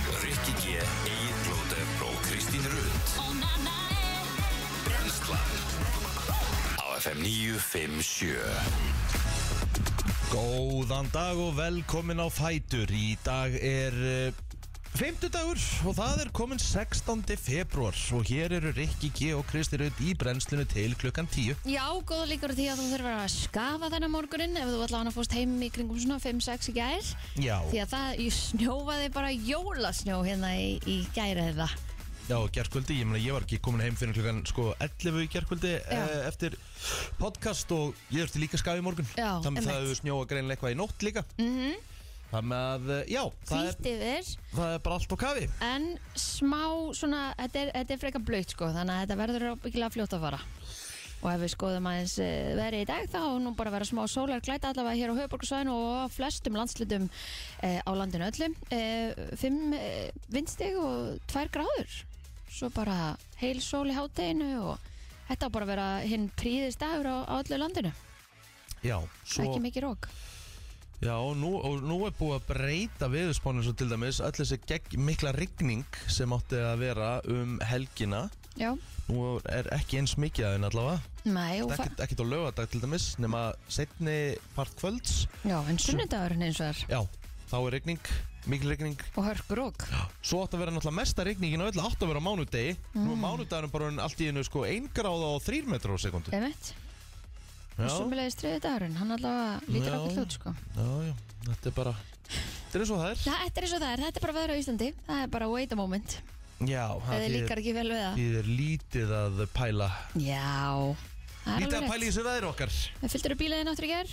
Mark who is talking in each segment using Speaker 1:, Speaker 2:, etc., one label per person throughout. Speaker 1: Rikki G, Egil Blóter og Kristín Rund Brenslan Á FM 957
Speaker 2: Góðan dag og velkomin á Fætur Í dag er uh, Fymtudagur og það er komin 16. februar og hér eru Rikki G og Kristi Raut í brennslinu til klukkan 10
Speaker 3: Já, góða líkur á því að þú þurfir að skafa þennan morgunin ef þú allan að fórst heim í kringum svona 5-6 í gær
Speaker 2: Já,
Speaker 3: því að það ég snjófaði bara jólasnjó hérna í, í gæri eða
Speaker 2: já gerkvöldi, ég meina ég var ekki komin heim fyrir klukkan sko 11 í gerkvöldi e eftir podcast og ég þurfti líka skaf í morgun
Speaker 3: Já,
Speaker 2: Þannig að
Speaker 3: einmitt.
Speaker 2: það hefur snjóa greinlega eitthvað í nótt líka
Speaker 3: mm -hmm,
Speaker 2: Þannig að, eh, já, það er,
Speaker 3: Hvít yfir
Speaker 2: það er bara allt á kafi
Speaker 3: en smá svona þetta er, þetta er frekar blöyt sko þannig að þetta verður ábyggilega fljótt að fara og ef við skoðum aðeins eh, verið í dag þá á nú bara að vera smá sólar glæta allavega hér á höfuborgarsvæðinu og á flestum landslutum eh, á landinu öllum eh, fimm eh, vindsteg og tvær gráður svo bara heil sól í hátteginu og þetta á bara að vera hinn príðist dagur á, á öllu landinu
Speaker 2: Já, svo
Speaker 3: ekki mikið rók
Speaker 2: Já, og nú, og nú er búið að breyta viðspánu svo til dæmis öll þessi gegn, mikla rigning sem átti að vera um helgina
Speaker 3: já,
Speaker 2: Nú er ekki eins mikið aðeins allavega
Speaker 3: Nei, og fa-
Speaker 2: Ekkert ekkert á lögadag til dæmis nema setni part kvölds
Speaker 3: já en sunnudagurinn eins og er
Speaker 2: Já, þá er rigning, mikil rigning
Speaker 3: og hörkur rók
Speaker 2: Svo átti að vera náttúrulega mesta rigningin og öll átti að vera á mánudegi Nú
Speaker 3: Mm.
Speaker 2: er mánudagurinn bara orðinn allt í einu sko 1 gráða og 3 metrur á sekundu
Speaker 3: Emmett
Speaker 2: Já,
Speaker 3: Sumulegis þriði dagurinn, hann allavega lítur
Speaker 2: Já.
Speaker 3: okkur hljótt sko
Speaker 2: já, já, þetta er bara Þetta er eins og það er
Speaker 3: Þa, Þetta er eins og það er, þetta er bara veður á Íslandi Það er bara wait a moment,
Speaker 2: Já,
Speaker 3: það
Speaker 2: þýðir-
Speaker 3: líkar ekki vel við það
Speaker 2: þýðir lítið að pæla
Speaker 3: Já, það er
Speaker 2: Lítið að
Speaker 3: alveg
Speaker 2: pæla í
Speaker 3: rétt
Speaker 2: þessu veðri okkar
Speaker 3: Við fylgdur upp bílaðin áttur í ger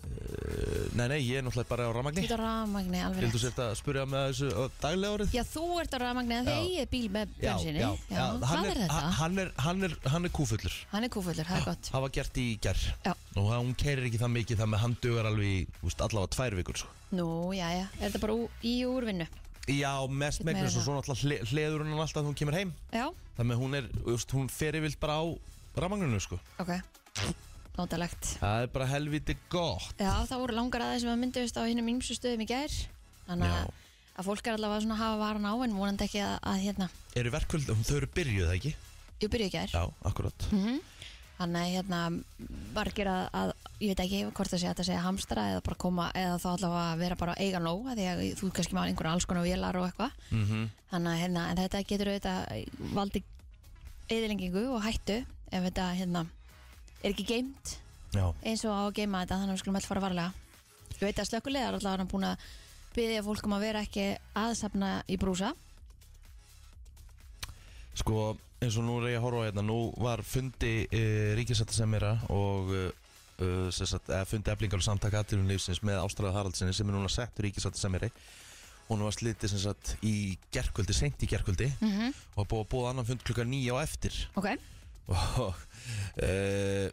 Speaker 2: Eh, Nei, nei, ég er náttúrulega bara á ramagni
Speaker 3: Þetta er rafmagni, alveg
Speaker 2: Hildur
Speaker 3: rétt
Speaker 2: sért að spurja með þessu á daglega árið
Speaker 3: Já, þú ert á rafmagni en þið
Speaker 2: Já.
Speaker 3: eigið bíl með bensinni
Speaker 2: já, já, hann,
Speaker 3: Hvað er þetta?
Speaker 2: ha- hann er, hann er, hann er kúfullur
Speaker 3: Hann er kúfullur, það er gott
Speaker 2: Það var gert í gerð
Speaker 3: Já.
Speaker 2: Og það- hún keirir ekki það mikið Það með hann dugar alveg í, úst, allavega tvær vikur sko.
Speaker 3: Nú, já, já, er þetta bara ú- í úrvinnu?
Speaker 2: Já, mest
Speaker 3: Ekkert
Speaker 2: megnir
Speaker 3: meira
Speaker 2: svo
Speaker 3: en
Speaker 2: svona alltaf hle, hleður hún hann alltaf þegar hún kemur heim
Speaker 3: Já,
Speaker 2: Þannig að hún er, úst, hún fer yfirlt bara á ramagninu sko.
Speaker 3: ok Nótalegt
Speaker 2: Það er bara helviti gott
Speaker 3: Já, það voru langar aðeins sem að mynduðust á hinnum ímsu stöðum í gær Þannig
Speaker 2: Já.
Speaker 3: að, að fólk er allavega svona að hafa varan á en vonandi ekki að, að hérna
Speaker 2: Eru verkvöld, þau eru byrjuð það ekki?
Speaker 3: Ég byrja í gær Mhm.
Speaker 2: Já, akkurat
Speaker 3: Þannig að hérna margir að, að ég veit ekki hvort það sé hægt að segja hamstra eða bara koma eða þá allavega að vera bara að eiga nóg af því að þú kannski má einhverja alls konar vélar og eitthvað
Speaker 2: mm
Speaker 3: þannig að hérna, en þetta getur auðvitað valdi eðlengingu og hættu ef þetta hérna er ekki geimt
Speaker 2: Já,
Speaker 3: eins og á að geima þetta þannig að við skulum alltaf fara varlega ég veit að slökulegar allavega hann búin að byggja fólk um að vera ekki aðsapna í brúsa
Speaker 2: Sko, eins og nú er ég að horfa á hérna, nú var fundi e, ríkisættasemjara og e, sagt, e, fundi eflingar og samtaka aðtilum lífsins með Ástráða Haraldsinni sem er núna settur ríkisættasemjari hún var slitið sem sagt í gerkvöldi, seint í gerkvöldi
Speaker 3: Mhm.
Speaker 2: og búið að búið annan fund klukka nýja á eftir
Speaker 3: ok,
Speaker 2: og e,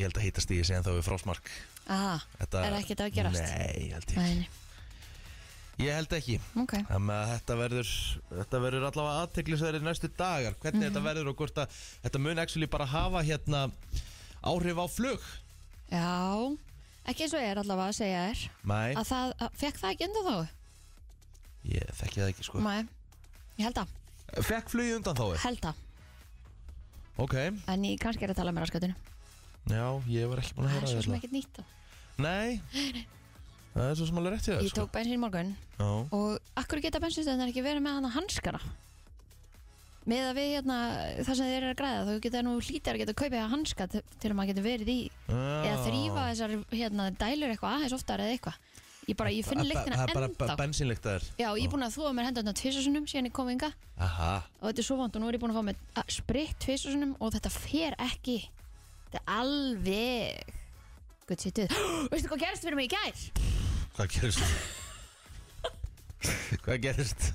Speaker 2: ég held að hýtast í þessi en þá við frásmark
Speaker 3: aha,
Speaker 2: Þetta,
Speaker 3: Er ekkert að gerast?
Speaker 2: Nei, ég held ég
Speaker 3: Nei, nei.
Speaker 2: Ég held ekki
Speaker 3: ok
Speaker 2: Þannig að þetta verður, þetta verður allavega aðteglisverið næstu dagar Hvernig
Speaker 3: Mhm.
Speaker 2: þetta verður og hvort að þetta mun actually bara hafa hérna áhrif á flug
Speaker 3: já, ekki eins og ég er allavega að segja þér
Speaker 2: Nei,
Speaker 3: að það, að, fekk það ekki undan þá?
Speaker 2: ég þekki það ekki sko
Speaker 3: Nei, ég held að,
Speaker 2: Fekk flugið undan þá
Speaker 3: held að
Speaker 2: Ok,
Speaker 3: en ég kannski er að tala með raskatunum
Speaker 2: já, ég var ekki búin að
Speaker 3: það
Speaker 2: heyra
Speaker 3: er svo sem
Speaker 2: þetta
Speaker 3: ekkert nýtt þá.
Speaker 2: Nei, það er svo sem alveg rétt í það
Speaker 3: ég
Speaker 2: sko
Speaker 3: tók bensin í morgun
Speaker 2: Já,
Speaker 3: og akkur geta bensinstöðunar ekki verið með hana hanskana með að við hérna það sem þeir eru að græða þú geta nú hlítið að geta kaupið hanska til til að maður getur verið í eða þrýfa þessar hérna dælur eitthvað aðeins oftar eða eitthvað ég bara, ég finn lyktina
Speaker 2: Það er bara
Speaker 3: ennþá
Speaker 2: bensínlykt það er
Speaker 3: já, ég er búin að þóa mér hendurna tvisasunum síðan ég kom inga
Speaker 2: Aha,
Speaker 3: og þetta er svo vant og nú er ég búin að fá mér að- spritt tvisasunum og þetta fer ekki þetta er alveg gutt sýttuð, veistu hvað gerst fyrir mig í gær?
Speaker 2: hvað gerist? hvað gerist?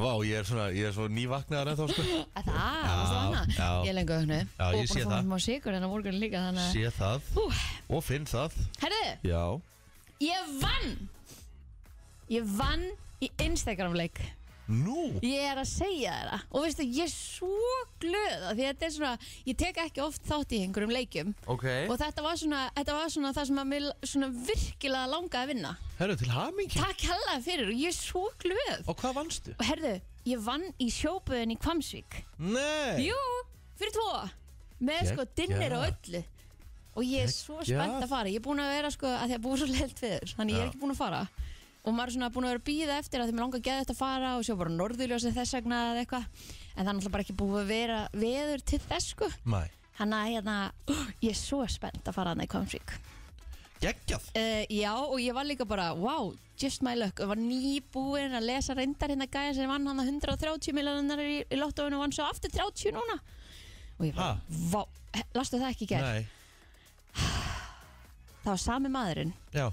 Speaker 2: Vá, ég er svona, ég er svo nývaknaðar en þá sko
Speaker 3: Að Það, varstu annað?
Speaker 2: já.
Speaker 3: Ég er lengu ögnu
Speaker 2: Já, ég
Speaker 3: Og
Speaker 2: sé
Speaker 3: búin að
Speaker 2: það.
Speaker 3: fá mér sigur en á morgun líka þannig að
Speaker 2: Sé það
Speaker 3: Hú,
Speaker 2: og finn það
Speaker 3: herðu,
Speaker 2: Já
Speaker 3: ég vann Ég vann í Instagram leik
Speaker 2: Nú,
Speaker 3: Ég er að segja þér það og veistu, ég er svo glöð af því að þetta er svona, ég tek ekki oft þátt í einhverjum leikjum
Speaker 2: ok
Speaker 3: og þetta var svona, þetta var svona það sem að mér svona virkilega langaði að vinna
Speaker 2: Herru, til hamingi
Speaker 3: Takk hella fyrir og ég er svo glöð
Speaker 2: Og hvað vannstu?
Speaker 3: og herðu, ég vann í sjóböðin í Kvamsvík
Speaker 2: Nei
Speaker 3: Jú, fyrir tvo með sko
Speaker 2: Geggjað.
Speaker 3: dinner og öllu og ég er svo
Speaker 2: Geggjað.
Speaker 3: spennt að fara ég er búin að vera sko að því að búið svo leilt viður þannig ég er
Speaker 2: Já.
Speaker 3: ekki búin að fara og maður er svona búin að vera að býða eftir að því mér langar að geða þetta að fara og sjá bara norðurljósið þess vegna eða eitthvað en það er náttúrulega bara ekki búið að vera veður til þess sko
Speaker 2: Mæ,
Speaker 3: hann að hérna, ég er svo spennt að fara hann í Kvamsvík
Speaker 2: geggjað
Speaker 3: Uh, já og ég var líka bara wow, just my luck, ég var nýbúin að lesa reyndar hérna gæja sem vann hann að 130 miljonar í, í lottóinu og vann svo aftur 30 núna og ég bara,
Speaker 2: Ha?
Speaker 3: vá, he- lastu það ekki í gær
Speaker 2: Nei,
Speaker 3: það var sami maðurinn
Speaker 2: já,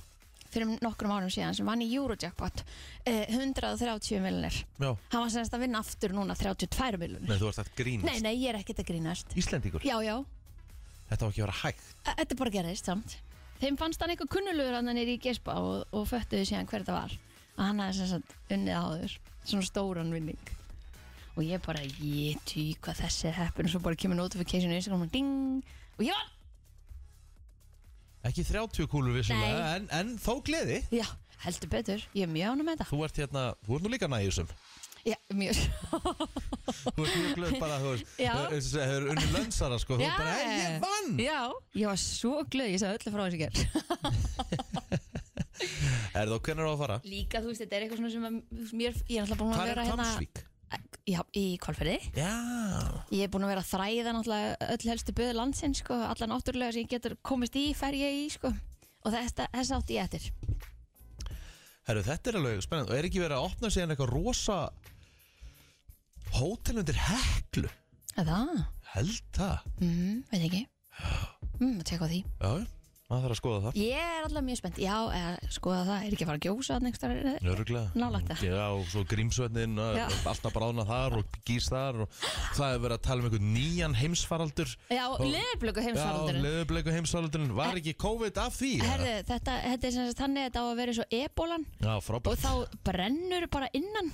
Speaker 3: fyrir nokkrum árum síðan sem vann í Eurojackpot uh, 130 miljonar
Speaker 2: já
Speaker 3: hann var semst að vinna aftur núna 32 miljonar
Speaker 2: Nei, þú varst að grínast
Speaker 3: nei, nei, ég er ekkert að grínast
Speaker 2: Íslendingur,
Speaker 3: já, já,
Speaker 2: þetta var ekki að vera hægt
Speaker 3: e- þetta bara gerðist samt þeim fannst hann eitthvað kunnulugur hann nýri í gespa og, og föttuðu síðan hver það var að hann hafði sem sagt unnið áður svona stóran vinning og ég bara, ég tý hvað þessi er heppin og svo bara kemur notification í Instagram og ding og ég vann,
Speaker 2: Ekki 30 kúlur vissulega, en, en þó gleði
Speaker 3: já, heldur betur ég er mjög ánum með þetta
Speaker 2: Þú ert hérna, þú ert nú líka nægjusum
Speaker 3: já, mjög,
Speaker 2: Sko, Þú ert mjög glöð bara, þú veist
Speaker 3: Já.
Speaker 2: þú veist, Það er unni lönsara, sko Þú
Speaker 3: Já.
Speaker 2: ert bara, hey, ég vann
Speaker 3: já ég var svo glöð, ég sagði öllu frá þessu gerð
Speaker 2: Er þú hvernig á að fara?
Speaker 3: líka, þú veist, þetta er eitthvað svona sem að mér, ég er alltaf búin að
Speaker 2: Hvað er
Speaker 3: vera
Speaker 2: Kvammsvík?
Speaker 3: já, í Kvalferði
Speaker 2: Já,
Speaker 3: Ég er búin að vera að þræða náttúrulega öll helstu böðu landsins sko, alla náttúrulega sem ég getur komist í, fer ég í sko og þess, þess átt ég eftir.
Speaker 2: herru, þetta er alveg spennandi Og er ekki verið að opna síðan eitthvað rosa Hótel undir heklu
Speaker 3: Er það?
Speaker 2: Held það
Speaker 3: Mm, veit ekki. Mm, að tekka á því.
Speaker 2: Já, maður þarf að skoða það
Speaker 3: Ég er alltaf mjög spennt. Já, eða, skoða það, er ekki að fara að gjósa þannig starf.
Speaker 2: Öruglega
Speaker 3: Nálægt það.
Speaker 2: Já, og svo grímsvötnin
Speaker 3: Já.
Speaker 2: Alltaf bráðna þar og gís þar og Það er verið að tala um einhvern nýjan heimsfaraldur
Speaker 3: Já, leðblöku heimsfaraldurinn.
Speaker 2: Já, leðubleiku heimsfaraldurinn Var ekki COVID af því?
Speaker 3: Herðu, þetta, þetta er sem sagt þannig að þetta á að vera svo ebólan
Speaker 2: Já,
Speaker 3: og
Speaker 2: frábært
Speaker 3: þá brennur bara innan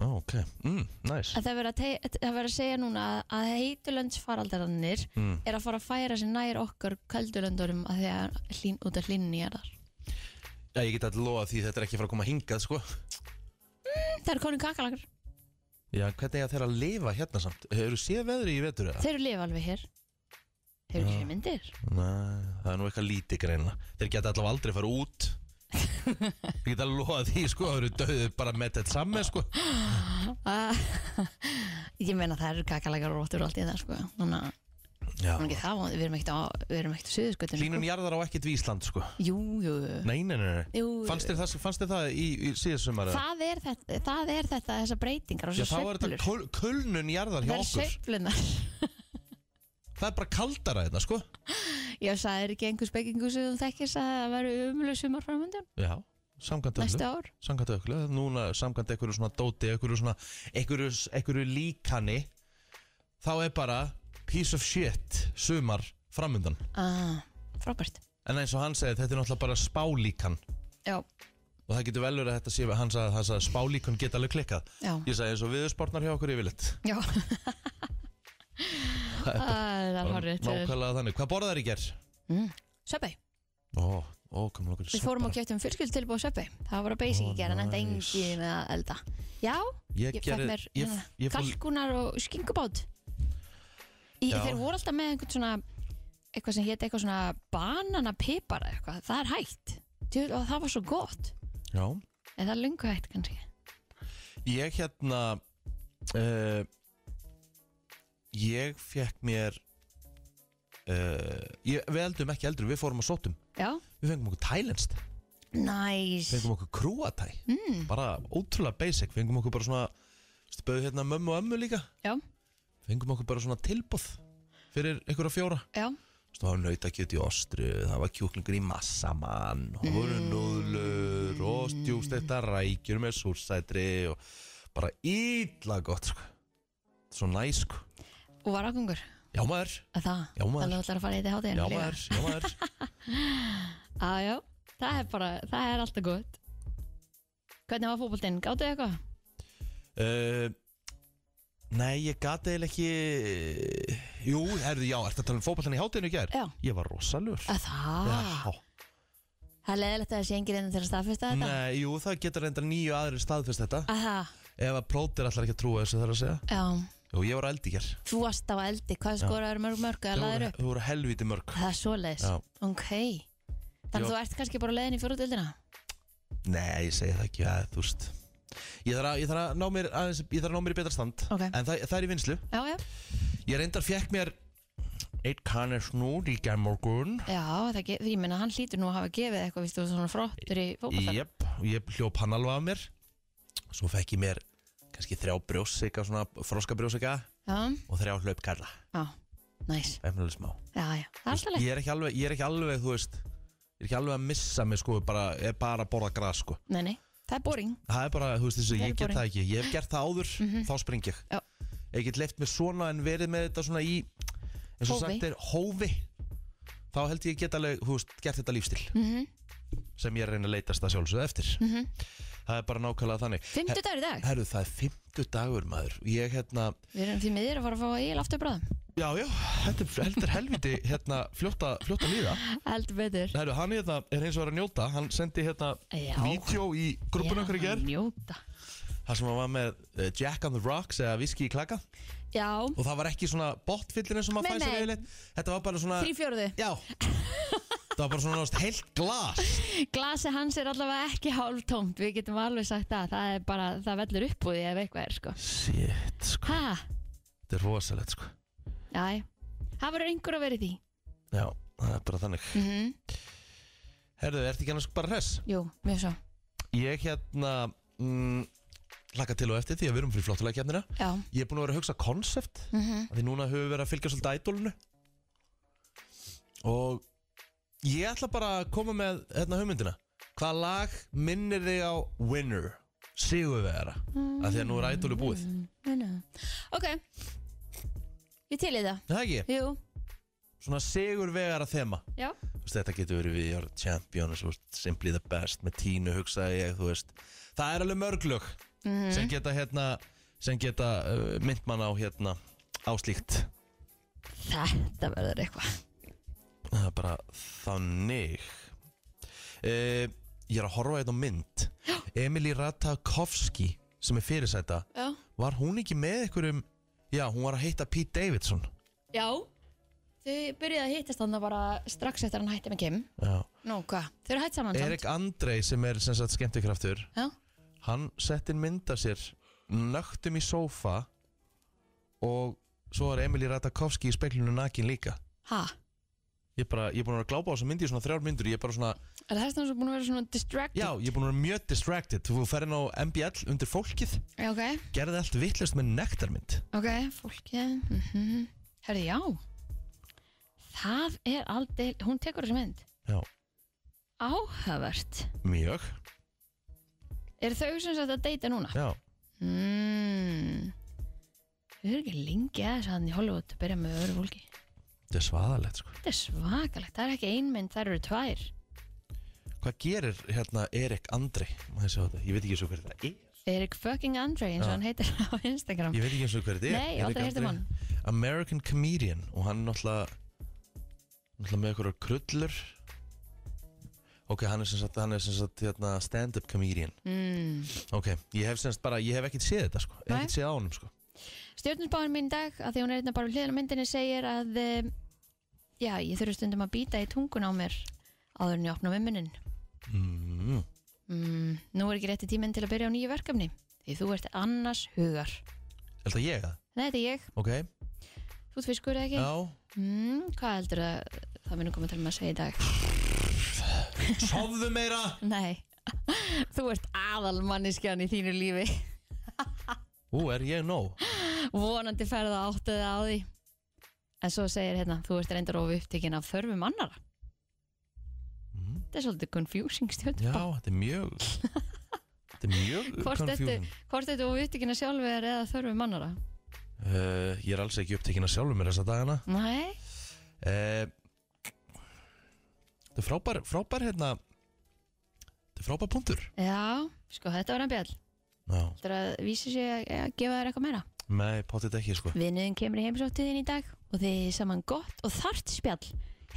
Speaker 2: Ó, Ok, mm, næs
Speaker 3: að það er verið að, te- að, það er verið að segja núna að- að heitulöndsfaraldarannir
Speaker 2: Mm.
Speaker 3: er að fara að færa sér nær okkar köldulöndurum að því að hlín, út af hlínni er þar.
Speaker 2: Já, ég get allir lofa því þetta er ekki frá að koma hingað, sko
Speaker 3: Það eru konum kakalakar,
Speaker 2: Já, hvernig er þeir að lifa hérna samt? Hefur þú séð veðri í vetur eða?
Speaker 3: þeir eru lifa alveg hér. Þeir eru
Speaker 2: Já.
Speaker 3: sér myndir.
Speaker 2: Nei, það er nú eitthvað lítið greina Þeir geta allavega aldrei fara út Ég get alveg lofa því, sko Það eru döðið bara með þetta samme, sko
Speaker 3: Ah, ég meina það eru kakalakar og róttur og allt í það sko. Núna,
Speaker 2: Já
Speaker 3: núna ekki það, vont, við erum ekkert á, við erum ekkert á suðuskutinu.
Speaker 2: Hlínun jarðar á ekkert við Ísland, sko
Speaker 3: Jú, jú, jú.
Speaker 2: Nei, nei, nei, nei.
Speaker 3: jú.
Speaker 2: Fannst þér það, fannst þér það í, í síðast sumar? eða?
Speaker 3: það er þetta, það er þetta, þessar breytingar og
Speaker 2: Já,
Speaker 3: svo
Speaker 2: þá er
Speaker 3: sveiflur.
Speaker 2: þetta köl, kölnun jarðar hjá
Speaker 3: Það er
Speaker 2: okkur
Speaker 3: sveiflunar.
Speaker 2: Það er bara kaldara þetta, sko
Speaker 3: Já, það er ekki einhver spekingu sem þú þekkist að það væri umlega sumar framöndan
Speaker 2: Já, samkvæmt öllu
Speaker 3: næsta ár.
Speaker 2: Samkvæmt öllu, núna samkvæmt einhverju svona dóti einhverju svona, einhverju, einhverju líkani Þá er bara piece of shit sumar framundan
Speaker 3: Ah, frábært.
Speaker 2: En eins og hann segir, þetta er náttúrulega bara spálíkan
Speaker 3: Já,
Speaker 2: Og það getur vel verið að þetta sé, hann sagði, hann sagði spálíkan geta alveg klikkað
Speaker 3: já,
Speaker 2: Ég sagði eins og viðursportnar hjá okkur yfirleitt
Speaker 3: já.
Speaker 2: Það er bara-
Speaker 3: Það er
Speaker 2: bara
Speaker 3: horrið til.
Speaker 2: Nákvæmlega þannig, hvað borðar í gerð?
Speaker 3: Söpbi,
Speaker 2: Ó, ó, komum okkur í
Speaker 3: við fórum
Speaker 2: sopa.
Speaker 3: og kjöptum fjölskyld tilbúið Söpbi. Það var að basic
Speaker 2: Ó,
Speaker 3: í gerðan, enda
Speaker 2: nice.
Speaker 3: engin að elda. Já,
Speaker 2: Ég,
Speaker 3: ég fekk
Speaker 2: gerði-
Speaker 3: mér
Speaker 2: ég,
Speaker 3: hérna,
Speaker 2: ég fór,
Speaker 3: kalkunar og skingubát. Í,
Speaker 2: Já.
Speaker 3: þeir voru alltaf með einhvern svona, eitthvað sem hétt eitthvað svona bananapipar eða eitthvað. Það er hægt. Djú, og það var svo gott.
Speaker 2: já,
Speaker 3: En það er lungu hægt kannski.
Speaker 2: ég hérna uh, ég fekk mér uh, ég, við eldum ekki eldur, við fórum að sótum
Speaker 3: Já,
Speaker 2: við fengum okkur tælenskt,
Speaker 3: næs.
Speaker 2: fengum okkur krúatæ mm. bara ótrúlega basic, fengum okkur bara svona spöðu hérna mömmu og ömmu líka
Speaker 3: Já.
Speaker 2: fengum okkur bara svona tilbúð fyrir einhverja fjóra
Speaker 3: Já,
Speaker 2: Þú veist, það var nautakjöt í ostru, það var kjúklingur í massamann, það voru núðlur og stjúfstekta rækjur með súrsætri og bara ítla gott sko. Svo næ sko.
Speaker 3: og var ágangur.
Speaker 2: Já maður,
Speaker 3: Að það,
Speaker 2: Já, maður.
Speaker 3: þannig að þú ætlar að fara í þetta
Speaker 2: já
Speaker 3: hátíðinu
Speaker 2: maður, já maður.
Speaker 3: Á, já, það er bara, það er alltaf gott Hvernig var fótboltinn, gáttu þið eitthvað?
Speaker 2: uh, Nei, ég gati eða ekki Jú, herðu, já, ertu að tala um fótballan í hátinu í gær?
Speaker 3: Já. Ah,
Speaker 2: Ég var rosalur
Speaker 3: Að það,
Speaker 2: Já,
Speaker 3: það er leðilegt að það sé engir inn til að staðfesta þetta
Speaker 2: Nei, jú, það getur reynda nýju aðrir staðfest þetta
Speaker 3: Að það,
Speaker 2: Ef að prótir allar ekki að trúa þessu þarf að segja
Speaker 3: já,
Speaker 2: Jú, ég var eldi hér
Speaker 3: þú varst á eldi Hvað skoraður mörg mörg að laður upp?
Speaker 2: Þú voru helviti mörg
Speaker 3: Það er svoleiðis,
Speaker 2: Já.
Speaker 3: ok Þannig
Speaker 2: Ég-
Speaker 3: þú ert kannski bara á leiðin í fjóruðildina
Speaker 2: Nei, ég segi það ekki, ja, þú veist Ég þarf, að, ég, þarf að ná mér aðeins, ég þarf að ná mér í betra stand
Speaker 3: Ok.
Speaker 2: En það, það er í vinslu
Speaker 3: Já, já,
Speaker 2: Ég reyndar fjekk mér Eitt kannir snúr í gærmorgun
Speaker 3: já, það ge- ég meina hann hlýtur nú að hafa gefið eitthvað Vistu svona frottur í fótbolta
Speaker 2: Jep, og ég hljóp hann alveg af mér Svo fekk ég mér kannski þrjá brjósika, svona froska brjósika
Speaker 3: Já,
Speaker 2: Og þrjá hlaupkarla,
Speaker 3: já, næs
Speaker 2: efnilega smá
Speaker 3: Já, já, það er alltaf leið
Speaker 2: Ég er ekki alveg, ég er ekki alveg, þú veist Ég er ekki alveg að missa mig, sko, bara, er bara að borða gras, sko
Speaker 3: Nei, nei, það er boring
Speaker 2: Það er bara, þú veist þessu,
Speaker 3: Það er
Speaker 2: ég get
Speaker 3: boring.
Speaker 2: það ekki Ég hef gert það áður, þá spring ég
Speaker 3: Mhm. Já.
Speaker 2: Ég get leift mér svona en verið með þetta svona í eins og
Speaker 3: Hófi.
Speaker 2: sagt er hófi Þá held ég get alveg, þú veist, gert þetta lífstil
Speaker 3: Mhm.
Speaker 2: sem ég er að reyna að leitast að sjálfsögðu eftir -hmm. Það er bara nákvæmlega þannig
Speaker 3: Fimmtu dagur Mhm. í dag,
Speaker 2: Herru, það er fimmtu dagur, maður Ég, hérna,
Speaker 3: við erum því miður að fara að fá í laftu bráðum
Speaker 2: já, já, þetta er heldur helviti hérna, fljóta, fljóta líða
Speaker 3: Heldur betur
Speaker 2: Herru, hann hérna er eins og er að njóta Hann sendi hérna
Speaker 3: Já.
Speaker 2: vídeo í grúppun okkur í gerð
Speaker 3: Njóta
Speaker 2: Það sem hann var með eh, Jack on the Rocks eða Whisky í klaka
Speaker 3: Já,
Speaker 2: og það var ekki svona botfyllir eins og
Speaker 3: Nei,
Speaker 2: maður fæsir
Speaker 3: nei.
Speaker 2: yfirleitt þetta var bara svona
Speaker 3: þrý fjörðu
Speaker 2: já það var bara svona náttúrulega heilt glas
Speaker 3: Glasi hans er allavega ekki hálftómt Við getum alveg sagt það Það er bara, það vellur upp úr því ef eitthvað er sko
Speaker 2: shit sko
Speaker 3: Hæ,
Speaker 2: þetta er rosalegt sko
Speaker 3: já Það verður einhver að vera í því
Speaker 2: já það er bara þannig
Speaker 3: mm
Speaker 2: herðu ertu ekki annars bara hress
Speaker 3: Jú, mjög svo
Speaker 2: ég hérna mm, laka til og eftir því að við erum fyrir flottulega kemnina
Speaker 3: Já,
Speaker 2: ég er búin að vera að hugsa konsept
Speaker 3: mm
Speaker 2: af því núna höfum við verið að fylgja svolítið ædólinu og ég ætla bara að koma með hérna hugmyndina hvað lag minnir þig á Winner Sigurvegara af því að nú er ædólu búið
Speaker 3: ok Ég til í það
Speaker 2: Er það ekki,
Speaker 3: Jú,
Speaker 2: svona Sigurvegara þema
Speaker 3: já,
Speaker 2: Þú veist, þetta getur verið við Your Champion og svo Simply the Best með Tínu hugsaði ég, þú veist það er alveg mörglög
Speaker 3: Mhm.
Speaker 2: sem geta hérna sem geta uh, mynd mann á hérna áslíkt
Speaker 3: þetta verður eitthvað
Speaker 2: Það er bara þannig uh, Ég er að horfa hérna á mynd Emily Ratajkowski sem er fyrirsæta
Speaker 3: Já,
Speaker 2: Var hún ekki með einhverjum Já, hún var að heita Pete Davidson
Speaker 3: já Þau byrjuðu að hittast þannig bara strax eftir að hann hætti með Kim
Speaker 2: Já.
Speaker 3: Nú, hvað, þau eru hætt saman samt?
Speaker 2: Erik Andrei sem er sem sagt skemmtikraftur
Speaker 3: Já,
Speaker 2: Hann setti mynda sér Nögtum í sófa Og svo er Emily Ratajkowski í speklinu nakin líka
Speaker 3: hæ
Speaker 2: Ég, bara, ég er búin að vera að glápa á þessa myndi í svona þrjár myndur Ég er bara svona
Speaker 3: Er það þess að búin að vera svona distracted?
Speaker 2: Já, ég er búin að vera mjög distracted Þú ferðin á MBL undir fólkið
Speaker 3: Já, ok
Speaker 2: gerði allt vittlust með nektarmynd
Speaker 3: Ok, fólki mm -hmm. Herði, já Það er aldrei, hún tekur þessu mynd
Speaker 2: Já,
Speaker 3: Áhugavert
Speaker 2: mjög
Speaker 3: Er þau sem sagt að deyta núna?
Speaker 2: Já,
Speaker 3: Mm. Þau eru ekki lengi að þess að hann í Hollywood að byrja með öðru fólki
Speaker 2: þetta er svaðalegt sko
Speaker 3: Þetta er svakalegt, það er ekki ein mynd, það eru tvær
Speaker 2: Hvað gerir hérna Erik Andri? Má ég sjá þetta? Ég veit ekki eins og hver þetta er
Speaker 3: Erik fucking Andre eins og
Speaker 2: Já.
Speaker 3: hann heitir á Instagram
Speaker 2: Ég veit ekki eins og hver þetta er
Speaker 3: Nei, ég
Speaker 2: Erik
Speaker 3: aldrei heyrt um
Speaker 2: Andri, American Comedian og hann náttúrulega náttúrulega með einhverjar krullur Ok, hann er sem sagt, hann er sem sagt hérna, stand-up comedian
Speaker 3: mm.
Speaker 2: Ok, ég hef sem sagt bara, ég hef ekkert séð þetta sko
Speaker 3: Nei.
Speaker 2: Ekkert séð á honum sko
Speaker 3: Stjórnusbáin mín í dag, að því hún er einnig bara hliðan á myndinni segir að eh, já, ég þurfi stundum að býta í tungun á mér áður en ég opna mimmunin
Speaker 2: mm.
Speaker 3: mm, Nú er ekki rétti tíminn til að byrja á nýju verkefni Því þú ert annars hugar
Speaker 2: Held að ég það?
Speaker 3: Nei, þetta er ég,
Speaker 2: Ok,
Speaker 3: þú ert fiskur eða ekki
Speaker 2: já
Speaker 3: mm, Hvað heldur að það munum koma til með að segja í dag?
Speaker 2: Sofðu meira
Speaker 3: Nei, þú ert aðalmanniskjan í þínu lífi
Speaker 2: Ú, er ég nóg?
Speaker 3: Vonandi ferða áttuði á því En svo segir hérna, þú ert reyndar ofu upptekinn af þörfum annara
Speaker 2: Mm.
Speaker 3: Þetta er svolítið confusing stjórn
Speaker 2: Já, þetta er mjög Þetta er mjög
Speaker 3: Hvort þetta-
Speaker 2: confusing
Speaker 3: Hvort þetta ofu upptekinn af sjálfvegar eða þörfum annara?
Speaker 2: uh, Ég er alls ekki upptekinn að sjálfur mér þessa dagana
Speaker 3: Nei,
Speaker 2: uh, Þetta er frábær, frábær hérna Þetta er frábær punktur
Speaker 3: já, sko þetta var hann bjall
Speaker 2: Já,
Speaker 3: Þetta að vísi sig að, að gefa þér eitthvað meira
Speaker 2: nei, potið ekki sko
Speaker 3: Vinnuðin kemur í heimsóttiðin í dag og þið er saman gott og þart spjall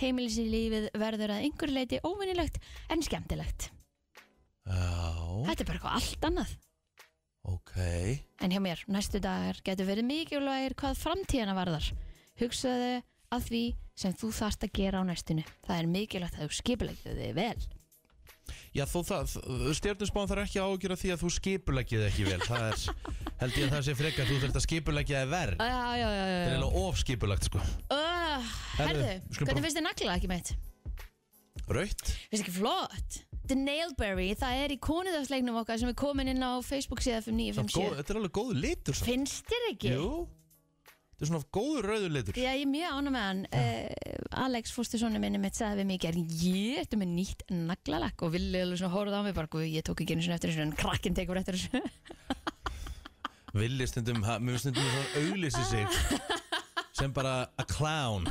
Speaker 3: Heimilislífið verður að einhver leiti óvinnilegt en skemmtilegt
Speaker 2: Já,
Speaker 3: Þetta er bara eitthvað allt annað
Speaker 2: ok
Speaker 3: En hjá mér, næstu dagar getur verið mikilvægir hvað framtíðana varðar. Hugsaðu að því sem þú þarft að gera á næstinu. Það er mikilvægt að þú skipulegðu þig vel.
Speaker 2: Já, þú það, stjórnusbán þarf ekki að ágjöra því að þú skipuleggið ekki vel Það er, held ég að það sé frekar, þú þurft að skipuleggja þig verð
Speaker 3: Ah, Já, já, já,
Speaker 2: Það er
Speaker 3: já.
Speaker 2: eiginlega ofskipulegt sko
Speaker 3: Uh,
Speaker 2: Herðu,
Speaker 3: herðu,
Speaker 2: við skulum
Speaker 3: hvernig
Speaker 2: bara-
Speaker 3: finnst þið nagla ekki mitt?
Speaker 2: Raut,
Speaker 3: Finnst ekki flott? The Nailberry, það er í konuðarsleiknum okkar sem er komin inn á Facebook síðan
Speaker 2: góð,
Speaker 3: 5957.
Speaker 2: þetta er alveg góð litur sko.
Speaker 3: Finnst þér ekki?
Speaker 2: Jú, þetta er svona góður rauður litur
Speaker 3: Já, ég er mjög ánum með hann uh, Alex fóstursonu minni mitt sagði við mig í gerð ég ertu með nýtt naglalakk og villi alveg svona horfði á mig bara, "Guð, ég tók ekki einu sinni eftir þessu en krakkinn tekur eftir þessu
Speaker 2: Villi stundum, ha- mér finnst stundum svona auglýsi sig sem bara a clown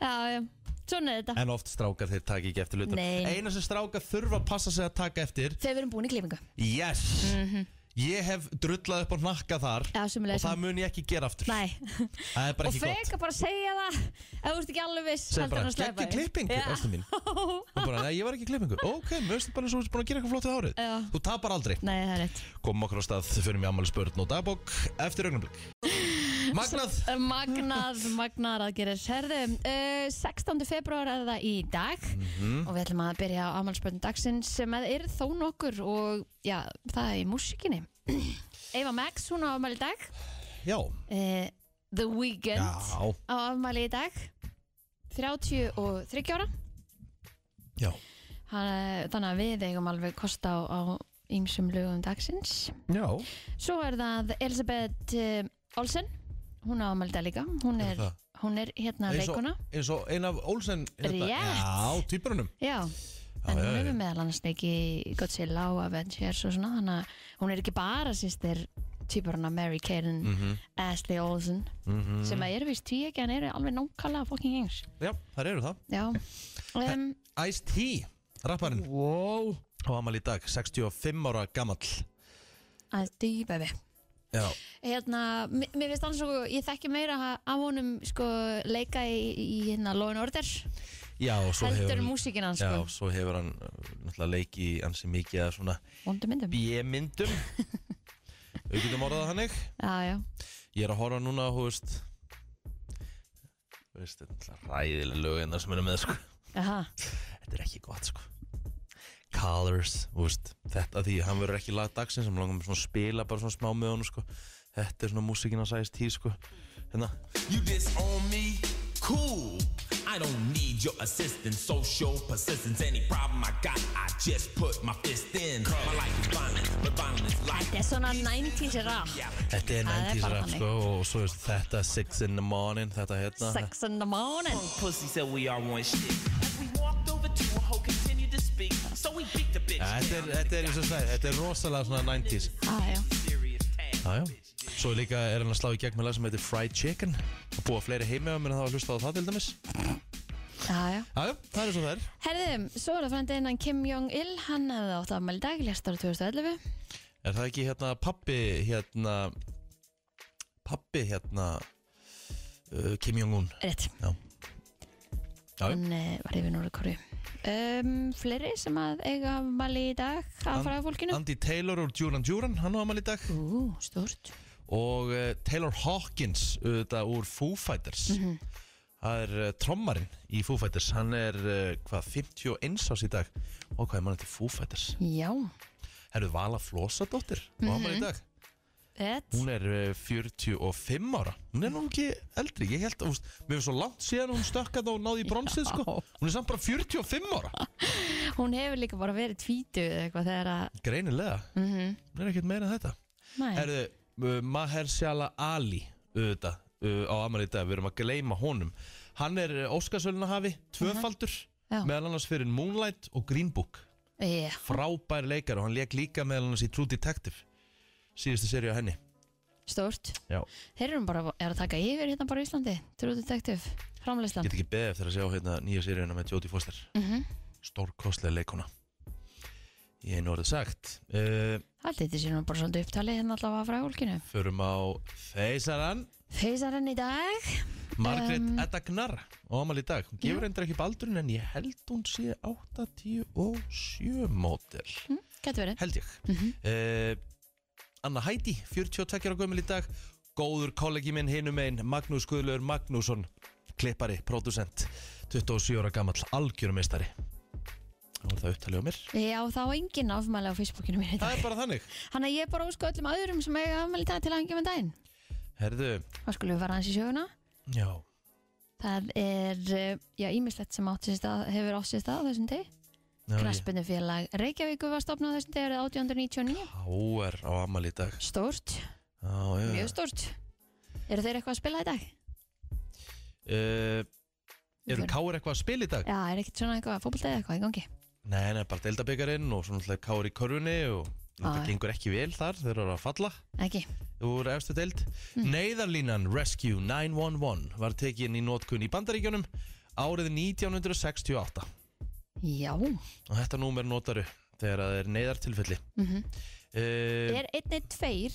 Speaker 3: Já, já, svona er þetta
Speaker 2: en oft strákar þeir taka ekki eftir hlutum
Speaker 3: Nei.
Speaker 2: eina sem strákar þurfa að passa sig að taka eftir
Speaker 3: Þegar við erum búin í klifingu
Speaker 2: yes, ég hef drullað upp á hnakka þar
Speaker 3: Mhm. Já, sömuleiðis.
Speaker 2: og það mun ég ekki gera aftur
Speaker 3: Nei,
Speaker 2: það er bara
Speaker 3: og
Speaker 2: ekki gott
Speaker 3: freka bara að segja það ef þú ert ekki alveg viss
Speaker 2: sem
Speaker 3: heldur
Speaker 2: bara,
Speaker 3: hann að sleppa
Speaker 2: geggi
Speaker 3: því.
Speaker 2: klippingu,
Speaker 3: Já.
Speaker 2: ástu mín og bara, nei, ég var ekki í klippingu ok, mér finnst bara eins og þú ert búin að gera eitthvað flott í árið
Speaker 3: Já.
Speaker 2: þú tapar aldrei
Speaker 3: Nei, það er rétt
Speaker 2: komum okkur á stað, förum í ammali spörn og dagbók eftir augnablik Magnað,
Speaker 3: Magnað, magnar að gera Herðu, uh, 16. februar er það í dag
Speaker 2: Mhm.
Speaker 3: og við ætlum að byrja á afmálspöldin dagsins sem að er þó nokkur og já, það er í músikinni Eva Max, hún á afmæli í dag
Speaker 2: já,
Speaker 3: uh, The Weeknd
Speaker 2: já,
Speaker 3: á afmæli í dag 33 ára
Speaker 2: já
Speaker 3: Hann, eh, þannig að við eigum alveg kost á, á ýmsum lögum dagsins
Speaker 2: já,
Speaker 3: Svo er það Elisabeth eh, Olsen hún á afmæli í dag líka hún
Speaker 2: Er
Speaker 3: er,
Speaker 2: það?
Speaker 3: hún er hérna
Speaker 2: eins og,
Speaker 3: leikuna
Speaker 2: eins og ein af Olsen hérna-
Speaker 3: Rétt.
Speaker 2: já, týpurunum
Speaker 3: Já,
Speaker 2: Já,
Speaker 3: en
Speaker 2: já,
Speaker 3: hún
Speaker 2: já.
Speaker 3: hefur meðal annars leikið Godzilla og Avengers og svona þannig að hún er ekki bara sýstir týpurna Mary Kate and
Speaker 2: Mhm.
Speaker 3: Ashley Olsen sem að eru vist tví ekki en eru alveg nákvæmlega fucking eins
Speaker 2: já, þar eru það
Speaker 3: Já um,
Speaker 2: Ice-T, rapparinn
Speaker 3: Wow
Speaker 2: og amal í dag, 65 ára gamall
Speaker 3: Að dýbæfi
Speaker 2: já,
Speaker 3: Hérna, mér mér finnst hann svo, ég þekki meira ha- af honum sko leika í, í hérna Law and Order
Speaker 2: já og svo
Speaker 3: heldur
Speaker 2: hefur
Speaker 3: en músíkin hans
Speaker 2: já,
Speaker 3: sko
Speaker 2: svo hefur hann uh, náttúrulega leiki ansi mikið að svona
Speaker 3: Vondu myndum
Speaker 2: B-myndum við getum orðað þannig
Speaker 3: Já, já,
Speaker 2: ég er að horfa núna á, þú veist þú veist, þetta er náttúrulega ræðilega lögina sem eru með sko.
Speaker 3: aha,
Speaker 2: þetta er ekki gott sko Colors, þú veist, þetta því hann verður ekki lag dagsins, hann langar með svona að spila bara svona smá með honum sko þetta er svona músikina sæðist tí sko hérna,
Speaker 1: You disown me? Cool. I don't need your assistance, social persistence. Any problem I got, I just put my fist in. My life is violent, but violence like
Speaker 3: þetta er svona 90s rap
Speaker 2: þetta er
Speaker 3: Það er
Speaker 2: 90s
Speaker 3: bara
Speaker 2: rap
Speaker 3: þannig.
Speaker 2: sko og svo veist, þetta Six in the morning, þetta hérna
Speaker 3: Sex in the morning
Speaker 1: pussy said we are one shit.
Speaker 4: As we walked over to a hoe, continued to speak. So we beat the bitch.
Speaker 2: Ja, þetta er, þetta er, eins og sagði, þetta er rosalega svona 90s
Speaker 3: Já, já
Speaker 4: Serious tag.
Speaker 2: Já, já. Svo líka er hann að slá í gegn með lag sem heitir Fried Chicken og búa fleiri heimi á mér en það var hlusta á það til dæmis Já,
Speaker 3: Já, já.
Speaker 2: já, það er svo það er
Speaker 3: Herðum, svo er það frændin hann Kim Jong-il, hann hefði átt afmæli í dag, lest ára 2011.
Speaker 2: Er það ekki hérna pappi hérna pappi hérna uh, Kim Jong-un
Speaker 3: Rétt,
Speaker 2: Já, já.
Speaker 3: hann eh, var yfir Nóra Kóru. Um, fleiri sem að eiga afmæli í dag að fara fólkinu?
Speaker 2: Andy Taylor úr Duran Duran, hann á amal í dag
Speaker 3: Ú, stort.
Speaker 2: og uh, Taylor Hawkins auðvitað úr Foo Fighters það er uh, trommarinn í Foo Fighters hann er uh, hvað 51 ás í dag og hvað er mann þetta Foo Fighters
Speaker 3: Já,
Speaker 2: Herru Vala Flosadóttir mm -hmm. á
Speaker 3: Mhm.
Speaker 2: amal í dag
Speaker 3: rétt.
Speaker 2: hún er eh, 45 ára hún er nú ekki eldri ég held að, úst, mér er svo langt síðan hún stökkað og náði í bronsið sko, hún er samt bara 45 ára
Speaker 3: Hún hefur líka bara verið tvítu eða eitthvað þegar að... Mhm.
Speaker 2: greinilega, hún er ekkert meira en þetta
Speaker 3: Næ,
Speaker 2: Herðu, uh, Mahershala Ali auðvitað, uh, á Amal í dag við erum að gleyma honum hann er Óskarsöluna hafi, tvöfaldur
Speaker 3: Já.
Speaker 2: meðal annars fyrir Moonlight og Green Book
Speaker 3: já,
Speaker 2: frábær leikar og hann leik líka meðal annars í True Detective síðustu serið á henni
Speaker 3: stort.
Speaker 2: Já.
Speaker 3: Þeir eru bara er að taka yfir hérna bara í Íslandi, True Detective, framleyslan.
Speaker 2: get ekki
Speaker 3: Mhm.
Speaker 2: beðið eftir að sjá hérna nýja seríuna með Jodie Foster
Speaker 3: Mm -hmm.
Speaker 2: stórkostlega leikona Ég hef nú orðið sagt uh,
Speaker 3: Allt þetta sé nú bara svolítið upptalið hérna allavega frá fólkinu.
Speaker 2: Förum á Feisaran
Speaker 3: Feysarann í dag.
Speaker 2: Margrét
Speaker 3: Um,
Speaker 2: Edda Gnar á amal í dag Hún gefur reyndar ekki baldurinn en ég held hún sé 87 mótil
Speaker 3: Gæti verið.
Speaker 2: Held ég
Speaker 3: Mhm.
Speaker 2: uh, Anna Heidi, 42 ára gömul í dag Góður kollegi minn hinum einn Magnús Guðlaur Magnússon Klippari, pródusent 27 ára gamall, algjörum meistari Það var það upptalið á mér
Speaker 3: Já, þá er engin afmæli á Facebookinu mér í
Speaker 2: Það
Speaker 3: dag.
Speaker 2: er bara þannig
Speaker 3: Þannig að ég er bara ósku öllum öðrum sem eiga afmæli í dag til að hengja með daginn.
Speaker 2: Herðu,
Speaker 3: Þá skulum við fara hans í sjöguna.
Speaker 2: já
Speaker 3: Það er, eh, já, ímislegt sem átt sér stað, hefur átt sér stað á þessum degi.
Speaker 2: já, ég-
Speaker 3: Knaspinnufélag Reykjavíku var stopnað á þessum degi árið 1899.
Speaker 2: H.R. á amal í dag
Speaker 3: Stórt,
Speaker 2: Já, já, já.
Speaker 3: mjög stórt. Eru þeir eitthvað að spila í dag?
Speaker 2: Uh, eru Káur eitthvað að spila í dag?
Speaker 3: Já, er ekkert svona eitthvað fótbolta eða eitthvað í gangi?
Speaker 2: Nei, nei, bara deildabyggarinn og svona alltaf Káur í körfunni og
Speaker 3: já.
Speaker 2: þetta gengur ekki vel þar þeir eru að falla
Speaker 3: Ekki.
Speaker 2: úr efstu deild.
Speaker 3: Mm.
Speaker 2: Neyðarlínan Rescue 911 var tekin í nótkunn í Bandaríkjunum árið 1968
Speaker 3: Já.
Speaker 2: og þetta númer notaru þegar það er neyðartilfelli.
Speaker 3: Mm
Speaker 2: Uh,
Speaker 3: Er einnig tveir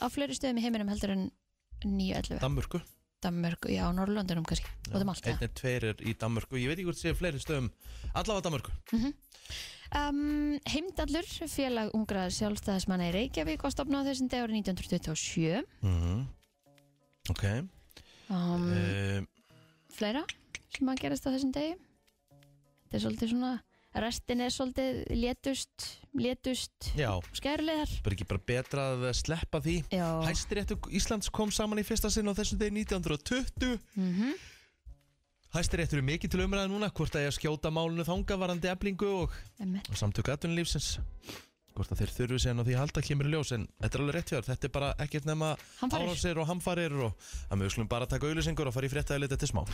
Speaker 3: á fleiri stöðum í heiminum heldur en 911?
Speaker 2: Danmörku.
Speaker 3: Danmörku, já, Norrlöndunum kannski. um Og það mált það.
Speaker 2: Einnig tveir er í Danmörku. Ég veit ekki hvort sé fleiri stöðum. Allavega Danmörku.
Speaker 3: Um, Heimdallur, félag ungra sjálfstæðismanna í Reykjavík var stopnað á þessum dag árið 1927.
Speaker 2: Mm Ok.
Speaker 3: Um,
Speaker 2: Uh,
Speaker 3: Fleira sem að gerast á þessum degi. Þetta er svolítið svona, restin er svolítið létust, létust,
Speaker 2: já,
Speaker 3: skærulegar.
Speaker 2: bara ekki bara betra að sleppa því
Speaker 3: Já.
Speaker 2: Hæstiréttu Íslands kom saman í fyrsta sinn á þessum degi 1920
Speaker 3: Mm
Speaker 2: Hæstiréttur er mikið til umræða núna hvort að ég að skjóta málunu þanga varandi eblingu og og samtök atvinnulífsins hvort að þeir þurfi síðan á því að halda kemur í ljós en þetta er alveg rétt hjá þér, þetta er bara ekkert nema
Speaker 3: Hamfarir.
Speaker 2: árásir og hamfarir og að mjög slum bara að taka auðlýsingur og fara í fréttaðið þetta smá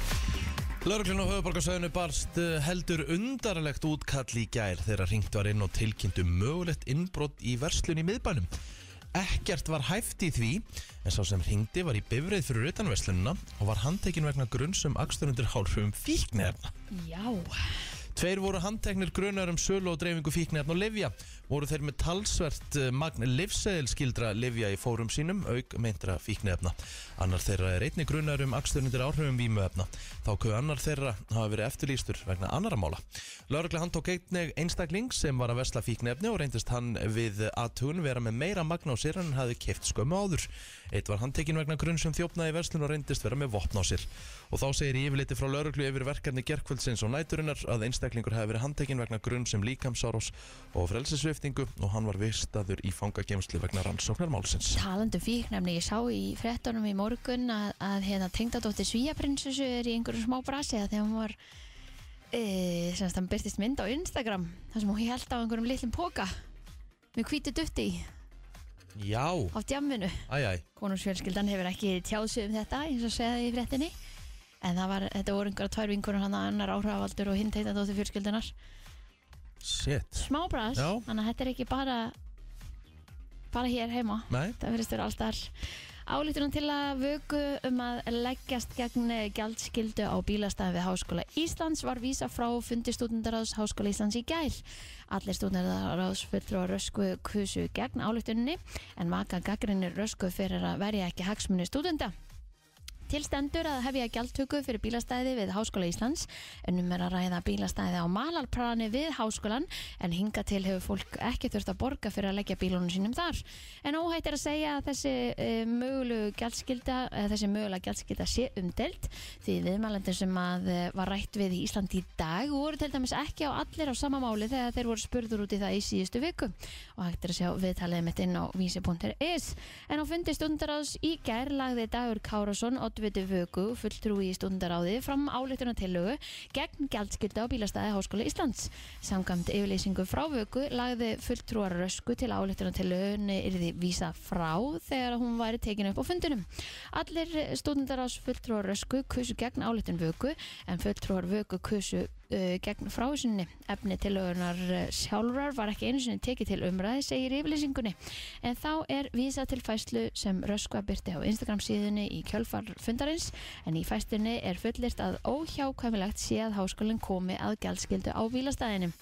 Speaker 2: Lörglun á höfuborgarsöðinu barst eh, heldur undarlegt útkall í gær þegar ringt var inn og tilkynntu mögulegt innbrott í verslun í miðbænum. Ekkert var hæft í því en sá sem ringdi var í bifreið fyrir utan verslunina og var handtekinn vegna um grunnsum aksturundir hálfum fíknefna.
Speaker 3: Já.
Speaker 2: Tveir voru handteknir grunar um sölu og dreifingu fíknefn og livja. Voru þeir með talsvert eh, magn livseðilskildra livja í fórum sínum, auk meintra fíknefna. Annar þeirra er einni grunar um aksturnundir áhrifum vímuefna. Þá köðu annar þeirra hafa verið eftirlýstur vegna annara mála. Lörgla hann tók einnig einstakling sem var að vesla fíknefni og reyndist hann við aðtun vera með meira magn á sér en hann hafi keift skömmu áður. Eitt var handtekinn vegna grunn sem þjófnaði í verslun og reyndist vera með vopn á sér. Og þá segir í yfirliti frá lauruglu yfir verkefni gerkvöldsins og næturinnar að einstaklingur hafi verið handtekinn vegna grunn sem líkamsárós og frelsisviftingu og hann var vistaður í fangagemsli vegna rannsóknar málsins.
Speaker 3: Talandu um fíknefni, ég sá í frettunum í morgun að, að hérna, tengdadóttir Svíaprinsessu er í einhverjum smá brasi að þegar hún var e, semst hann byrtist mynd á Instagram þar sem hún held á einhverjum litlum póka með hvítu dutti í,
Speaker 2: Já,
Speaker 3: á djamminu
Speaker 2: æj, æj,
Speaker 3: Konungsfjölskyldan hefur ekki tjáð sig um þetta eins og segði í frettinni en það var, þetta voru einhverja tvær vinkur hann að annar áhravaldur og hinn tengdadóttir fjölskyldunar
Speaker 2: shit.
Speaker 3: smá bras,
Speaker 2: Já.
Speaker 3: þannig að þetta er ekki bara bara hér heima
Speaker 2: Nei,
Speaker 3: Það verðist vera alltaf álítunum til að vöku um að leggjast gegn gjaldskildu á bílastæðin við Háskóla Íslands var vísa frá fundi stúdendaráðs Háskóla Íslands í gær. Allir stúdendaráðs fullur og rösku kusu gegn álítuninni en maka gaggrinir rösku fyrir að verja ekki hagsmunni stúdenda. Til stendur að hefja gjaldtöku fyrir bílastæði við Háskóla Íslands en um er að ræða bílastæði á malarprani við Háskólan en hinga til hefur fólk ekki þurft að borga fyrir að leggja bílunum sínum þar. En óhætt er að segja að þessi eh, mögulegu gjaldskilda, eh, þessi mögulega gjaldskilda sé umdelt því viðmælendur sem að eh, var rætt við í Ísland í dag voru til dæmis ekki á allir á sama máli þegar þeir voru spurður út í það í síðustu viku og hægt er að sjá viðtalið mitt inn á vísi.is en á fundi stundaráðs í gær lagði Dagur Kárasson oddviti vöku fulltrúi í stundaráði fram álítunatillögu gegn gjaldskylda á bílastæði Háskóla Íslands. Samkvæmt yfirlýsingu frá vöku lagði fulltrúar rösku til álítunatillögunni yrði vísa frá þegar hún væri tekin upp á fundinum. Allir stundaráðs fulltrúar rösku kusu gegn álítun vöku en fulltrúar vöku kusu uh, gegn frásinni. Efni tilögunar uh, sjálfrar var ekki einu sinni tekið til umræði, segir í yfirlýsingunni. En þá er vísa til fæslu sem Röskva byrti á Instagram síðunni í kjölfar fundarins en í fæstunni er fullirt að óhjákvæmilegt sé að háskólinn komi að gjaldskildu á bílastæðinum.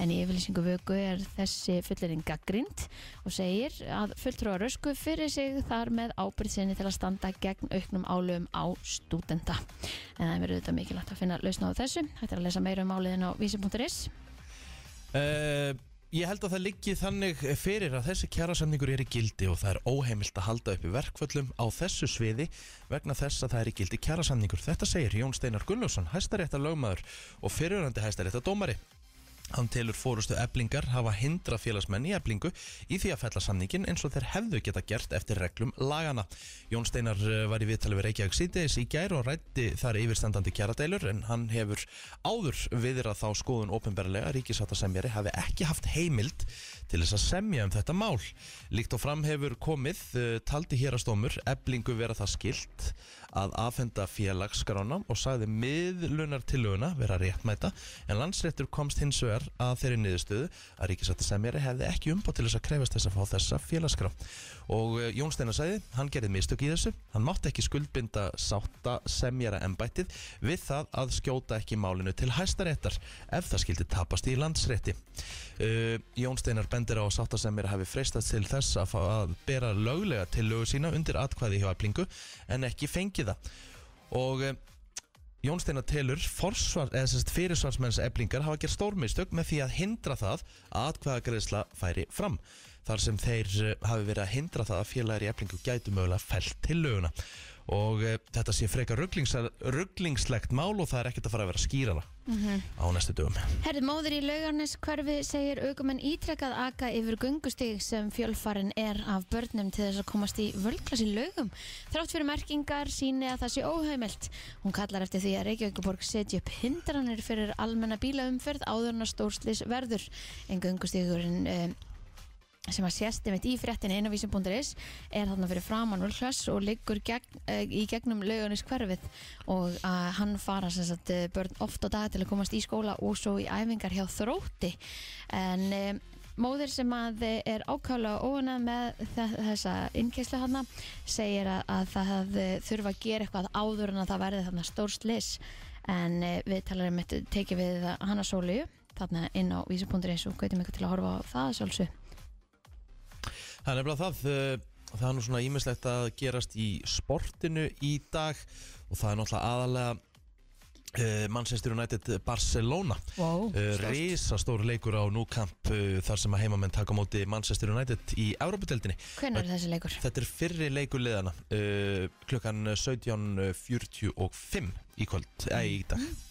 Speaker 3: En í yfirlýsingu vöku er þessi fullirin gaggrind og segir að fulltrúar rösku fyrir sig þar með ábyrð sinni til að standa gegn auknum álöfum á stúdenda. En það er verið auðvitað mikilvægt að finna lausna á þessu. Þetta er að lesa meira um áliðin á vísi.is.
Speaker 2: Uh, ég held að það liggi þannig fyrir að þessi kjærasamningur er í gildi og það er óheimilt að halda upp í verkföllum á þessu sviði vegna þess að það er í gildi kjærasamningur. Þetta segir Jón Steinar Gunnljósson, hæstarétta lögmaður og fyrirhandi hæstarétta dómari. Hann telur fórustu eblingar hafa hindra félagsmenn í eblingu í því að fella samningin eins og þeir hefðu geta gert eftir reglum lagana. Jón Steinar eh, var í viðtali við Reykjavík síðdeis í gær og rætti þar yfirstandandi kjaradeilur en hann hefur áður viðrað þá skoðun ofinberlega ríkisáttasemjari hafi ekki haft heimild til þess að semja um þetta mál. Líkt og fram hefur komið eh, taldi hérastómur eblingu vera það skilt að afhenda félagsskrána og sagði miðlunartilöguna vera réttmæta en landsréttur komst hins vegar að þeirri niðurstöðu að ríkisættasemjari hefði ekki umbótt til þess að krefast þess að fá þessa félagskrá og eh, Jón Steinar sagði, hann gerði mistök í þessu hann mátti ekki skuldbinda sátta semjara embættið við það að skjóta ekki málinu til hæstaréttar ef það skildi tapast í landsrétti uh, Jón Steinar bendir á að sáttasemjara hafi freistast til þess að, fá- að bera löglega tillögu sína undir atkvæði hjá æflingu en ekki fengi það og eh, Jón Steinar telur forsvar, eða sérst fyrirsvarsmenns eblingar hafa gert stórmistök með því að hindra það að atkvæðagreðsla færi fram þar sem þeir eh, hafi verið að hindra það að félagar í eblingu gætu mögulega fælt til löguna og e, þetta sé frekar rugglingsar- rugglingslegt mál og það er ekkert að fara að vera skýrara á næstu dögum
Speaker 3: Herði móður í laugarnes hverfi segir aukumenn ítrekkað aka yfir göngustig sem fjölfarin er af börnum til þess að komast í völklas í laugum. Þrátt fyrir merkingar síni að það sé óhaumelt. Hún kallar eftir því að Reykjavíkuborg setji upp hindranir fyrir almenna bílaumferð áður en að stórslis verður. En göngustigurinn um, sem að sérst einmitt í fréttinni inn á vísum.is er þarna fyrir framann Völklass og liggur gegn, eh, í gegnum laugarnis hverfið og að hann fara sem sagt eh, börn oft á dag til að komast í skóla og svo í æfingar hjá þrótti en eh, móðir sem að eh, er ákvæmlega óuna með þe- þessa innkeslu hana segir að, að það hefði þurfa að gera eitthvað áður en að það verði þarna stórslis en eh, við talar um eitt tekið við hana sólu þarna inn á vísum.is og gautum ykkur til að horfa á það að sjálfsög
Speaker 2: Það er nefnilega það eh, Það er nú svona ímislegt að gerast í sportinu í dag og það er náttúrulega aðalega uh, Manchester United Barcelona
Speaker 3: Wow.
Speaker 2: Rísastór leikur á núkamp uh, þar sem að heimamenn taka á móti Manchester United í Európa-deldinni
Speaker 3: Hvenær er þessi leikur?
Speaker 2: Þetta er fyrri leikurliðana uh, klukkan 17.45 í kvöld, eða í dag
Speaker 3: Mm.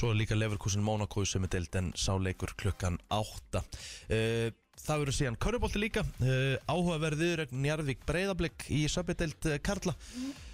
Speaker 2: Svo er líka Leverkusen Monaco sem er deild en sá leikur klukkan 8 uh, Það verður síðan Körubolti líka uh, Áhugaverður Njarðvík Breiðablik í söpideild uh, Karla
Speaker 3: Mm.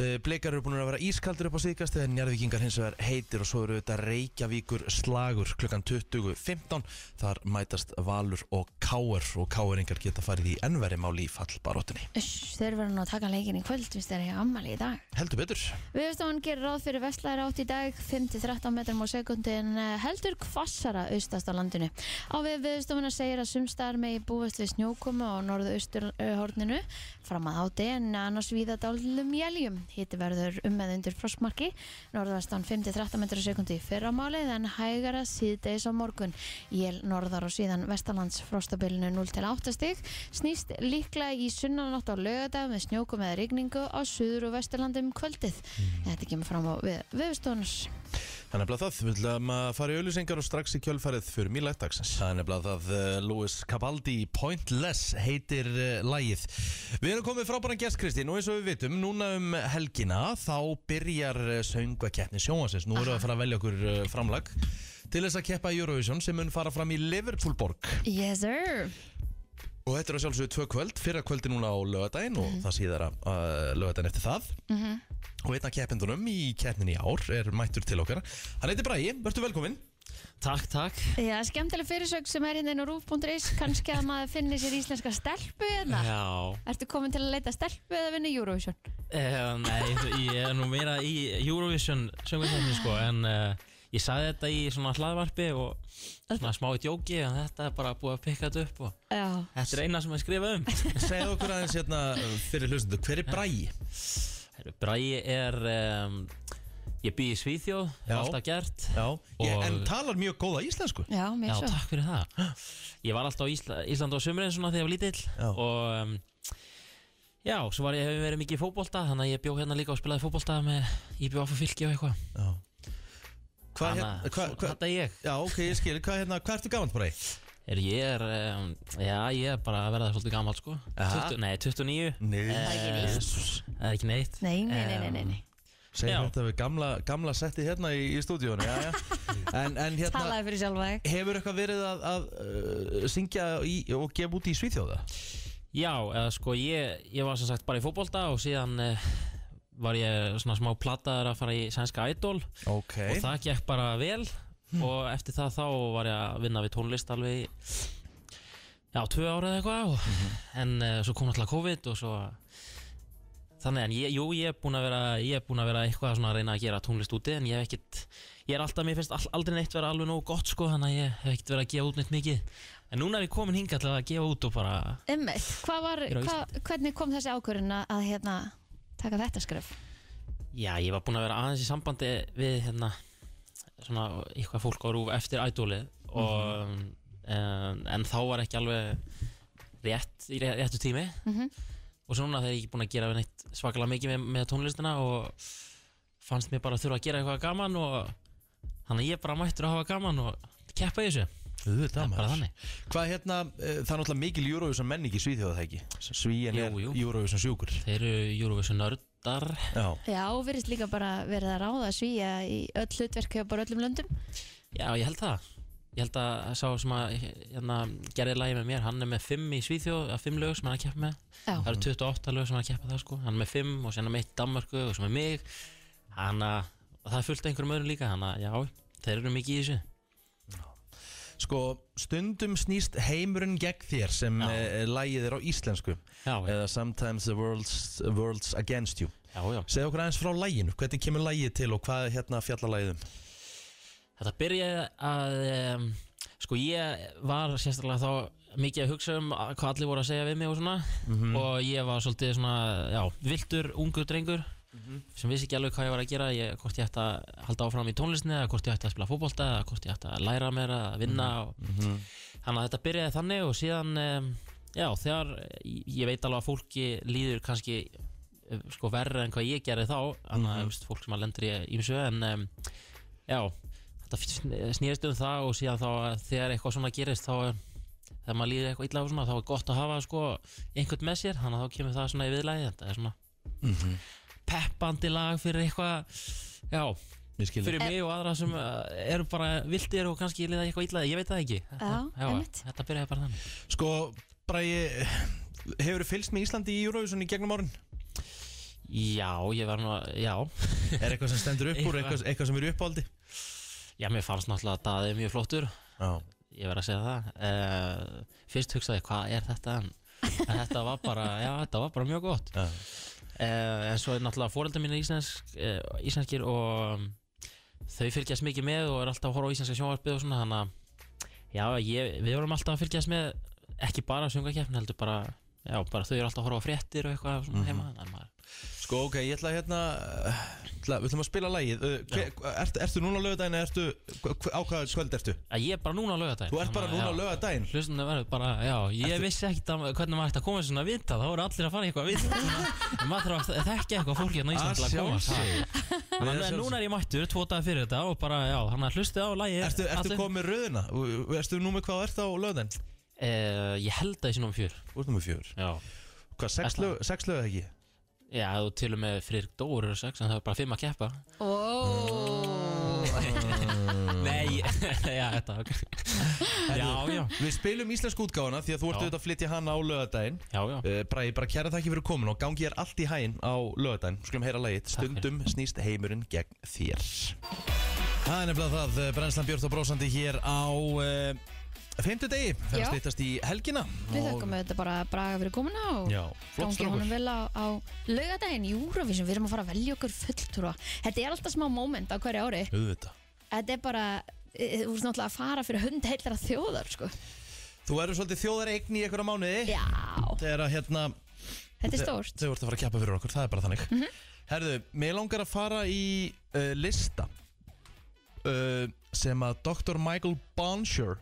Speaker 2: uh, Blikar eru búin að vera ískaldur upp á síðkast en Njarðvíkingar hins vegar heitir og svo eru þetta Reykjavíkur slagur klukkan 20.15 Þar mætast Valur og Káur og Káuringar geta farið í ennveri máli í fallbaróttunni
Speaker 3: Uss, þeir verða nú að taka leikin í kvöld Vist þeir eru ammali í dag
Speaker 2: Heldur betur
Speaker 3: Viðstofan gerir ráð fyrir vestlæri átt í dag 5-13 metrum á sekundi en eh, heldur hvassara austast á landinu Á við viðstofuna segir að sumstar megi búast við snjókomu á norðausturhorninu fram að áti en annars víða dálum jæljum Hitti verður um með undir frostmarki norðvestan 5-13 metrum á sekundi í fyrramálið en hægara síðdeis á morgun Jél norðar og síðan vestalands frostabilinu 0-8 stig snýst líklega í sunnanátt á lögadag með snjókum eða rigningu á suður og vesturlandum um kvöldið Þetta kemur fram á við viðstónus
Speaker 2: Það er nefnilega það, við ætlum að fara í auðlýsingar og strax í kjölfærið fyrir mjög lægdagsins. Það er nefnilega það, eh, Louis Cabaldi, Pointless heitir uh, lægið. Við erum komið frábæran gest, Kristín, og eins og við vitum, núna um helgina þá byrjar uh, söngakeppni sjónvansins. Nú erum við að fara að velja okkur uh, framlag til þess að keppa í Eurovision sem mun fara fram í Liverpoolborg.
Speaker 3: Yes sir
Speaker 2: Og þetta er að sjálfsögðu tvö kvöld, fyrra kvöldi núna á lögadaginn og það síðara uh, lögadaginn eftir það.
Speaker 3: Mhm.
Speaker 2: Og einn af keppendunum í keppnin í ár er mættur til okkar. Hann heitir Bragi, verður velkominn.
Speaker 5: Takk, takk
Speaker 3: Já, skemmtileg fyrirsök sem er hérna inn á rúf.is kannski að maður finni sér íslenska stelpu hérna
Speaker 5: Já,
Speaker 3: Ertu komin til að leita stelpu eða vinna í Eurovision?
Speaker 5: um, nei, ég er nú meira í Eurovision söngutekni sko En uh, ég sagði þetta í svona hlaðvarpi og svona smá í djóki En þetta er bara búið að pikka þetta upp og
Speaker 3: Já
Speaker 5: þetta er eina sem ég skrifa um
Speaker 2: eh, Segð okkur aðeins hérna uh, fyrir hlustundu, hver er Bragi?
Speaker 5: Bræi er um, Ég bý í Svíþjóð,
Speaker 2: Já.
Speaker 5: alltaf gert
Speaker 2: Já, ég,
Speaker 5: Og-
Speaker 2: en talar mjög góða íslensku
Speaker 3: Já,
Speaker 5: Já,
Speaker 3: mér svo
Speaker 5: takk fyrir það Ég var alltaf á Ísla, Ísland á sömurinn svona þegar ég var lítill
Speaker 2: Já.
Speaker 5: Og um, Já, svo var ég hefur verið mikið í fótbolta Þannig að ég bjó hérna líka og spilaði fótbolta með IBF og fylki og eitthvað
Speaker 2: Já Hvað
Speaker 5: Þannig
Speaker 2: hérna,
Speaker 5: að
Speaker 2: hvað,
Speaker 5: svo-
Speaker 2: hvað
Speaker 5: þetta er ég
Speaker 2: Já, ok, ég skil, hvað hérna, hvað ertu gamalt bara í?
Speaker 5: Er ég er, um, já ég er bara að verða svolítið gammal sko 20, Nei, 29
Speaker 2: Nei,
Speaker 5: Eh, Það er ekki neitt
Speaker 3: Nei, nei, nei, nei, nei, nei.
Speaker 2: segir
Speaker 5: Já.
Speaker 2: þetta við gamla, gamla setti hérna í, í stúdíónu Já, já En, en hérna,
Speaker 3: Talaði fyrir sjálfa þig
Speaker 2: hefur eitthvað verið að, að uh, syngja í, og gefa út í Svíþjóða?
Speaker 5: Já, eða sko ég, ég var sem sagt bara í fótbolta og síðan uh, var ég svona smá plataður að fara í sænska idol
Speaker 2: Ok
Speaker 5: og það gekk bara vel og eftir það þá var ég að vinna við tónlist alveg í, já, tvö ára eða eitthvað og, en uh, svo kom alltaf COVID og svo þannig en ég, jú, ég er búin að vera ég er búin að vera eitthvað svona að reyna að gera tónlist úti en ég hef ekkit, ég er alltaf, mér finnst all, aldrei neitt vera alveg nógu gott sko þannig að ég hef ekkit verið að gefa út neitt mikið en núna er ég komin hinga til að gefa út og bara
Speaker 3: Einmitt, hvað var,
Speaker 5: á
Speaker 3: hva, hvernig kom þessi ákvörðin að- að hérna taka þetta skröf?
Speaker 5: Já, ég var búinn að vera aðeins í sambandi við hérna svona eitthvað fólk á rúf eftir ædólið og um, en þá var ekki alveg rétt í ré- réttu tími
Speaker 3: Mhm.
Speaker 5: og svona þegar ég ekki búinn að gera neitt svakalega mikið með, með tónlistina og fannst mér bara þurfa að gera eitthvað gaman og þannig að ég er bara mættur að hafa gaman og keppa í þessu,
Speaker 2: Auðvitað
Speaker 5: bara þannig
Speaker 2: Hvað hérna, uh, það er náttúrulega mikil Eurovision menning í Svíþjóða það ekki Svíin er
Speaker 5: Jú, jú.
Speaker 2: Eurovision sjúkur
Speaker 5: Þeir eru Eurovision nördar
Speaker 2: Já,
Speaker 3: Já, virðist líka bara verið að ráða svíja í öll hlutverk hjá bara öllum löndum
Speaker 5: Já, ég held það Ég held að sá sem að hérna, gerði lagi með mér, hann er með 5 í Svíþjóð að 5 lög sem hann er að keppa með
Speaker 3: Já.
Speaker 5: Það eru 28 lög sem hann er að keppa það sko Hann er með 5 og sen er með 1 Danmarku og sem er mig Hanna, og það er fullt af einhverjum öðrum líka Hanna, já, þeir eru mikið í þessu
Speaker 2: sko, stundum snýst heimurinn gegn þér sem
Speaker 5: Já.
Speaker 2: uh, lægið er á íslensku
Speaker 5: Já, já,
Speaker 2: eða Sometimes the world's, world's against you
Speaker 5: já, já.
Speaker 2: Segð okkur aðeins frá læginu, hvernig kemur lægið til og hvað er hérna fjallalægið um?
Speaker 5: Þetta byrjaði að um, Sko ég var sérstaklega þá mikið að hugsa um að- hvað allir voru að segja við mig og svona og ég var svolítið svona, já, viltur, ungur drengur sem vissi ekki alveg hvað ég var að gera ég, hvort ég ætti að halda áfram í tónlistinni eða hvort ég ætti að spila fótbolta eða hvort ég ætti að læra mér að vinna og, þannig að þetta byrjaði þannig og síðan um, já, þegar ég veit alveg að fólki líður kannski eh, sko verra en hvað ég gerði þá þannig að mm -hmm. fólk sem að lendur í ímsu en um, já, þetta sn- snýrist um það og síðan þá að þegar eitthvað svona gerist þá er þegar maður líður eitthvað illa og svona þá er gott að hafa sko einhvern með sér þannig að þá kemur það svona í viðlæði þetta er svona Mhm. peppandi lag fyrir eitthvað já,
Speaker 2: Ég skil
Speaker 5: fyrir mig og aðra sem uh, eru bara vildir og kannski líða eitthvað illa ég veit það ekki þetta,
Speaker 3: Já, einmitt.
Speaker 5: þetta byrjaði bara þannig
Speaker 2: Sko, Bræði, hefur þú fylgst með Íslandi í Eurovision í gegnum árin?
Speaker 5: já, ég var nú að, já
Speaker 2: Er eitthvað sem stendur upp úr, eitthvað, eitthvað sem er í uppáldi?
Speaker 5: já, mér fannst náttúrulega að Daði mjög flottur
Speaker 2: Já
Speaker 5: ég verð að segja það uh, fyrst hugsaði ég, hvað er þetta en en þetta var bara, já, þetta var bara mjög gott
Speaker 2: Já.
Speaker 5: uh, en svo er náttúrulega fóreldar mín íslensk, uh, íslenskir og um, þau fylgjast mikið með og er alltaf að horfa á íslenska sjónvarpið og svona þannig að já, ég, við vorum alltaf að fylgjast með ekki bara sjöngakefn heldur bara, já, bara þau eru alltaf að horfa á fréttir og eitthvað
Speaker 2: Mhm.
Speaker 5: svona heima þannig að maður
Speaker 2: Sko, ok, ég ætla að hérna, uh, ætla, við ætlum að spila lægið uh, hver, ert, Ertu núna á lögadaginn eða ertu, hva- hva- á hvaða skvöld ertu?
Speaker 5: að ég er bara núna á laugardaginn
Speaker 2: Þú ert bara núna á laugardaginn
Speaker 5: Hlustunum verður bara, já, ég vissi ekkert að, hvernig maður ætti að koma í svona vita, þá voru allir að fara í eitthvað vita En maður þarf að þekka eitthvað fólki hérna í Ísland
Speaker 2: Ah,
Speaker 5: til að koma Þannig að núna er ég mættur, tvo dagar fyrir þetta og bara, já, hann að hlustu á lægið
Speaker 2: Ertu, ertu komið með röðina? Uh, Ertu nú með hvað þú ert á lögadaginn?
Speaker 5: Eh, Ég held að ég sinum fjör
Speaker 2: Þú ert nú með fjör
Speaker 5: Já
Speaker 2: Hvað, sex
Speaker 5: Ætla.
Speaker 2: lög- sex lög eða ekki?
Speaker 5: Já, þú til og með fyrir Dóru og sex, en það er bara fimm að keppa
Speaker 3: Ó,
Speaker 2: Mm.
Speaker 5: Nei, já, þetta ok. Já, já,
Speaker 2: Við spilum íslensku útgáfana því að þú ert
Speaker 5: Já.
Speaker 2: auðvitað að flytja hana á lögadaginn
Speaker 5: já, já
Speaker 2: uh, Bræði, bara kæra þakki fyrir komin og gangi er allt í hæginn á lögadaginn Skulum heyra lagið,
Speaker 5: fyrir.
Speaker 2: stundum snýst heimurinn gegn þér Það er nefnilega það, eh, Brennslan Björn og Brósandi hér á uh, Fymtudegi, það er
Speaker 3: Já.
Speaker 2: að stýttast í helgina
Speaker 3: Við
Speaker 2: og-
Speaker 3: þökkum auðvitað bara að braga fyrir komuna og
Speaker 2: Já, flott
Speaker 3: gangi
Speaker 2: strókur
Speaker 3: honum vel á, á laugardaginn í Eurovision, við erum að fara að velja okkur fulltrúa Þetta er alltaf smá moment á hverju ári
Speaker 2: Auðvitað
Speaker 3: Þetta er bara, eh, þú ert náttúrulega að fara fyrir hund heillara þjóðar sko.
Speaker 2: Þú verður svolítið þjóðareign í einhverja mánuði
Speaker 3: Já,
Speaker 2: Þegar að hérna
Speaker 3: þetta er stórt Mhm.
Speaker 2: Þau vart að fara að keppa fyrir okkur, það er bara þannig Herðu, mér langar að fara í uh, lista uh, sem að Dr. Michael Bonsher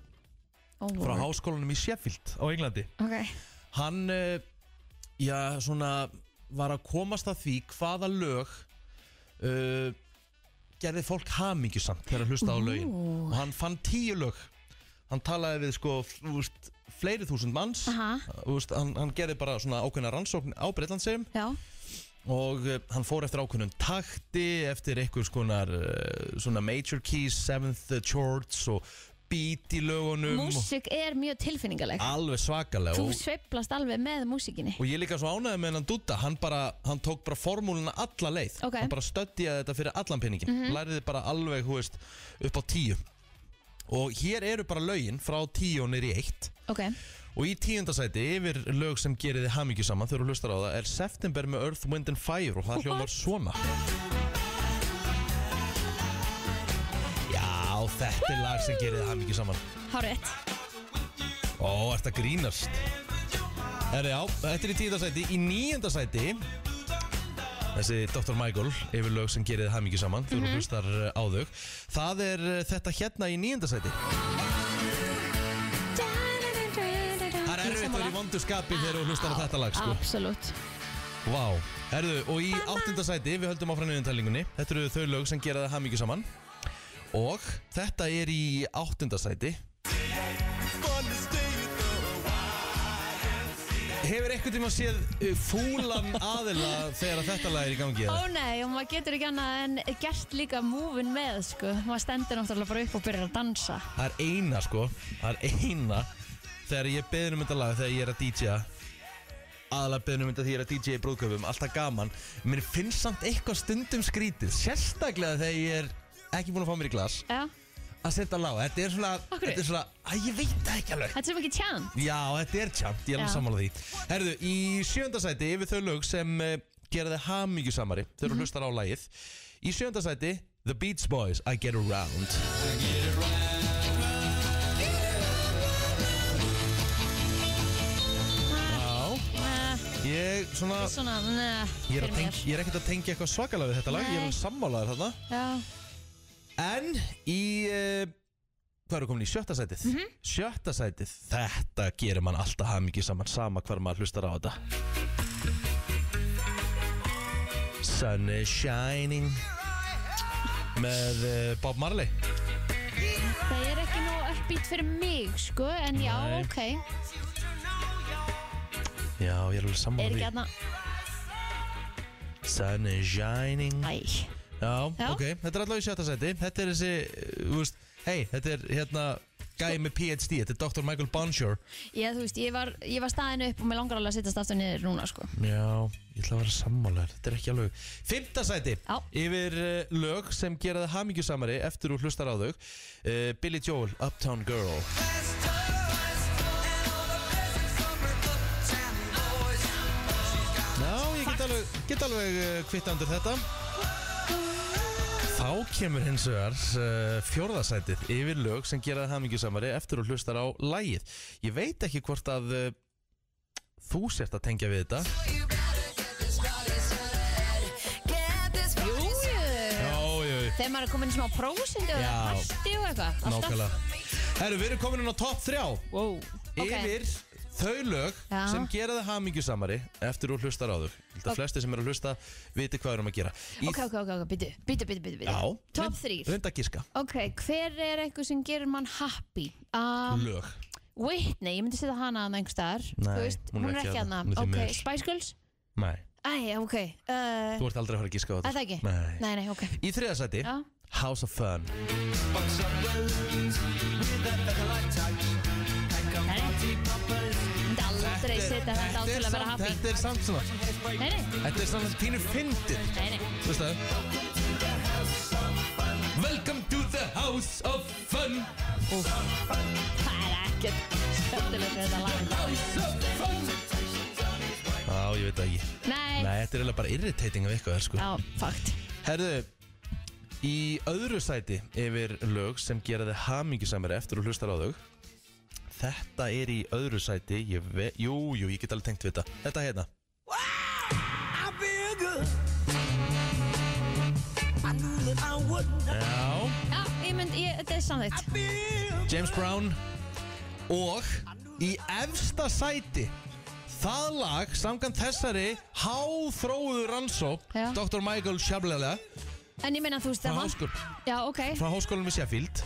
Speaker 3: Ó,
Speaker 2: frá
Speaker 3: Lord.
Speaker 2: háskólanum í Sheffield á Englandi
Speaker 3: Ok,
Speaker 2: hann eh, já, svona, var að komast að því hvaða lög uh, gerði fólk hamingjusamt þegar að hlusta á lögin
Speaker 3: Ú.
Speaker 2: og hann fann tíu lög hann talaði við sko f- þú veist, fleiri þúsund manns
Speaker 3: Aha.
Speaker 2: Þú veist, hann, hann gerði bara svona ákveðna rannsókn á Breitlandsegum
Speaker 3: já,
Speaker 2: og uh, hann fór eftir ákveðnum takti eftir einhvers konar uh, svona major keys, seventh chords og beat í lögunum og-
Speaker 3: músík er mjög tilfinningaleg
Speaker 2: alveg svakalega
Speaker 3: Þú
Speaker 2: og-
Speaker 3: sveiflast alveg með músíkinni
Speaker 2: Og ég líka svo ánæði með hennan Dutta Hann bara, hann tók bara formúluna alla leið
Speaker 3: Ok. Mhm.
Speaker 2: Hann bara stöddiði þetta fyrir allan penningin mm Læriði bara alveg, hú veist, upp á tíu Og hér eru bara lögin frá tíu og nýri eitt
Speaker 3: Ok,
Speaker 2: Og í tíundasæti yfir lög sem gerir þið hamingju saman Þegar þú hlustar á það Er September með Earth, Wind and Fire Og það hljómar svona Já, þetta er lag sem gerir þið hamingju saman
Speaker 3: hárétt
Speaker 2: Ó, ert að grínast Herri, já, þetta er í tíðasæti Í níundasæti Þessi Dr. Michael Yfir lög sem gerir það mikið saman Þegar þú hlustar uh, á þau Það er uh, þetta hérna í níundasæti Það er erfitt að vera í vondu skapi Þegar þú hlustar á þetta lag, sko
Speaker 3: Absolutt
Speaker 2: Vá, herðu, og í áttundasæti Við höldum áfram niðurtalningunni Þetta eru þau lög sem gera það mikið saman Og þetta er í áttundasæti Hefur eitthvað tíma séð uh, fúlan aðila þegar að þetta lag er í gangi? eða?
Speaker 3: Ó nei, og maður getur ekki annað en gert líka múfin með, sko. Maður stendur náttúrulega bara upp og byrjar að dansa.
Speaker 2: Það er eina sko Það er eina Þegar ég beðin um þetta lag Þegar ég er að DJ-a Aðalega beðin um þetta þegar ég er að DJ í brúðköpum Alltaf gaman Mér finnst samt eitthvað stundum skrítið Sérstaklega þegar ég er ekki búin að fá mér í glas
Speaker 3: Já,
Speaker 2: Að setja lag á. Þetta er svona
Speaker 3: Af hverju?
Speaker 2: Þetta er svona Æ, ég veit það ekki alveg
Speaker 3: þetta er sem ekki tján.
Speaker 2: Já, þetta er tjátt, ég er alveg
Speaker 3: Já.
Speaker 2: sammála því Herðu, í sjöndasæti yfir þau lög sem uh, gera þið hamingju samari
Speaker 3: Mhm.
Speaker 2: þegar þú hlustar á lagið Í sjöndasæti, The Beach Boys, I Get Around Já,
Speaker 3: Uh,
Speaker 2: ég svona
Speaker 3: svona, ne,
Speaker 2: Ég er, að tengja, ég er ekkert að tengja eitthvað svakalega við þetta lag, ég er
Speaker 3: Nei.
Speaker 2: alveg sammálaður þarna
Speaker 3: Já,
Speaker 2: En í uh, Hvað eru komin í sjötta sætið?
Speaker 3: Mhm.
Speaker 2: Sjötta sætið, þetta gerir mann alltaf hamingi saman Sama hvar maður hlustar á þetta Sun is shining Með uh, Bob Marley
Speaker 3: það er ekki nóg uppbýtt fyrir mig, sko, en já,
Speaker 2: Nei.
Speaker 3: ok.
Speaker 2: Já, ég er alveg
Speaker 3: Er
Speaker 2: sammála
Speaker 3: ekki
Speaker 2: því
Speaker 3: aðna,
Speaker 2: Sun is shining
Speaker 3: æ,
Speaker 2: Já,
Speaker 3: Já.
Speaker 2: ok, þetta er allavega í sjötta sæti Þetta er þessi, eh, þú veist Hei, þetta er hérna Gæi
Speaker 3: Sko-
Speaker 2: með PhD, þetta er Dr. Michael Bonsure
Speaker 3: ég, þú veist, ég var, ég var staðin upp og mér langar alveg að sittast aftur niður núna, sko.
Speaker 2: Já, ég ætla að vera sammálar Þetta er ekki alveg Fymta sæti
Speaker 3: Já.
Speaker 2: Yfir uh, lög sem gera það hamingjusamari Eftir úr hlustar á þau uh, Billy Joel, Uptown Girl Já, ég get alveg, get alveg uh, kvitta undir þetta Þá kemur hins vegar uh, fjórðasætið yfir lög sem gera það hamingjusamari eftir og hlustar á lægið. Ég veit ekki hvort að uh, þú sért að tengja við þetta.
Speaker 3: Jú, jú.
Speaker 2: Já, já, já,
Speaker 3: Þegar maður er komin í smá prósindu og
Speaker 2: Já.
Speaker 3: parti og eitthvað. alltaf.
Speaker 2: nákvæmlega Herru, við erum komin inn á topp 3
Speaker 3: Wow. Ok.
Speaker 2: Yfir þau lög
Speaker 3: Já.
Speaker 2: sem gera það hamingjusamari eftir úr hlustar á þau Ég held að
Speaker 3: Ok.
Speaker 2: flesti sem eru að hlusta viti hvað við erum að gera Í-
Speaker 3: Ok, ok, ok, ok, býtu, býtu, býtu, býtu.
Speaker 2: Já,
Speaker 3: Top
Speaker 2: reynd-
Speaker 3: 3.
Speaker 2: reyndu að gíska
Speaker 3: Ok, hver er eitthvað sem gerir mann happy? Um,
Speaker 2: Lög
Speaker 3: Whitney, ég myndi setja hana að einhver staðar
Speaker 2: Nei,
Speaker 3: Þú veist,
Speaker 2: hún er ekki þarna,
Speaker 3: hana
Speaker 2: hún er því
Speaker 3: hérna. Ok,
Speaker 2: miður.
Speaker 3: Spice Girls?
Speaker 2: Nei,
Speaker 3: Æ, ok uh,
Speaker 2: þú ert aldrei að fara að gíska á
Speaker 3: að
Speaker 2: þetta
Speaker 3: Það ekki?
Speaker 2: Nei.
Speaker 3: nei, ok
Speaker 2: Í þriðasæti,
Speaker 3: Já.
Speaker 2: House of Fun
Speaker 3: Nei, nei. Myndi aldrei setja þetta á til að
Speaker 2: er
Speaker 3: vera
Speaker 2: samt-
Speaker 3: happy
Speaker 2: þetta er samt svona
Speaker 3: Nei, nei,
Speaker 2: Þetta er samt tínu
Speaker 3: nei,
Speaker 2: fyndið
Speaker 3: nei
Speaker 2: Þú veist það? Welcome to the House of Fun
Speaker 3: Það er ekkert skemmtilegt við þetta lag
Speaker 2: Já, ég veit það ekki
Speaker 3: Nei,
Speaker 2: Nei, þetta er eiginlega bara irritating af eitthvað, sko
Speaker 3: já, fakt
Speaker 2: Herðu, í öðru sæti yfir lög sem gera þið hamingjusamari eftir og hlustar á þau Þetta er í öðru sæti, ég ve... Jú, jú, ég get alveg tengt við þetta Þetta hérna Já
Speaker 3: Já, ég mynd, ég, þetta er samþýtt
Speaker 2: James Brown og í efsta sæti það lag samkvæmt þessari háþróuðu rannsók
Speaker 3: Já.
Speaker 2: Dr. Michael Shablalega
Speaker 3: En ég meina, þú veist,
Speaker 2: frá,
Speaker 3: það var
Speaker 2: háskól,
Speaker 3: Já, ok,
Speaker 2: frá háskólanum í Sheffield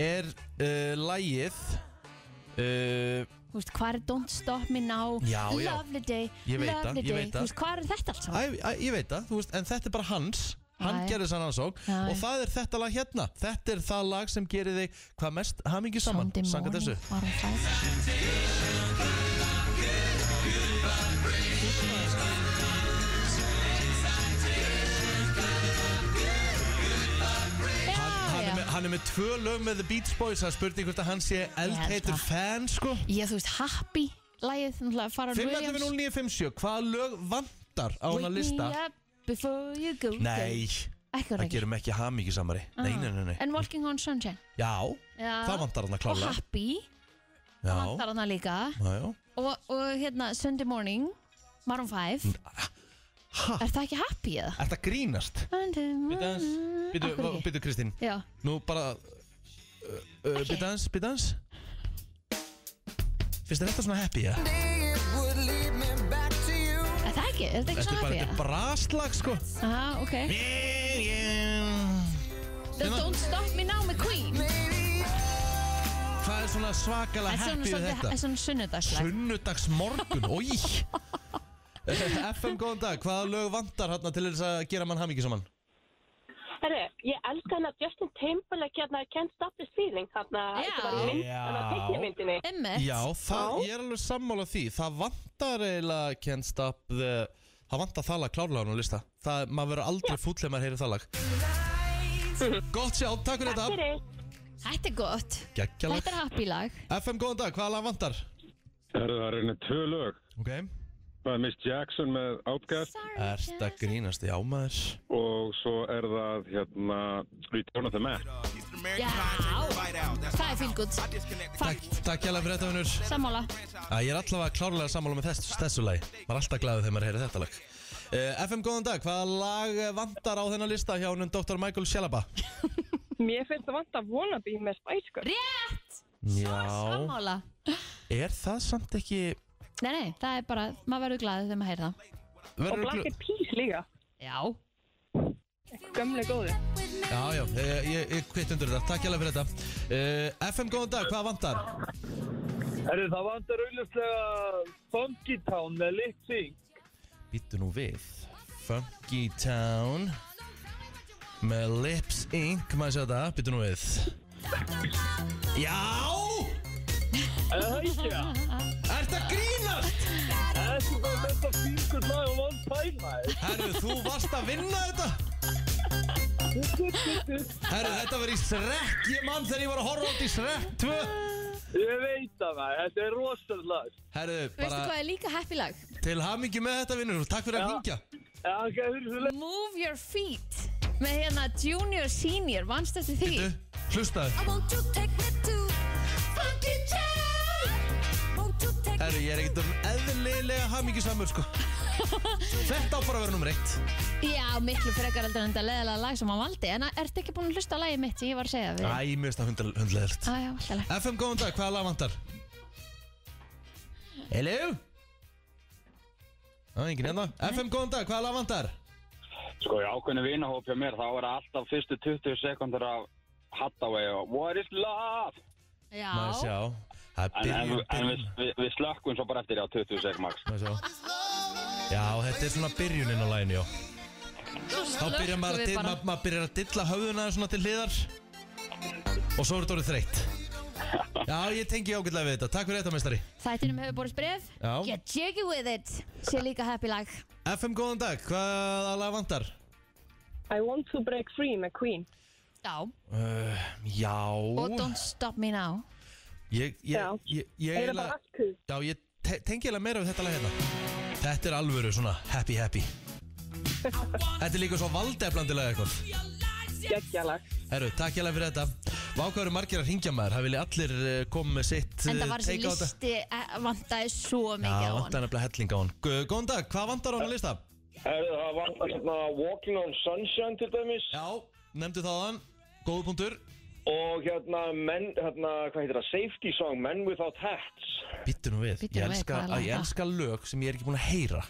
Speaker 2: er uh, lagið uh,
Speaker 3: þú veist, hvað er Don't Stop Me Now
Speaker 2: Já, já.
Speaker 3: Lovely Day,
Speaker 2: Ég veit það,
Speaker 3: Lovely
Speaker 2: ég
Speaker 3: Day
Speaker 2: veit
Speaker 3: Þú
Speaker 2: það.
Speaker 3: veist, hvað er þetta allt
Speaker 2: æ,
Speaker 3: saman?
Speaker 2: æ, ég veit það, þú veist, en þetta er bara hans hann
Speaker 3: Já, já.
Speaker 2: gerði þess rannsók
Speaker 3: Já,
Speaker 2: og
Speaker 3: já.
Speaker 2: það er þetta lag hérna þetta er það lag sem gerir þig hvað mest hamingi saman
Speaker 3: Sunday
Speaker 2: samkvæmt
Speaker 3: morning
Speaker 2: þessu
Speaker 3: var hún fædd.
Speaker 2: hann,
Speaker 3: Já,
Speaker 2: er
Speaker 3: Ah, já.
Speaker 2: með, hann er með tvö lög með The Beach Boys Það spurði hvort að hann sé eldheitur
Speaker 3: það.
Speaker 2: fan sko
Speaker 3: Ég, þú veist, Happy Lægið, náttúrulega, Farrar Williams
Speaker 2: 5.09.57 Hvaða lög vantar á hann að
Speaker 3: Wake
Speaker 2: lista?
Speaker 3: me up before you go
Speaker 2: Nei,
Speaker 3: Ekki var
Speaker 2: það
Speaker 3: ekki
Speaker 2: gerum ekki hamingi samari Nei, nei, nei, nei
Speaker 3: En Walking on Sunshine
Speaker 2: Já,
Speaker 3: Já.
Speaker 2: það vantar hann að
Speaker 3: Og
Speaker 2: klála
Speaker 3: Happy
Speaker 2: Já,
Speaker 3: Vantar hana líka
Speaker 2: já, já
Speaker 3: og, og hérna Sunday Morning Maroon 5
Speaker 2: ah, Ha,
Speaker 3: Er það ekki Happy eða?
Speaker 2: er það grínast?
Speaker 3: Sunday morning
Speaker 2: Býtu,
Speaker 3: Akkur Mm-hmm. ekki?
Speaker 2: býtu Kristín
Speaker 3: Já
Speaker 2: Nú bara uh, uh, Býtu hans, býtu hans Finnst þér þetta svona happy, ja?
Speaker 3: Er það ekki? Er það ekki
Speaker 2: Þetta er
Speaker 3: svona
Speaker 2: bara,
Speaker 3: Happy
Speaker 2: þetta er
Speaker 3: eða?
Speaker 2: braslag, sko
Speaker 3: Aha, ok The
Speaker 2: Hérna-
Speaker 3: Don't Stop Me Now með Queen
Speaker 2: Hvað er svona svakalega
Speaker 3: Það
Speaker 2: happy við þetta?
Speaker 3: er svona sunnudagslag
Speaker 2: Sunnudags morgun, oi FM, góðan dag, hvaða lög vantar hérna til þess að gera mann hamingi saman?
Speaker 6: Herru, ég elska hann að Justin Timberlake hérna Can't Stop This Feeling hérna
Speaker 3: Já.
Speaker 6: þetta var í mynd, hérna
Speaker 2: Já.
Speaker 6: teiknimyndinni
Speaker 3: Emmett
Speaker 2: Já, það, ég er alveg sammála því Það vantar eiginlega Can't Stop the Það vantar það lag klárlega á nú lista Það, maður verður aldrei fúll ef maður heyrir það lag Gott sjá, takk fyrir þetta
Speaker 6: Fyrir,
Speaker 3: Þetta er gott Þetta
Speaker 2: Gekkjalag
Speaker 3: er Happy lag
Speaker 2: FM, góðan dag, hvaða lag vantar?
Speaker 7: Herðu, það eru henni tvö lög.
Speaker 2: Ok
Speaker 7: Það er Miss Jackson með Outcast
Speaker 2: Erst að grínast, já maður
Speaker 7: og svo er það, hérna, Return of the Man.
Speaker 3: Já Það er feel good Takk
Speaker 2: Takk, takk hjá fyrir þetta, vinnur
Speaker 3: Sammála
Speaker 2: Að ég er allavega klárlega sammála með þess, þessu lagi Maður er alltaf glaðið þegar maður heyrir þetta lag uh, FM, góðan dag, hvaða lag eh, vantar á þennan lista hjá húnum Dr. Michael Shalaba?
Speaker 8: Mér finnst það vant að vona því með Spice Girls.
Speaker 3: Rétt
Speaker 2: Já,
Speaker 3: Sammála
Speaker 2: er það samt ekki
Speaker 3: Nei, nei, það er bara Maður verður glaðið þegar maður heyrða
Speaker 8: Og
Speaker 2: verður
Speaker 8: Black
Speaker 2: glu-
Speaker 8: Eyed Peas líka.
Speaker 3: Já
Speaker 8: Gömle góðu.
Speaker 2: Já, já, eh, ég, ég kvitt undir þetta, takk hjá fyrir þetta uh, FM, góðan dag, hvaða vantar?
Speaker 9: Herru, það vantar auðvitað Funky Town með Lipsing.
Speaker 2: Býttu nú við Funky Town Með Lips Inc Maður sjá þetta, býttu nú við Já!
Speaker 9: Er það ekki það?
Speaker 2: Ert að grínast?
Speaker 9: Það er svo bara þetta fíngur lag og vann pæma.
Speaker 2: Herru, þú varst að vinna þetta Herru, þetta var í Shrek, ég mann þegar ég var að horfa átt í Shrek 2
Speaker 9: Ég veit það maður, þetta er rosalega lag.
Speaker 2: Herru,
Speaker 3: Veistu
Speaker 2: bara
Speaker 3: hvað er líka happy lag?
Speaker 2: til hamingi með þetta vinnur og takk fyrir að
Speaker 9: Já.
Speaker 2: hingja
Speaker 9: Já, ok, hurðu svo leið.
Speaker 3: Move Your Feet með hérna Junior Senior, vannst eftir því?
Speaker 2: Þú, hlustaðu Herru, ég er ekkert um eðlilega hamingi samur, sko Þetta á bara að vera nummer eitt
Speaker 3: Já, miklu frekar heldur en þetta leðalega lag sem hann valdi en ertu ekki búin að hlusta á lagið mitt sem ég var að segja við?
Speaker 2: Æ, mér finnst það hundle- hundlegilegt
Speaker 3: Æja, alltaf lag
Speaker 2: FM, góðan dag, hvaða lag vantar? Hello? Á, enginn hérna FM, góðan dag, hvaða lag vantar?
Speaker 10: Sko, í ákveðinu vinahóp hjá mér, þá er það alltaf fyrstu 20 sekundur af Hathaway og What is love?
Speaker 2: Maður
Speaker 3: Já,
Speaker 2: sjá Það er
Speaker 10: En, en,
Speaker 2: byrjun,
Speaker 10: en
Speaker 2: byrjun
Speaker 10: við, við, við slökkum svo bara eftir á 20 sekund max.
Speaker 2: Má ég sjá? Já, þetta er svona byrjunin á læginu, já Þá byrjar maður að,
Speaker 3: við
Speaker 2: dilla,
Speaker 3: bara.
Speaker 2: mað, maður byrjar að dilla höfðuna svona til hliðar Og svo er þetta orðið þreytt Já, ég tengi ágætlega við þetta Takk fyrir þetta, meistari
Speaker 3: þættinum hefur borist bref
Speaker 2: Já.
Speaker 3: Get jiggy with it sé líka happy lag
Speaker 2: FM, góðan dag, hvað lag vantar?
Speaker 8: I want to break free með Queen.
Speaker 3: Já, og
Speaker 2: Uh, já
Speaker 3: Don't Stop Me Now
Speaker 2: Ég, ég,
Speaker 8: Já.
Speaker 2: ég, ég, ég,
Speaker 8: Eða
Speaker 2: eiginlega-
Speaker 8: bara allt kuð.
Speaker 2: já, ég te tengi eiginlega meira við þetta lag hérna Þetta er alvöru, svona happy happy Þetta er líka svo valdeflandilega eitthvað
Speaker 8: Geggjalag.
Speaker 2: Herru, takk hjá fyrir þetta Vákvæður margir að ringja maður, það vilja allir eh, koma með sitt
Speaker 3: En
Speaker 2: eh,
Speaker 3: það var þessi
Speaker 2: take á þetta.
Speaker 3: listi eh, vantaði svo
Speaker 2: Já,
Speaker 3: mikið á
Speaker 2: vantar
Speaker 3: hann
Speaker 2: nefnilega helling á hann Gu- Góðan dag, hvað vantar á hann að lista?
Speaker 9: Herðu, það vantar hérna Walking on Sunshine til dæmis.
Speaker 2: Já, nefndi það hann. Góðu punktur.
Speaker 9: Og hérna, men, hérna, hvað heitir það, safety song, Men Without Hats.
Speaker 2: Býttu nú við.
Speaker 9: Bíddu
Speaker 2: Ég
Speaker 9: nú við,
Speaker 2: elska,
Speaker 9: hvað er lag
Speaker 2: að ég
Speaker 9: það?
Speaker 2: elska lög sem ég er ekki búin að heyra.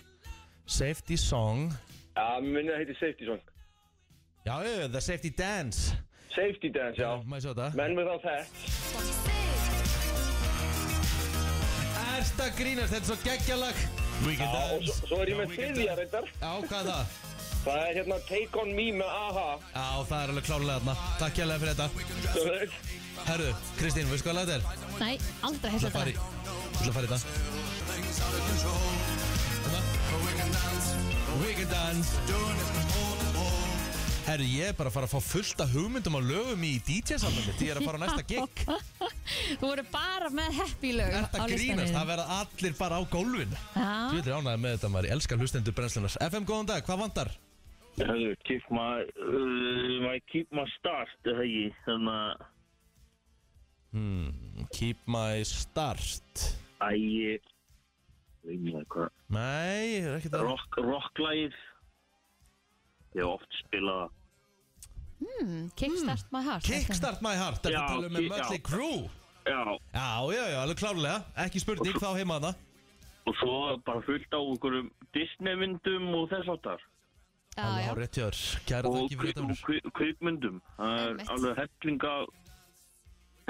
Speaker 2: Safety song.
Speaker 9: Já, mér minnir það heitir safety song.
Speaker 2: Já, eh, the safety dance.
Speaker 9: Safety dance, já.
Speaker 2: Má ég sjá þetta?
Speaker 9: Men Without Hats.
Speaker 2: Ersta grínast, þetta er svo geggjalag. We can
Speaker 9: Já, og
Speaker 2: dance.
Speaker 9: svo, svo er ég með
Speaker 2: We can
Speaker 9: þriðja
Speaker 2: dance.
Speaker 9: reyndar.
Speaker 2: Já, hvað er það?
Speaker 9: Það er hérna Take On Me með AHA.
Speaker 2: Já, það er alveg klárlega þarna. Takk kjærlega fyrir þetta. Herru, Kristín, veistu hvað lag þetta er?
Speaker 3: Nei, aldrei
Speaker 2: Þú
Speaker 3: hefði
Speaker 2: ætla að fara í,
Speaker 3: þetta
Speaker 2: þú ætla að fara í þetta. We can dance. Herru, ég er bara að fara að fá fullt af hugmyndum á lögum í DJ-salnum mitt. Ég er að fara á næsta gig.
Speaker 3: Þú voru bara með happy lög
Speaker 2: Þetta
Speaker 3: á listanum
Speaker 2: grínast,
Speaker 3: þínum.
Speaker 2: það verða allir bara á gólfinu. Þú
Speaker 3: Já,
Speaker 2: veitir ánægði með þetta, maður. Ég elskar hlustendur brennslunar. FM, góðan dag, hvað vantar?
Speaker 11: Hefðu, keep my, uh, my, keep my start, er það ekki, Hérna, þannig að...
Speaker 2: Hmm, keep my start.
Speaker 11: Æ, ég... veit ekki hvað.
Speaker 2: Nei, það er ekki það.
Speaker 11: Rock, rocklægir. Ég hef oft spilað það.
Speaker 3: hmm, Kickstart My Heart
Speaker 2: Kickstart My Heart, þetta
Speaker 11: Já,
Speaker 2: talum við
Speaker 11: já.
Speaker 2: um Mötley Crew.
Speaker 11: Já.
Speaker 2: Já, já, já, alveg klárlega. Ekki spurning, þá heima hana.
Speaker 11: Og svo bara fullt á einhverjum Disney-myndum og þess áttar.
Speaker 3: Já, já.
Speaker 2: Rétt hjá þér, kæra
Speaker 11: Og
Speaker 2: þakki fyrir þetta. Úlfur.
Speaker 11: kvi- kvikmyndum. Það er
Speaker 2: Einmitt.
Speaker 11: alveg hellinga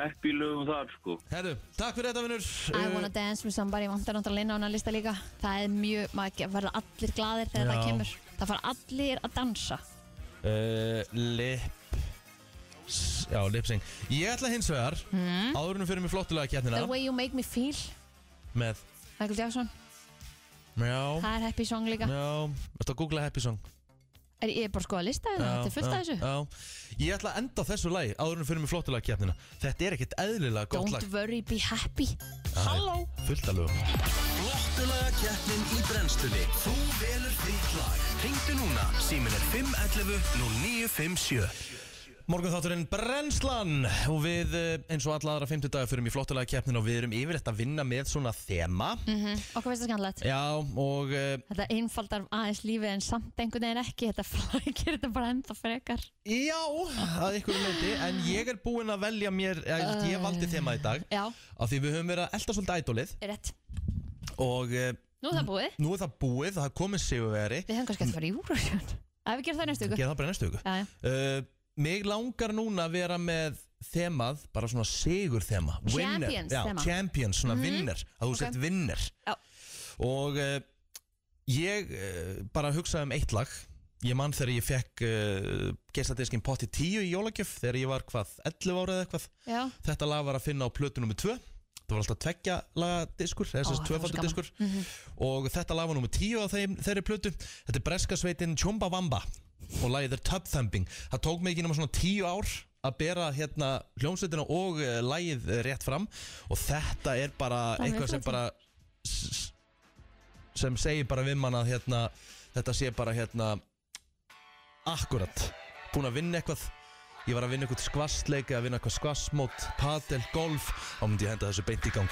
Speaker 11: happy lögum þar, sko.
Speaker 2: Herru, takk fyrir þetta, vinnur.
Speaker 3: I wanna dance with somebody, vantar náttúrulega inn á hana lista líka Það er mjög, maður verður allir glaðir þegar
Speaker 2: Já.
Speaker 3: það kemur Það fara allir að dansa
Speaker 2: Uh, lip s- Já, lipsing Ég ætla hins vegar
Speaker 3: Mm.
Speaker 2: Áðurinnum fyrir mig flottulega kjætnina
Speaker 3: The way you make me feel,
Speaker 2: Með
Speaker 3: Michael Jackson
Speaker 2: Mjá
Speaker 3: Það er happy song líka
Speaker 2: Mjá Þetta að googla happy song
Speaker 3: er, Ég er bara sko að lista þetta, þetta er fullt af þessu
Speaker 2: já. Ég ætla að enda á þessu lagi Áðurinnum fyrir mig flottulega kjætnina Þetta er ekkert eðlilega gott
Speaker 3: Don't
Speaker 2: lag
Speaker 3: worry, be happy
Speaker 2: Það er
Speaker 3: Halló
Speaker 2: Fullt að lögum
Speaker 12: Flottulega keppnin í brennstunni Þú velur þitt lag Ringdu núna, símin er 511 0957
Speaker 2: Morgun þátturinn Brennslan og við eh, eins og alla aðra 50 dagar fyrir mig flottulega keppnin og við erum yfirleitt að vinna með svona þema
Speaker 3: mm Okkur veist það skanlega
Speaker 2: Já og eh,
Speaker 3: Þetta einfaldar aðeins lífið en samt einhvern veginn ekki Þetta flækir þetta bara enda frekar
Speaker 2: Já að ykkur leiti en ég er búinn að velja mér ég, ég valdi þema í dag
Speaker 3: Já,
Speaker 2: af því við höfum verið að elda svolítið ædólið
Speaker 3: rétt
Speaker 2: og eh,
Speaker 3: Nú er það búið
Speaker 2: nú er það búið það er komið sigurveri
Speaker 3: Við hefum kannski að fara í Eurovision Ef við gerum það næstu ykkur
Speaker 2: gera það bara í næstu ykkur
Speaker 3: Já, já.
Speaker 2: uh, mig langar núna að vera með þemað, bara svona sigur þema
Speaker 3: Champions
Speaker 2: já,
Speaker 3: þema.
Speaker 2: champions, svona
Speaker 3: Mhm.
Speaker 2: vinner að þú
Speaker 3: Ok.
Speaker 2: sett vinner
Speaker 3: Já.
Speaker 2: og uh, ég uh, bara hugsaði um eitt lag ég mann þegar ég fekk uh, gestadiskin potti 10 í jólagjöf þegar ég var hvað, 11 ára eða eitthvað
Speaker 3: Já.
Speaker 2: þetta lag var að finna á plötu nummer 2 það var alltaf tveggja lagadiskur eða
Speaker 3: Ó, það
Speaker 2: þess að
Speaker 3: var svo
Speaker 2: tvöfaldur
Speaker 3: gaman.
Speaker 2: diskur
Speaker 3: Mhm.
Speaker 2: og þetta lag var nummer 10 á þeim, þeirri plötu þetta er breska sveitin Chumba Wamba og lagið er Tub Thumping það tók mig ekki nema svona 10 ár að bera hérna hljómsveitina og uh, lagið eh, rétt fram og þetta er bara
Speaker 3: Það er
Speaker 2: eitthvað sem
Speaker 3: flott.
Speaker 2: bara s- s- sem segir bara við mann að hérna, þetta sé bara hérna akkurat búin að vinna eitthvað ég var að vinna eitthvað skvassleik að vinna eitthvað skvassmót, padel, golf þá myndi ég henda þessu beint í gang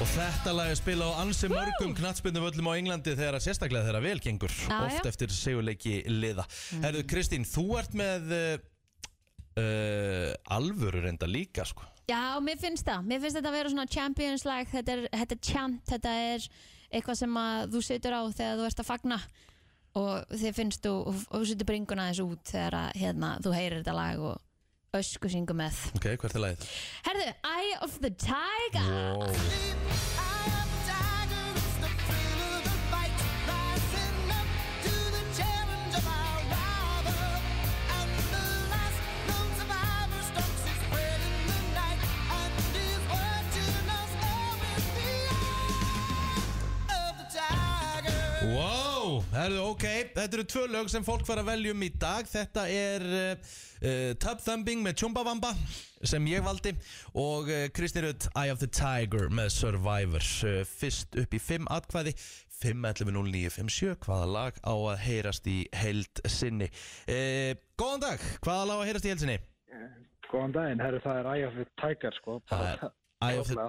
Speaker 2: Og þetta lag er spilað á ansi mörgum knattspindumöllum á Englandi þegar að sérstaklega þeirra vel gengur
Speaker 3: Já, Mhm.
Speaker 2: oft
Speaker 3: já.
Speaker 2: eftir segjuleiki liða mm. Herðu Kristín, þú ert með uh, uh, alvöru reynda líka sko.
Speaker 3: Já, mér finnst það Mér finnst þetta að vera svona champions lag Þetta er, þetta er chant, þetta er eitthvað sem að þú situr á þegar þú ert að fagna og þið finnst þú og og þú situr bringuna aðeins út þegar að, hérna, þú heyrir þetta lag og ösku syngu með
Speaker 2: Ok, hvert er lagið?
Speaker 3: Herðu, Eye of the Tiger
Speaker 2: Wow. Wow, herðu, ok, þetta eru tvö lög sem fólk fara að velja um í dag Þetta er uh, uh, Tub Thumbing með Chumbawamba sem ég valdi og uh, Kristi Rutt Eye of the Tiger með Survivor uh, Fyrst upp í 5 atkvæði 5.11.09.57 Hvaða lag á að heyrast í held sinni uh, Góðan dag, hvaða lag á að heyrast í held sinni?
Speaker 13: Góðan daginn, herru, það er Eye of the Tiger, sko.
Speaker 2: Það er Eye of the,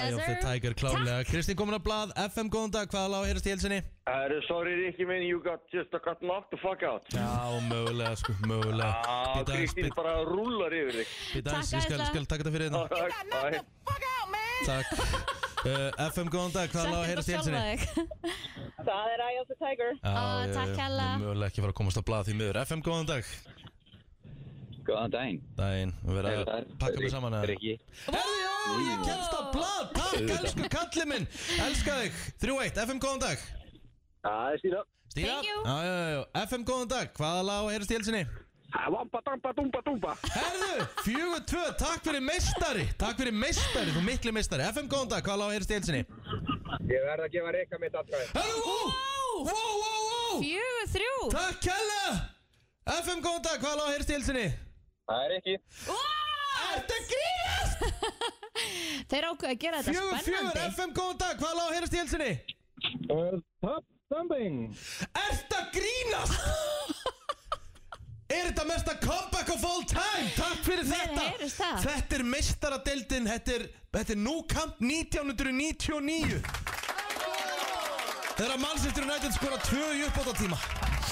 Speaker 2: Eye of the Tiger, klálega Kristi komin að blað, FM, góðan dag, hvaða lag á að heyrast í held sinni?
Speaker 14: Það eru, sorry Rikki minn, you got just a got knocked the fuck out.
Speaker 2: Já, mögulega, sko, mögulega
Speaker 14: Já,
Speaker 2: Bíddu aðeins,
Speaker 14: Kristín
Speaker 2: bíddu-
Speaker 14: bara rúlar yfir þig.
Speaker 2: Bíddu aðeins, ég skal, skal taka þetta fyrir þetta
Speaker 14: hérna.
Speaker 2: Takk uh, FM, góðan dag, hvað lág að heyra til sinni?
Speaker 8: Það er Eye of the Tiger.
Speaker 2: Mjögulega ekki fara að komast á blað því miður FM, góðan dag
Speaker 15: Góðan daginn
Speaker 2: Daginn, við verðum að pakka mig saman að
Speaker 15: Rikki
Speaker 2: Herðu, já, ég kemst á blað Takk, elsku kallið minn Elska þig, 3-1, FM, góðan dag Það er Stíla Stíla,
Speaker 1: Thank
Speaker 2: já,
Speaker 1: you.
Speaker 2: já, já, já, FM, góðan dag Hvaða lág að heyra til sinni? Vampa, dampa, dumpa, dumpa Herðu, 4-2, takk fyrir meistari Takk fyrir meistari, þú mikli meistari FM, góðan dag, hvaða lág að heyra til sinni?
Speaker 16: Ég verð að gefa reyka mitt atkvæði.
Speaker 2: Wow, wow, wow
Speaker 3: Fjögur þrjú
Speaker 2: Takk kella FM góðan dag, hvað er lág að heyrst í hilsinni?
Speaker 16: Það er ekki.
Speaker 2: Ertu að grínast?
Speaker 3: Þeir ákveða að gera þetta
Speaker 2: Fjögur, fjögur,
Speaker 3: spennandi
Speaker 2: FM góðan dag, hvað er lág að heyrst í hilsinni? Top Thumbing Ertu að grínast? Er þetta mesta comeback of all time? Takk fyrir
Speaker 1: heyrist
Speaker 2: þetta
Speaker 1: það.
Speaker 2: Þetta er meistaradeildin Þetta er, þetta er nú kamp 1999 Þegar Manchester United skora tvö í uppbótartíma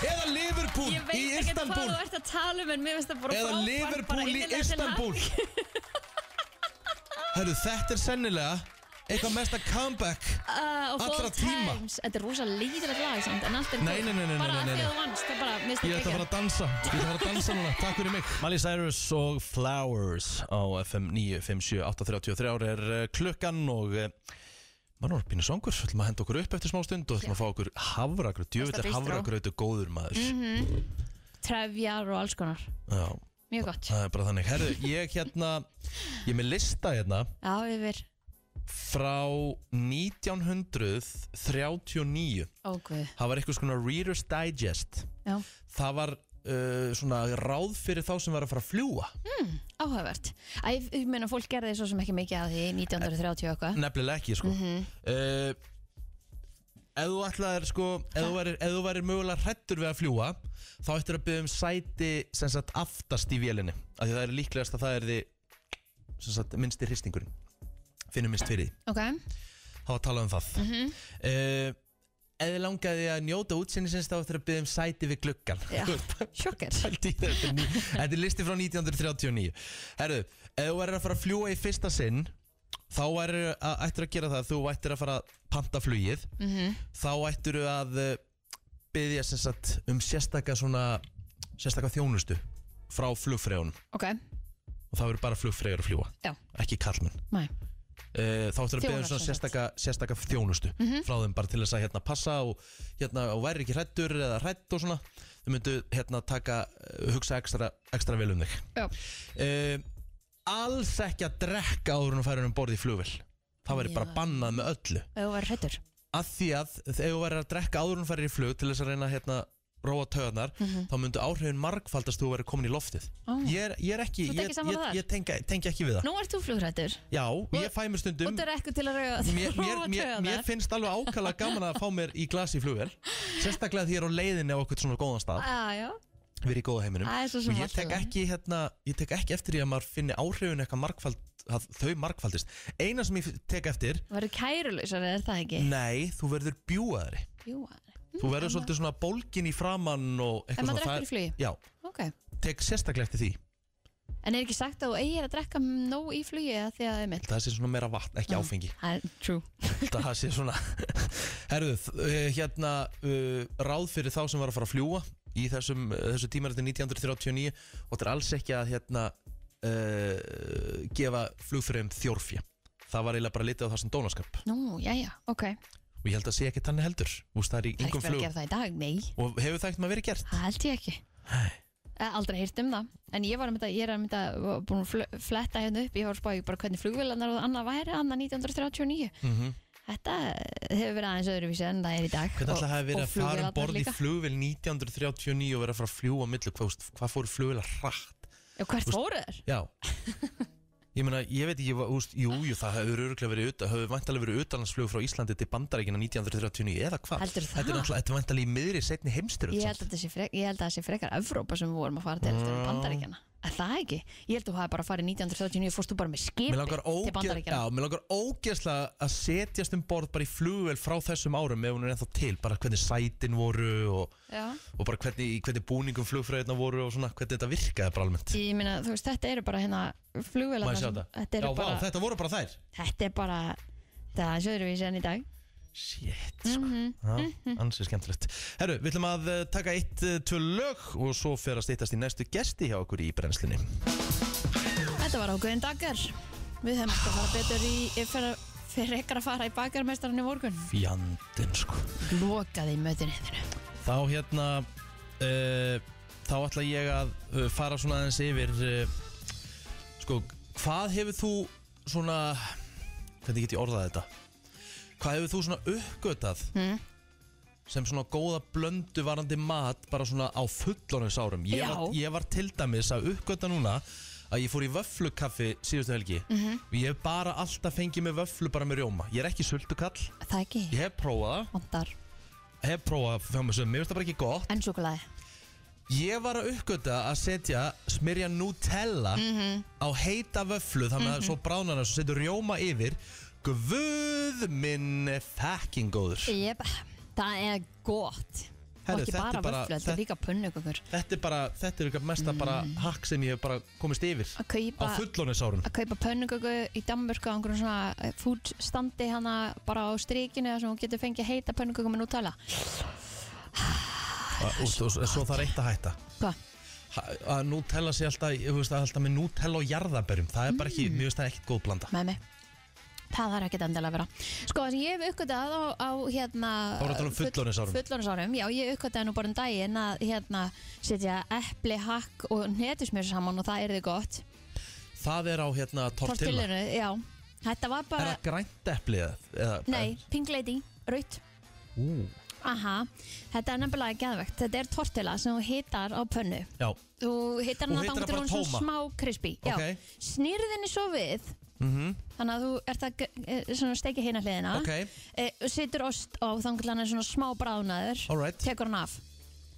Speaker 2: Eða Liverpool
Speaker 3: Ég veit
Speaker 2: í
Speaker 3: ekkert hvað
Speaker 2: Istanbul
Speaker 3: þú ert að tala um en mér finnst það bara
Speaker 2: Eða
Speaker 3: frábært, bara
Speaker 2: Liverpool í
Speaker 3: innilega til
Speaker 2: Istanbul
Speaker 3: hamingju.
Speaker 2: Herru, þetta er sennilega eitthvað mesta comeback
Speaker 3: Uh, og
Speaker 2: allra
Speaker 3: Allra
Speaker 2: tíma
Speaker 3: times Þetta er rosa lítilegt lag samt En allt er
Speaker 2: Nei,
Speaker 3: cool.
Speaker 2: nei, nei, nei,
Speaker 3: Bara
Speaker 2: nei,
Speaker 3: að
Speaker 2: nei,
Speaker 3: því að
Speaker 2: nei.
Speaker 3: þú vannst Það bara mistið
Speaker 2: Ég ætla að fara að dansa Ég ætla að fara að dansa núna Takk fyrir mig Miley Cyrus og Flowers á FM 957 833 er eh, klukkan og eh, maður er pínu songur Þú ætlum að henda okkur upp eftir smá stund og ætlum að fá okkur havragraut
Speaker 3: Besta
Speaker 2: Djöfitt er
Speaker 3: bistró.
Speaker 2: havragrautu góður maður
Speaker 3: -hmm. Trefjar og alls konar
Speaker 2: Já,
Speaker 3: Mjög gott
Speaker 2: það er bara þannig Herru, ég hérna Ég er með lista hérna
Speaker 3: Já, yfir
Speaker 2: frá 1939
Speaker 3: Ógveð
Speaker 2: Það var eitthvað svona Reader's Digest
Speaker 3: Já,
Speaker 2: Það var uh, svona ráð fyrir þá sem var að fara að fljúa
Speaker 3: mm, áhugavert Æ, ég- ég meina fólk gerði svo sem ekki mikið að því 1930 og eitthvað
Speaker 2: Nefnilega ekki sko
Speaker 3: Mhm.
Speaker 2: uh, Ef þú ætlaðir sko Ef þú værir- ef þú værir mögulega hrættur við að fljúa Þá ættir að byggja um sæti sem sagt aftast í vélinni Af því það er líklegast að það er því sem sagt minnsti hristingurinn Finnum minnst fyrir því
Speaker 3: Ok
Speaker 2: Það var að tala um það mm
Speaker 3: Mhm.
Speaker 2: Ef þið langaði að njóta útsinnisins þá ættir að byggja um sæti við gluggan
Speaker 3: Já, sjokker
Speaker 2: Þetta er ný- þetta er listi frá 1939 Herðu, ef þú verður að fara að fljúa í fyrsta sinn þá verður að, ættir að gera það þú ættir að fara að panta flugið
Speaker 1: Mhm.
Speaker 2: þá ættir að eh, biðja sem sagt um sérstaka svona sérstaka þjónustu frá flugfreyjunum
Speaker 3: Ok,
Speaker 2: og það verður bara flugfreyjur að fljúa
Speaker 3: já,
Speaker 2: ekki kallmenn
Speaker 3: mæ
Speaker 2: Eh, þá ættir að beða um
Speaker 3: Þjónar
Speaker 2: svona
Speaker 3: sem sagt.
Speaker 2: sérstaka, sérstaka þjónustu
Speaker 3: Mhm.
Speaker 2: frá þeim bara til þess að hérna passa og hérna og væri ekki hrættur eða hrætt og svona þau myndu hérna taka eh, hugsa ekstra, ekstra vel um þig
Speaker 3: Já.
Speaker 2: Eh, alls ekki að drekka áður en þú færir um borð í flugvel það væri bara
Speaker 3: Já.
Speaker 2: bannað með öllu
Speaker 3: Ef þú verður hrættur
Speaker 2: að því að ef þú væri að drekka áður en þú færir í flug til þess að reyna að, hérna róa töðnar,
Speaker 3: Mhm.
Speaker 2: þá myndu áhrifin margfaldast þú væri komin í loftið
Speaker 3: Ó.
Speaker 2: ég, er, ég er ekki,
Speaker 3: Þú ert
Speaker 2: ég,
Speaker 3: ekki sammála
Speaker 2: ég,
Speaker 3: þar?
Speaker 2: ég tengi, tengi ekki við það
Speaker 3: Nú ert þú flugrættur
Speaker 2: já, ég fæ mér
Speaker 3: Og
Speaker 2: stundum
Speaker 3: þú er ekki til að rauða
Speaker 2: mér, mér, mér, mér finnst alveg ákala gaman að fá mér í glas í flugvél Sérstaklega því ég er á leiðinni á okkur svona góðan stað
Speaker 3: Já, Ah, já
Speaker 2: Við erum í góða heiminum
Speaker 3: Það er svo sem
Speaker 2: Og ég
Speaker 3: allt í
Speaker 2: tek,
Speaker 3: lagi.
Speaker 2: ekki, hérna, ég tek ekki eftir því að maður finni áhrifin eitthvað margfald, að þau margfaldist Eina sem ég tek eftir
Speaker 3: Verður kærulausar, er það ekki?
Speaker 2: Nei, þú verður bjúaðari
Speaker 3: Jú,
Speaker 2: Þú verður svolítið svona bólgin í framann og
Speaker 3: En
Speaker 2: eitthvað
Speaker 3: Mm, maður
Speaker 2: svona
Speaker 3: drekkur í flugi?
Speaker 2: Já,
Speaker 3: ok
Speaker 2: tek sérstaklega eftir því
Speaker 3: En er ekki sagt að þú eigir að drekka nóg í flugi eða því að það er mill?
Speaker 2: Það sé svona meira vatn,
Speaker 3: Mm.
Speaker 2: ekki áfengi
Speaker 3: Það er true
Speaker 2: Það sé svona Herðu, eh, hérna uh, Ráð fyrir þá sem var að fara að fljúa Í þessum, eh, þessu tímariti 1939 Og þetta er alls ekki að hérna uh, Gefa flugfröðum þjórfja Það var eiginlega bara litið á það sem dónaskap
Speaker 3: Nú, jæja, ok Það
Speaker 2: Og ég held að sé ekki þannig heldur Þú veist, það er í
Speaker 3: er ekki
Speaker 2: yngum
Speaker 3: verið að
Speaker 2: flug
Speaker 3: gera það í dag, nei
Speaker 2: Og hefur það ekkert maður verið gert
Speaker 3: Það held ég ekki Nei Aldrei heyrt um það En ég var um þetta, ég er um þetta Búin að fl- fletta hérna upp Ég var að spá í bara hvernig flugvélarnar og annað væri Annað 1939
Speaker 2: mm -hmm.
Speaker 3: þetta hefur verið aðeins öðruvísi en það er í dag
Speaker 2: Hvernig
Speaker 3: Og-
Speaker 2: ætlaði það að vera
Speaker 3: og
Speaker 2: að fara um
Speaker 3: flugvélarnar
Speaker 2: borð í
Speaker 3: líka.
Speaker 2: flugvél 1939 og vera að fara að fljúa á millu, hvað, veist, hvað fóru flugvélar hratt?
Speaker 3: Já, hvert
Speaker 2: Þú veist-
Speaker 3: fóru þær?
Speaker 2: Já Ég meina, ég veit ekki, ég var- þú veist, jú, jú, það hefur öruglega verið utan, hefur vantalega verið utanlandsflug frá Íslandi til Bandaríkina 1939 eða hvað?
Speaker 3: Heldurðu
Speaker 2: Þetta
Speaker 3: það?
Speaker 2: er náttúrulega, þetta er vantalega í miðri setni heimstyrjöld.
Speaker 3: Ég
Speaker 2: samt.
Speaker 3: held að það sé, frek, ég held að það sé frekar Evrópa sem við vorum að fara til eftir
Speaker 2: Já.
Speaker 3: bandaríkjana Er það ekki? Ég held að þú hafi bara farið 1939 fórst þú bara með skipi
Speaker 2: Mér langar,
Speaker 3: til
Speaker 2: ógeð, já,
Speaker 3: bandaríkjana
Speaker 2: mér langar ógeðslega að setjast um borð bara í flugvél frá þessum árum ef hún er ennþá til, bara hvernig sætin voru og,
Speaker 3: Já.
Speaker 2: og bara hvernig, í hvernig búningum flugfræðina voru og svona hvernig þetta virkaði bara almennt
Speaker 3: Ég meina, þú veist, þetta eru bara hérna
Speaker 2: Má
Speaker 3: flugvélarnar
Speaker 2: ég sjá
Speaker 3: sem-
Speaker 2: þetta?
Speaker 3: Þetta
Speaker 2: Já,
Speaker 3: eru bara,
Speaker 2: vá, þetta voru bara þær
Speaker 3: þetta er bara Það er aðeins öðruvísi enn í dag
Speaker 2: Shit,
Speaker 3: sko
Speaker 2: Já, ansið skemmtilegt Herru, við ætlum að eh, taka eitt, eh, tvö lög og svo fer að stýttast í næstu gesti hjá okkur í brennslunni
Speaker 3: Þetta var ákveðin dagar Við hefum alltaf fara betur í eh, fyrir, fyrir ekkert að fara í bakarmestarinn í morgun
Speaker 2: Fjandinn sko
Speaker 3: Lokaði í mötunni þínu
Speaker 2: Þá hérna uh, Þá ætla ég að uh, fara svona aðeins yfir uh, Sko, hvað hefur þú svona Hvernig get ég orðað þetta? Hvað hefur þú svona uppgötað
Speaker 3: Mm.
Speaker 2: sem svona góða blöndu varandi mat bara svona á fullorins árum ég var,
Speaker 12: Já.
Speaker 2: ég var til dæmis að uppgöta núna að ég fór í vöflukaffi síðustu helgi
Speaker 3: Mhm.
Speaker 2: og ég hef bara alltaf fengið með vöflu bara með rjóma ég er ekki sultukall
Speaker 3: Það ekki
Speaker 2: ég hef prófað
Speaker 3: Ondar
Speaker 2: hef prófað að fá með sögum, mér finnst það bara ekki gott
Speaker 3: En súkulaði
Speaker 2: Ég var að uppgöta að setja smyrja Nutella
Speaker 3: Mhm.
Speaker 2: á heita vöflu þannig að
Speaker 3: Mhm.
Speaker 2: svo bránar hann og svo setur rjóma yfir Guð minn fucking góður
Speaker 3: Jep, það er gott
Speaker 2: Herru,
Speaker 3: Og ekki bara
Speaker 2: þetta er bara-
Speaker 3: vöflu, þetta er líka pönnukökur
Speaker 2: Þetta er bara, þetta er eitthvað mesta bara hakk sem ég hef bara komist yfir
Speaker 3: Mm. Að kaupa-
Speaker 2: á fullónisárum
Speaker 3: Að kaupa pönnuköku í Danmörku á einhverjum svona eh, foodstandi hana bara á strikinu þar sem hún getur fengið heita pönnuköku með Nutella
Speaker 2: og svo, svo það er eitt að hætta
Speaker 3: Hva?
Speaker 2: Ha- að Nutella sé alltaf, ég veist, að alltaf með Nutella og jarðabörjum, það er bara ekki,
Speaker 3: Mm.
Speaker 2: mér finnst það ekkert góð blanda
Speaker 3: Með mig Það þarf ekki endilega að vera Sko, það sem ég hef uppgötað á, á hérna
Speaker 2: Þá voru að tala um fullorðinsárum.
Speaker 3: Fullorðinsárum, já, ég uppgötaði nú bara um daginn að hérna setja epli, hakk og netusmjör saman og það er þið gott
Speaker 2: það er á hérna tortilla,
Speaker 3: Tortillunni, já Þetta var
Speaker 2: er
Speaker 3: bara,
Speaker 2: það grænt eplið eða- eða-
Speaker 3: nei, pink lady, raut Mm.
Speaker 2: Ú,
Speaker 3: Aha, þetta er nefnilega geðvegt Þetta er tortilla sem þú hitar á pönnu
Speaker 2: já,
Speaker 3: Þú hitar
Speaker 2: Og
Speaker 3: hana þangt
Speaker 2: hitar hana
Speaker 3: til
Speaker 2: bara
Speaker 3: hún svo
Speaker 2: tóma?
Speaker 3: smá krispi
Speaker 2: Ok.
Speaker 3: Snýrðinni svo við
Speaker 2: mhm
Speaker 3: Þannig að þú ert að eh, svona, steikja hérna hliðina
Speaker 2: Ok.
Speaker 3: eh, Sittur ost á þangt til hann er svona smá bráðnaður
Speaker 2: Alright.
Speaker 3: Tekur hann af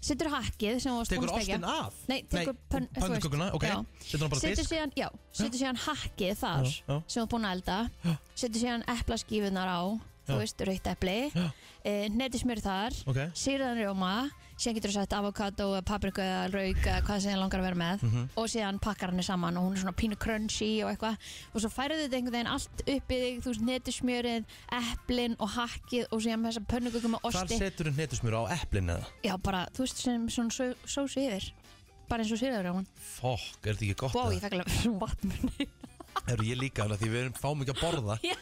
Speaker 3: Sittur hakkið sem þú varst búin
Speaker 2: Tekur
Speaker 3: að steikja
Speaker 2: ostin af?
Speaker 3: Nei, tekur pönn- þú veist,
Speaker 2: pönnukökuna, ok
Speaker 3: já.
Speaker 2: Setur hann bara á
Speaker 3: Setur
Speaker 2: disk
Speaker 3: síðan, já, setur síðan hakkið þar
Speaker 2: Já, já.
Speaker 3: sem þú er búin að elda setur síðan eplaskífunar á þú
Speaker 2: Já.
Speaker 3: veist, raukt epli
Speaker 2: Já.
Speaker 3: e, netismjör þar,
Speaker 2: Ok.
Speaker 3: sýrðan rjóma síðan getur þú sett avokado, papriku eða rauk, eða hvað sem þið langar að vera með
Speaker 2: Mhm.
Speaker 3: og síðan pakkar hann saman og hún er svona pínu crunchy og eitthvað og svo færðu þetta einhvern veginn allt upp í þig þú veist, netismjörið, eplin og hakkið og síðan með þessa pönnukökum og
Speaker 2: Hvar
Speaker 3: osti
Speaker 2: setur hann netusmjör á eplin eða?
Speaker 3: já, bara, þú veist, sem svona só- sósu yfir bara eins og sýrðan rjóman
Speaker 2: Fokk, er þetta ekki gott?
Speaker 3: Wow, ég fekk alveg vatn
Speaker 2: Er ég líka alveg því við erum fáum ekki að borða
Speaker 3: Já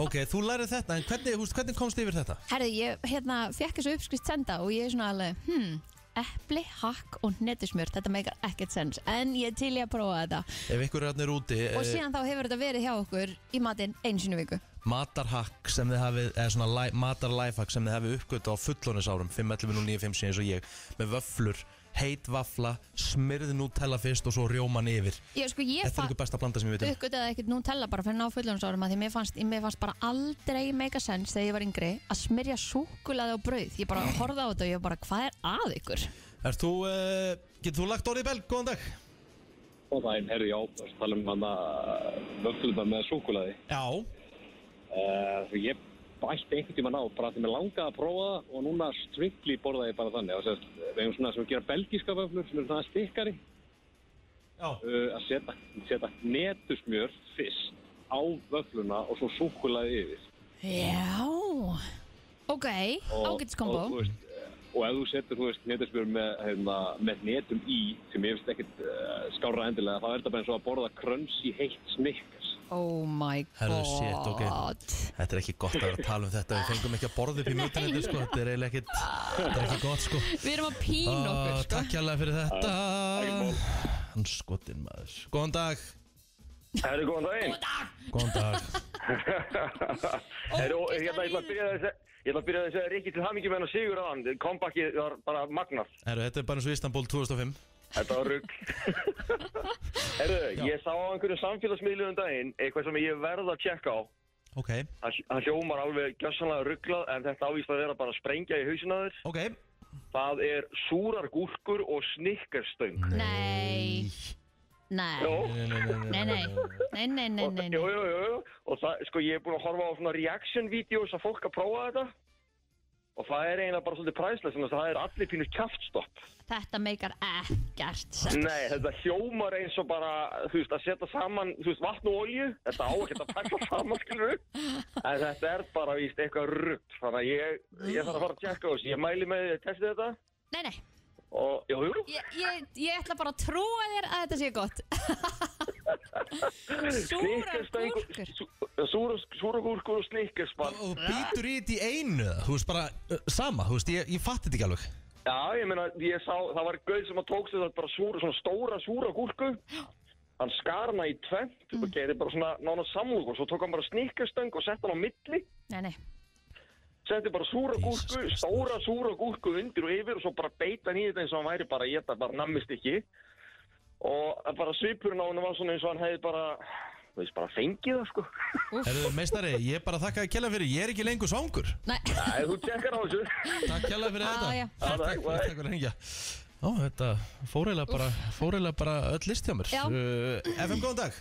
Speaker 2: Ok, þú lærið þetta, en hvernig, húst, hvernig komst yfir þetta?
Speaker 3: Herðu, ég hérna, fekk þessu uppskrift senda og ég er svona alveg, hmm, epli, hakk og netusmjör, þetta meikar ekkert sens, en ég er til ég að prófa þetta.
Speaker 2: Ef ykkur er hann er úti eh,
Speaker 3: Og síðan þá hefur þetta verið hjá okkur í matinn einu sinni í viku.
Speaker 2: Matarhakk sem þið hafið, eða svona li, matarlifehakk sem þið hafið uppgötu á fullónisárum 5.11.9.5 eins og ég Með vöflur, heit vafla, smyrð Nutella fyrst og svo rjóman yfir
Speaker 3: Ég, sko, ég
Speaker 2: Þetta
Speaker 3: fa-
Speaker 2: er ykkur besta blanda sem ég veit um
Speaker 3: uppgötaði ekkert Nutella bara fyrir ná fulljónsárum að því mér fannst, mér fannst bara aldrei meika sens þegar ég var yngri að smyrja súkulaði á brauð. Ég bara horfði á þetta og ég bara, hvað er að ykkur?
Speaker 2: Er þú, uh, getur þú lagt orðið í belg, góðan dag?
Speaker 17: Góðan daginn, herri, já, það er tala um hann að vöflunar með súkulaði.
Speaker 2: Já.
Speaker 17: Uh, ég bætti einhvern tímann á, bara því mér langaði að prófa það og núna strikli borða ég bara þannig. Það er við erum svona sem gera belgíska vöflur sem eru svona stikkari.
Speaker 2: Já.
Speaker 17: Uh, að setja, setja netusmjör fyrst á vöfluna og svo súkulaði yfir.
Speaker 3: Já, ok,
Speaker 17: Og-
Speaker 3: ágætiskombo.
Speaker 17: Og, þú veist, eh, og ef þú setur, þú veist, netusmjör með, hefna, með netum í, sem ég finnst ekkit uh, skárra endilega, þá er þetta bara eins og að borða krönsi heitt snikkars.
Speaker 3: Oh my god.
Speaker 2: Herðu, shit, ok Þetta er ekki gott að vera að tala um þetta Við fengum ekki að borða upp í mötunni sko. Þetta er eiginlega ekkit Þetta er ekki gott sko
Speaker 3: Ah.
Speaker 2: Ah,
Speaker 3: Við erum að pína okkur,
Speaker 2: Á,
Speaker 3: sko.
Speaker 2: Takk hjálpa fyrir
Speaker 3: Já,
Speaker 2: þetta
Speaker 3: ekkert
Speaker 2: Hann skotin maður Góðan dag
Speaker 14: Herru, góðan daginn.
Speaker 2: Góðan dag.
Speaker 14: Herru, og hérna, ég ætla að byrja þess að... Ég ætla að byrja þess að Rikki til hamingi með hann og Sigur aðan. Comebackið var bara magnað.
Speaker 2: Herru, þetta er bara eins og Istanbul 2005
Speaker 14: Þetta var rugg. Herru, ég sá á einhverju samfélagsmiðlu um daginn eitthvað sem ég verð að tjekka á.
Speaker 2: Ok,
Speaker 14: Það það hljómar alveg gjössanlega rugglað en þetta ávist að vera bara að sprengja í hausina þér.
Speaker 2: Ok.
Speaker 14: Það er súrar gúrkur og snikkarstöng.
Speaker 3: Nei Nei
Speaker 14: Jó.
Speaker 3: Nei, nei, nei, nei, nei, nei,
Speaker 14: Jú,
Speaker 3: nei.
Speaker 14: jú, jú, jú. og það, sko, ég er búin að horfa á svona reaction-vídeós að fólk að prófa þetta og það er eiginlega bara svolítið præslega, þannig að það er allir pínu kjaftstopp.
Speaker 3: Þetta meikar ekkert sens.
Speaker 14: Nei, þetta hljómar eins og bara, þú veist, að setja saman, þú veist, vatn og olju, þetta á ekki að pæla saman, skilur við, en þetta er bara, víst, eitthvað rugg, þannig að ég, ég þarf að fara að tjekka á þessu, ég mæli með því að testa þetta
Speaker 3: Nei, nei
Speaker 14: og, jú, jú,
Speaker 3: Ég, ég, ég ætla bara að trúa þér að þetta sé gott
Speaker 14: Snikkastöng og- sú- súrar- Súrar gúrkur og snikkarspann
Speaker 2: Og Býtur í þetta í einu eða? Þú veist bara uh, sama, þú veist, ég, ég fatt þetta ekki alveg
Speaker 14: Já, ég meina, ég sá, það var gauð sem að tók sér þetta bara súra, svona stóra súra gúrku. Hann skar hana í tvent
Speaker 3: Mm.
Speaker 14: og gerði bara svona nána samlug og svo tók hann bara sníkastöng og sett hann á milli.
Speaker 3: Nei, nei
Speaker 14: Setti bara súra gúrku, stóra súra gúrku undir og yfir og svo bara beita hann í þetta eins og hann væri bara, ég þetta bara nammist ekki. Og bara svipurinn á hann var svona eins og hann hefði bara, þú veist, bara fengið það sko.
Speaker 2: Herru, meistari, ég bara þakka að kella fyrir, ég er ekki lengur svangur
Speaker 3: Nei
Speaker 14: Nei, þú tekkar á þessu.
Speaker 2: Takk kella fyrir
Speaker 14: Já,
Speaker 2: þetta
Speaker 14: já.
Speaker 2: Takk takk fyrir takk fyrir að hengja Ó, þetta fóriðlega bara, fóriðlega bara öll list hjá mér
Speaker 3: Já.
Speaker 2: uh, FM, góðan dag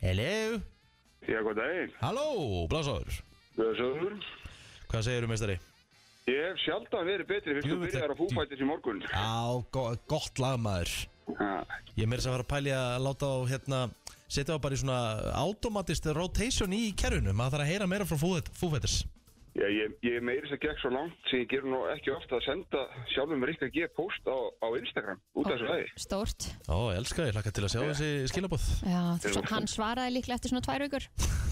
Speaker 2: Hello
Speaker 18: Já, góð daginn.
Speaker 2: Halló, blásáður
Speaker 18: Blessaður.
Speaker 2: Hvað segirðu, meistari?
Speaker 18: Ég hef sjaldan verið betri fyrst þú byrjar að fúfættis í morgun.
Speaker 2: Já, go gott lag maður Ég er meira þess að fara að pæli að láta á hérna Setja á bara í svona automatist rotation í kerfinu Maður þarf að heyra meira frá fúfættis
Speaker 18: Já, ég, ég meiris að gekk svo langt sem ég ger nú ekki ofta að senda sjálfum Rikka G. post á, á Instagram út af þessu lagi.
Speaker 3: Stórt
Speaker 2: Ó, ég elska, ég hlakka til að sjá þessi skilabóð
Speaker 3: Já, svo, hann svaraði líklega eftir svona tvær vikur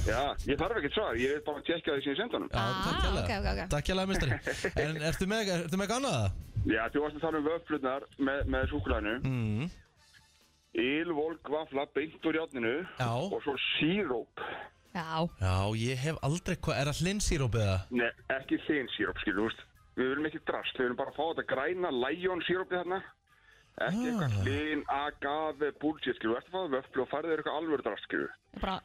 Speaker 18: Já, ég þarf ekkert svar, ég er bara að tekja því sem ég senda honum.
Speaker 2: Já, takk
Speaker 3: ah, ok, ok, ok
Speaker 2: Takk hjá meistari En ertu með, ertu með gannaða?
Speaker 18: Já, þú varst að tala um vöflurnar með, með súkulæðinu.
Speaker 2: Mm.
Speaker 18: Ylvolg vafla beint úr játninu
Speaker 2: Já.
Speaker 18: og svo síróp.
Speaker 3: Já
Speaker 2: Já, ég hef aldrei hvað, er það hlinsýróp eða?
Speaker 18: Nei, ekki þinn síróp, skilur, þú veist. Við viljum ekki drast, við viljum bara fá þetta græna Lion sírópið þarna. Ekki eitthvað hlinn, agave, bullshit, skilur. Þú ert að fá það vöflu og færið þér eitthvað alvöru drast, skilur.
Speaker 3: Bara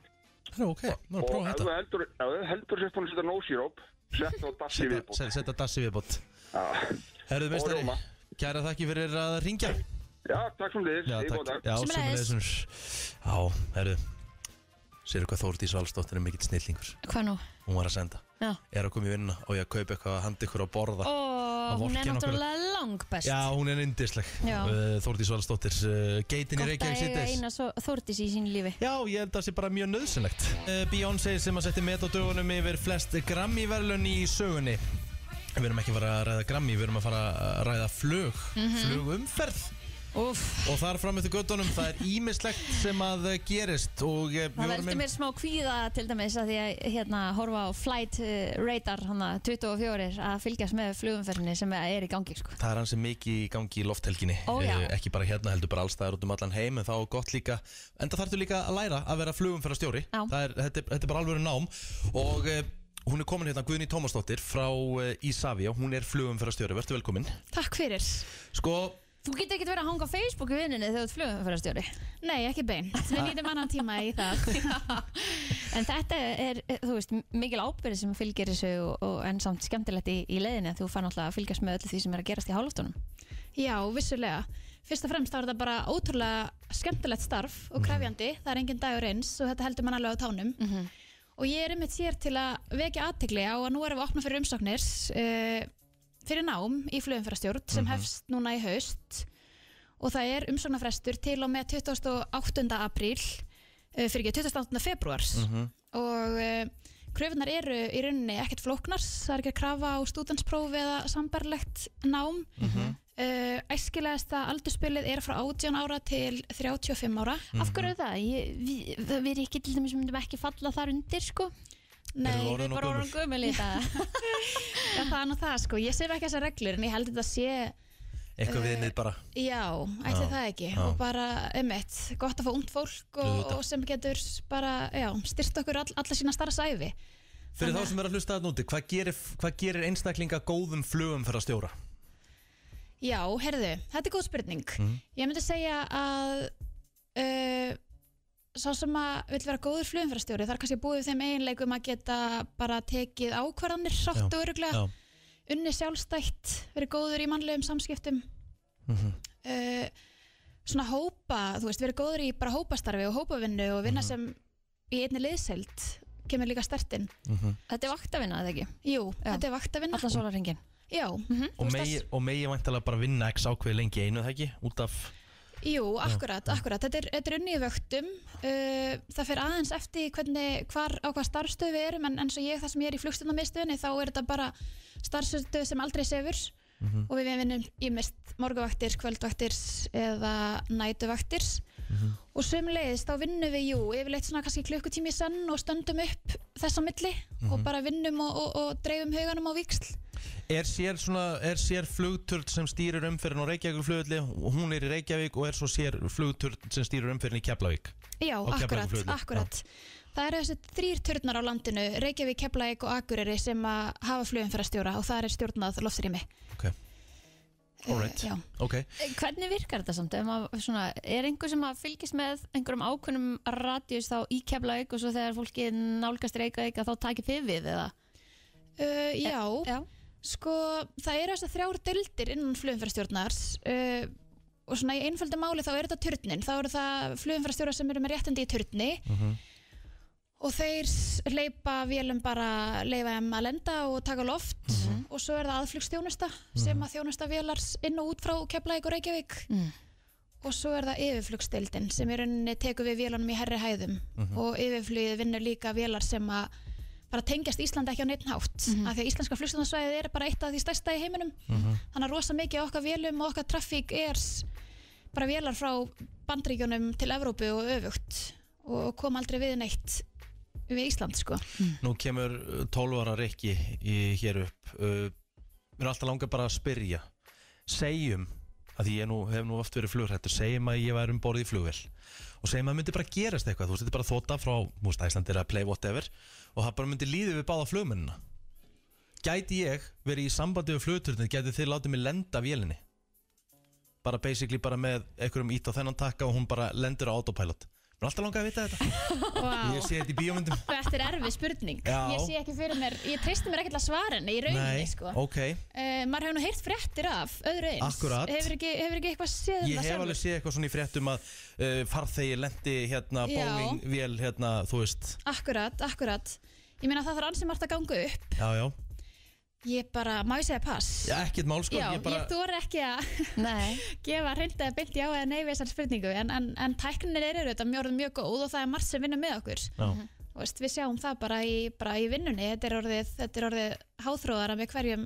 Speaker 2: Það er ok, maður að
Speaker 18: Og
Speaker 2: prófa
Speaker 18: ef
Speaker 2: þetta
Speaker 18: þú heldur, ef þú heldur sér búin að setja no síróp, sett þá dassi viðbútt.
Speaker 2: Set- Setta dassi viðbót Herðu
Speaker 18: Og
Speaker 2: meistari,
Speaker 18: rjóma.
Speaker 2: kæra þakki fyrir að ringja
Speaker 18: Já, takk sem liðis,
Speaker 2: Já,
Speaker 18: ég góð
Speaker 2: takk
Speaker 18: dag.
Speaker 2: Já, sömuleiðis. Já, herðu Sér eitthvað Þórdís Valsdóttir er mikill snillingur
Speaker 3: Hvað nú?
Speaker 2: Hún var að senda
Speaker 3: Já.
Speaker 2: Er að koma í vinnuna og ég að kaupa eitthvað að handa ykkur að borða
Speaker 3: Og hún
Speaker 2: Að
Speaker 3: er
Speaker 2: vorkenna okkur.
Speaker 3: náttúrulega langbest
Speaker 2: Já, hún er yndisleg
Speaker 3: Já.
Speaker 2: Uh, Þórdís Valsdóttir uh, Geitin í
Speaker 3: Gott að
Speaker 2: Reykjavík
Speaker 3: eiga
Speaker 2: sittis
Speaker 3: eina svo þórtis í sín lífi
Speaker 2: Já, ég held að það sé bara mjög nöðsynlegt uh, Beyoncé sem að setja met á dögunum yfir flest Grammy-verlun í sögunni Við erum ekki að fara að ræða Grammy, við erum að fara að ræða flug,
Speaker 12: Mhm.
Speaker 2: flugumferð
Speaker 3: Úf.
Speaker 2: Og þar fram eftir göttunum, það er ímislegt sem að eh, gerist og eh, við
Speaker 3: Það
Speaker 2: vorum
Speaker 3: veldur
Speaker 2: ein-
Speaker 3: mér smá kvíða til dæmis að því að hérna, horfa á Flight eh, Radar hana, 24 að fylgjast með flugumferðinni sem er í gangi sko.
Speaker 2: Það er hans mikið í gangi í lofthelginni
Speaker 3: Ó, já.
Speaker 2: Eh, Ekki bara hérna heldur bara allstaðar út um allan heim En þá er gott líka En það þarftu líka að læra að vera flugum fyrir að stjóri þetta, er- þetta er bara alveg nám Og eh, hún er komin hérna Guðni Tómasdóttir frá eh, Isavia Hún er flugum fyrir að stjóri, verður velkomin
Speaker 19: Takk fyrir
Speaker 2: Sko,
Speaker 19: Þú getur ekkert verið að hanga á Facebook í vinninni þegar þú ert flugumfærastjóri Nei, ekki bein Við
Speaker 3: Ha.
Speaker 19: nýtum annan tíma í það
Speaker 3: En þetta er, eh, þú veist, mikil ábyrði sem fylgir þessu og, og en samt skemmtilegt í, í leiðinni að þú fann alltaf að fylgjast með öllu því sem er að gerast í hálóttunum
Speaker 19: Já, vissulega Fyrst og fremst þá er þetta bara ótrúlega skemmtilegt starf
Speaker 2: Mhm.
Speaker 19: og krefjandi Það er engin dagur eins og þetta heldur mann alveg á tánum
Speaker 3: Mhm.
Speaker 19: Og ég er einmitt hér til að vekja aðtegli á að nú erum við að opna fyrir umsóknir uh, fyrir nám í flugumfærastjórn
Speaker 2: Mhm.
Speaker 19: sem hefst núna í haust og það er umsóknarfrestur til og með 28. apríl uh, fyrir ekki 28. februars
Speaker 20: Mhm.
Speaker 19: og uh, kröfunar eru í rauninni ekkert flóknar, það er ekki að krafa á stúdensprófi eða sambarlegt nám
Speaker 20: Mhm.
Speaker 19: Uh, æskilegasta aldurspilið er frá 18 ára til 35 ára
Speaker 2: Mhm. Af hverju er
Speaker 19: það? Ég, við, við erum ekki til dæmis myndum ekki falla þar undir sko Nei,
Speaker 3: Erum við orðin of bara orðin gömul? gömul í dag.
Speaker 19: Já, það er nú það sko, ég sef ekki þessar reglur en ég held að þetta sé
Speaker 2: Eitthvað
Speaker 19: Eh,
Speaker 2: viðnið bara
Speaker 19: Já, ætli
Speaker 2: Já,
Speaker 19: það ekki
Speaker 2: já.
Speaker 19: og bara, einmitt, gott að fá ungt fólk og,
Speaker 2: Auðvitað.
Speaker 19: og sem getur bara, já, styrt okkur all, alla sína starra sæfi
Speaker 2: Fyrir þá sem er að hlusta að núti, hvað gerir, hvað gerir einstaklinga góðum flugum fyrir að stjóra?
Speaker 19: Já, herðu, þetta er góð spurning
Speaker 2: Mhm.
Speaker 19: Ég myndi segja að uh, sá sem að vill vera góður flugumfærastjóri þarf kannski að búið við þeim eiginleikum að geta bara tekið ákvarðanir sátt og öruglega, unni sjálfstætt verið góður í mannlegum samskiptum
Speaker 2: Mhm,
Speaker 19: uh, svona hópa, þú veist, verið góður í bara hópastarfi og hópavinnu
Speaker 2: Mhm.
Speaker 19: og vinna sem í einni liðseild kemur líka stertinn.
Speaker 3: Þetta er vaktavinna, eða ekki?
Speaker 19: Jú, þetta er vaktavinna.
Speaker 3: Allan Mhm. sólarringin.
Speaker 19: Já.
Speaker 2: Og megi, og megi væntalega bara vinna x ákveð lengi í einu, það ekki? Út af,
Speaker 19: Jú,
Speaker 2: Já.
Speaker 19: akkurat, akkurat. Þetta er, þetta er unni í vöktum. Uh, það fer aðeins eftir hvernig, hvar, á hvað starfstöð við erum en eins og ég, það sem ég er í flugstundamiðstöðinni, þá er þetta bara starfstöð sem aldrei sefur
Speaker 20: Mhm.
Speaker 19: og við vinnum í mist morguvaktir, kvöldvaktir eða nætuvaktir
Speaker 2: Mhm.
Speaker 19: og sömulegis þá vinnum við, jú, yfirleitt svona kannski klukkutími í senn og stöndum upp þess á milli og
Speaker 2: Mhm.
Speaker 19: bara vinnum og, og, og dreifum huganum á viksl.
Speaker 2: er sér, svona, er sér flugturð sem stýrir umferðin á Reykjavík flugulli, hún er í Reykjavík og er svo sér flugturð sem stýrir umferðin í Keflavík?
Speaker 19: Já,
Speaker 2: Á Keflavíkurflugvelli,
Speaker 19: akkurat, akkurat. Það eru þessi þrýr turnar á landinu, Reykjavík, Keflavík og Akureyri sem að hafa flugum fyrir að stjóra og það er stjórnað loftrými.
Speaker 2: Já, alright,
Speaker 19: já.
Speaker 2: ok.
Speaker 3: Hvernig virkar þetta samt? Ef maður Svona, er einhver sem að fylgist með einhverjum ákveðnum radíus þá í Keflavík og svo þegar fólki nálgast Reykjavík að þá takir þið við eða?
Speaker 19: Uh, já, sko það eru þessi þrjár deildir innan flugum fyrir uh, og svona í einföldu máli þá er þetta turnin, þá eru það flugum fyrir sem eru með réttindi í turni
Speaker 2: mhm.
Speaker 19: og þeir leipa vélum bara leifa þeim að lenda og taka loft og svo er það aðflugstjónusta sem að þjónusta vélar inn og út frá Keflavík og Reykjavík og svo er það yfirflugstildin sem í rauninni tekur við vélunum í herri hæðum
Speaker 20: Mhm.
Speaker 19: og yfirflugið vinnur líka vélar sem að bara tengjast Íslandi ekki á neitt hátt af því að íslenska flugstjónasvæðið er bara eitt af því stærsta í heiminum þannig að rosa mikið af okkar vélum og okkar trafík er s- bara vélar frá bandríkjunum til Evrópu og öfugt og kom aldrei við neitt við Ísland sko
Speaker 2: Nú kemur 12 ára Rikki í- hér upp uh, Mér er alltaf langar bara að spyrja Segjum að því ég nú, hef nú oft verið flugrættur Segjum að ég væri um borðið í flugvél Og segjum að það myndi bara gerast eitthvað Þú veist, þetta er bara þóta frá þú veist, Æslandir að play whatever Og það bara myndi líði við báða flugmennina Gæti ég verið í sambandi við flugturnið Gæti þið látið mig lenda vélinni Bara basically bara með einhverjum ít á þennan takka Og hún bara lendur á autopilot Mér er alltaf langar að vita þetta
Speaker 19: wow.
Speaker 2: Ég sé þetta í bíómyndum
Speaker 19: Þetta er erfið spurning
Speaker 2: Já.
Speaker 19: Ég sé ekki fyrir mér, ég treysti mér ekkert að svara henni í rauninni
Speaker 2: Nei,
Speaker 19: sko
Speaker 2: ok
Speaker 19: Uh, maður hefur nú heyrt fréttir af öðru eins
Speaker 2: Akkurat.
Speaker 19: hefur ekki, hefur ekki eitthvað séð um
Speaker 2: Ég
Speaker 19: það
Speaker 2: hef
Speaker 19: sjálfur?
Speaker 2: alveg séð eitthvað svona í fréttum að uh, farþegi lendi hérna
Speaker 19: Já.
Speaker 2: Boeing vél hérna, þú veist
Speaker 19: akkurat, akkurat ég meina það þarf ansið margt að ganga upp
Speaker 2: Já, já,
Speaker 19: ég bara, má ég segja pass
Speaker 2: já ekkert mál sko
Speaker 19: já,
Speaker 2: ég bara,
Speaker 19: þú er ekki að gefa hreint eða beint já eða nei við þessar spurningu en, en, en tækninir eru þetta mjög, mjög góð og það er margt sem vinnur með okkur
Speaker 3: Mhm.
Speaker 2: Já.
Speaker 19: Þú veist, við sjáum það bara í, bara í vinnunni þetta er orðið, þetta er orðið háþróðara með hverjum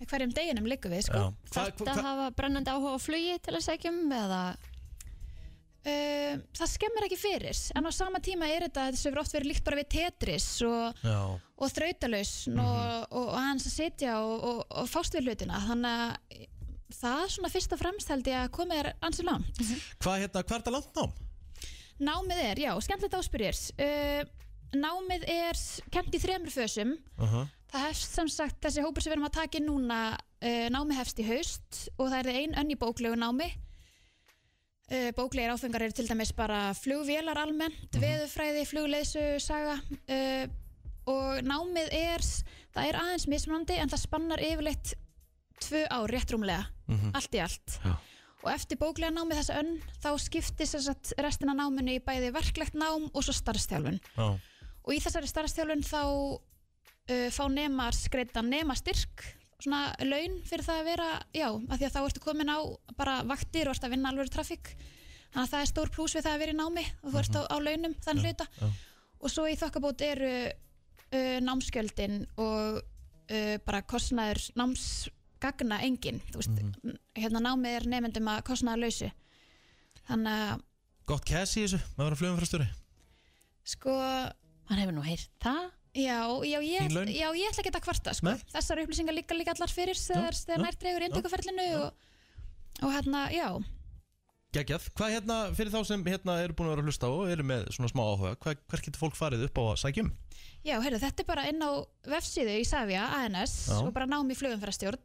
Speaker 19: með hverjum deginum liggum við sko.
Speaker 2: Já. Hvað-
Speaker 3: Þetta hva, hafa brennandi áhuga á flugi til að segjum eða
Speaker 19: Uh, um það skemmir ekki fyrir en á sama tíma er þetta þessu hefur oft verið líkt bara við Tetris og,
Speaker 2: já
Speaker 19: og þrautalaus og, og, og hans að sitja og, og, og fást við hlutina þannig að það svona fyrst og fremst held ég að komið er ansi langt
Speaker 2: Hvað hérna, hvað er þetta langt nám?
Speaker 19: Námið er, já, skemmtilegt áspyrir uh, Námið er kent í þremur fösum
Speaker 2: uh-huh,
Speaker 19: Það hefst sem sagt, þessi hópur sem við erum að taka inn núna, uh, námi hefst í haust og það er ein önn í bóklegu námi. Uh, bóklegir áfengar eru til dæmis bara flugvélar almennt, veðurfræði, flugleisu, saga uh, og námið er, það er aðeins mismunandi en það spannar yfirleitt tvö ár rétt rúmlega,
Speaker 20: Mhm.
Speaker 19: allt í allt. Og eftir bóklega námið þessa önn þá skiptist þess að restina náminu í bæði verklegt nám og svo starfstjálfun
Speaker 2: Já,
Speaker 19: og í þessari starfstjálfun þá uh, fá nemar skreita nemastyrk svona laun fyrir það að vera já, af því að þá ertu komin á bara vaktir og ert að vinna alveg trafík þannig að það er stór pluss við það að vera í námi og þú ert á, á launum þann hluta
Speaker 20: Mhm. já.
Speaker 19: og svo í þokkabót eru uh, námskjöldin og uh, bara kostnaður námsgagna engin þú veist,
Speaker 2: Mhm.
Speaker 20: Mm.
Speaker 19: hérna námið er nefndum að kostnaða lausu þannig að
Speaker 2: Gott cash í þessu, maður að flugum frá stjóri
Speaker 19: sko
Speaker 3: hann hefur nú heyrt það
Speaker 19: Já, já, ég,
Speaker 2: Þín laun?
Speaker 19: já, ég ætla ekki að kvarta sko.
Speaker 2: Nei.
Speaker 19: Þessar upplýsingar líka líka allar fyrir þegar, þegar
Speaker 2: já,
Speaker 19: nær dregur
Speaker 2: já,
Speaker 19: inntökuferlinu og, og hérna, já
Speaker 2: Gægjað, hvað hérna, fyrir þá sem hérna eru búin að vera að hlusta og eru með svona smá áhuga, hvað, hvert getur fólk farið upp á að sækjum?
Speaker 19: Já, heyrðu, þetta er bara inn á vefsíðu í Savia, ANS
Speaker 2: Já.
Speaker 19: og bara nám í flugumferðarstjórn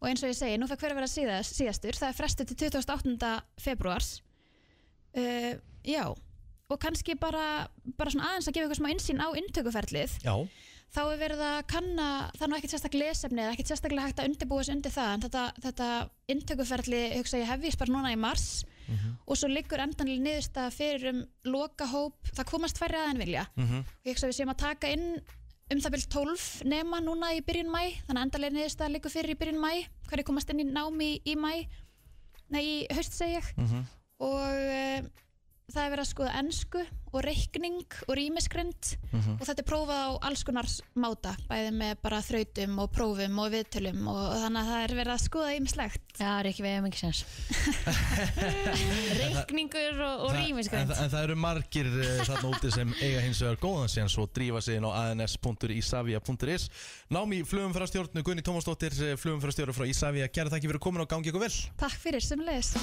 Speaker 19: og eins og ég segi, nú fekk hver að vera síðast, síðastur það er frestu til 28. februars uh, Já og kannski bara, bara svona aðeins að gefa ykkur smá insýn á inntökuferlið
Speaker 2: Já,
Speaker 19: þá er verið að kanna, það er nú ekkert sérstaklega lesefni eða ekkert sérstaklega hægt að undirbúa sig undir það en þetta, þetta inntökuferli hugsa ég hefjist bara núna í mars
Speaker 2: uh-huh,
Speaker 19: og svo liggur endanlega niðurstaða fyrir um loka hóp, það komast færri aðein vilja
Speaker 3: Mhm.
Speaker 2: uh-huh.
Speaker 19: og ég hugsa að við séum að taka inn um það byrjum 12 nema núna í byrjun mæ þannig að endanlega niðurstaða liggur fyrir í byrjun mæ hverju komast inn í námi í mæ nei, í haust segi ég
Speaker 2: Mhm.
Speaker 19: og uh, það er verið að skoða ennsku og reikning og rýmiskrind
Speaker 20: Mhm.
Speaker 19: og þetta er prófað á alls konar máta bæði með bara þrautum og prófum og viðtölum og þannig að það er verið að skoða ýmislegt Já, það er ekki við um ekki sens
Speaker 3: Reikningur og, sko. og
Speaker 2: en,
Speaker 3: rýmiskvæmt
Speaker 2: en það eru margir uh, þarna úti sem eiga hins vegar góðan síðan svo drífa sig inn á ans.isavia.is Námi flugumfærastjórnu Gunni Tómasdóttir flugumfærastjóru frá Isavia, gerð þakki fyrir komin og gangi ykkur vel
Speaker 19: Takk fyrir sem leðist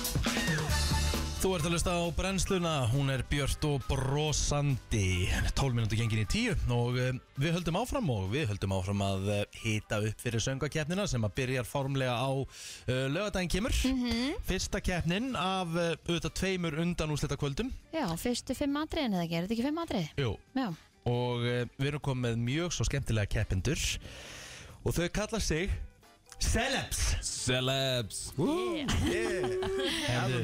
Speaker 2: Þú ert að hlusta á brennsluna, hún er björt og brosandi 12 minúti gengin í 10 og um, við höldum áfram og við höldum áfram að uh, hita upp fyrir söngakeppnina sem að byrjar formlega á uh, lögadaginn kemur Fyrsta keppnin af uh, auðvitað tveimur undan úrslita kvöldum
Speaker 3: Já, fyrstu fimm atriðin eða ekki, er þetta ekki fimm atrið?
Speaker 2: Jú
Speaker 3: Já,
Speaker 2: og uh, við erum komið með mjög svo skemmtilega keppendur og þau kalla sig Celebs Celebs
Speaker 21: Allan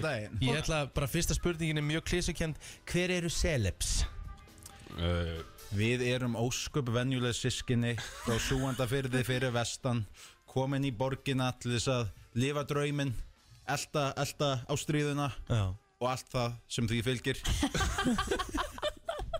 Speaker 21: daginn.
Speaker 2: Ég ætla bara fyrsta spurningin er mjög klísukend Hver eru Celebs?
Speaker 21: Uh, Við erum ósköp venjuleg sískinni frá súandafyrði fyrir vestan komin í borgina til þess að lifa drauminn elta, elta ástríðuna
Speaker 2: Já.
Speaker 21: og allt það sem því fylgir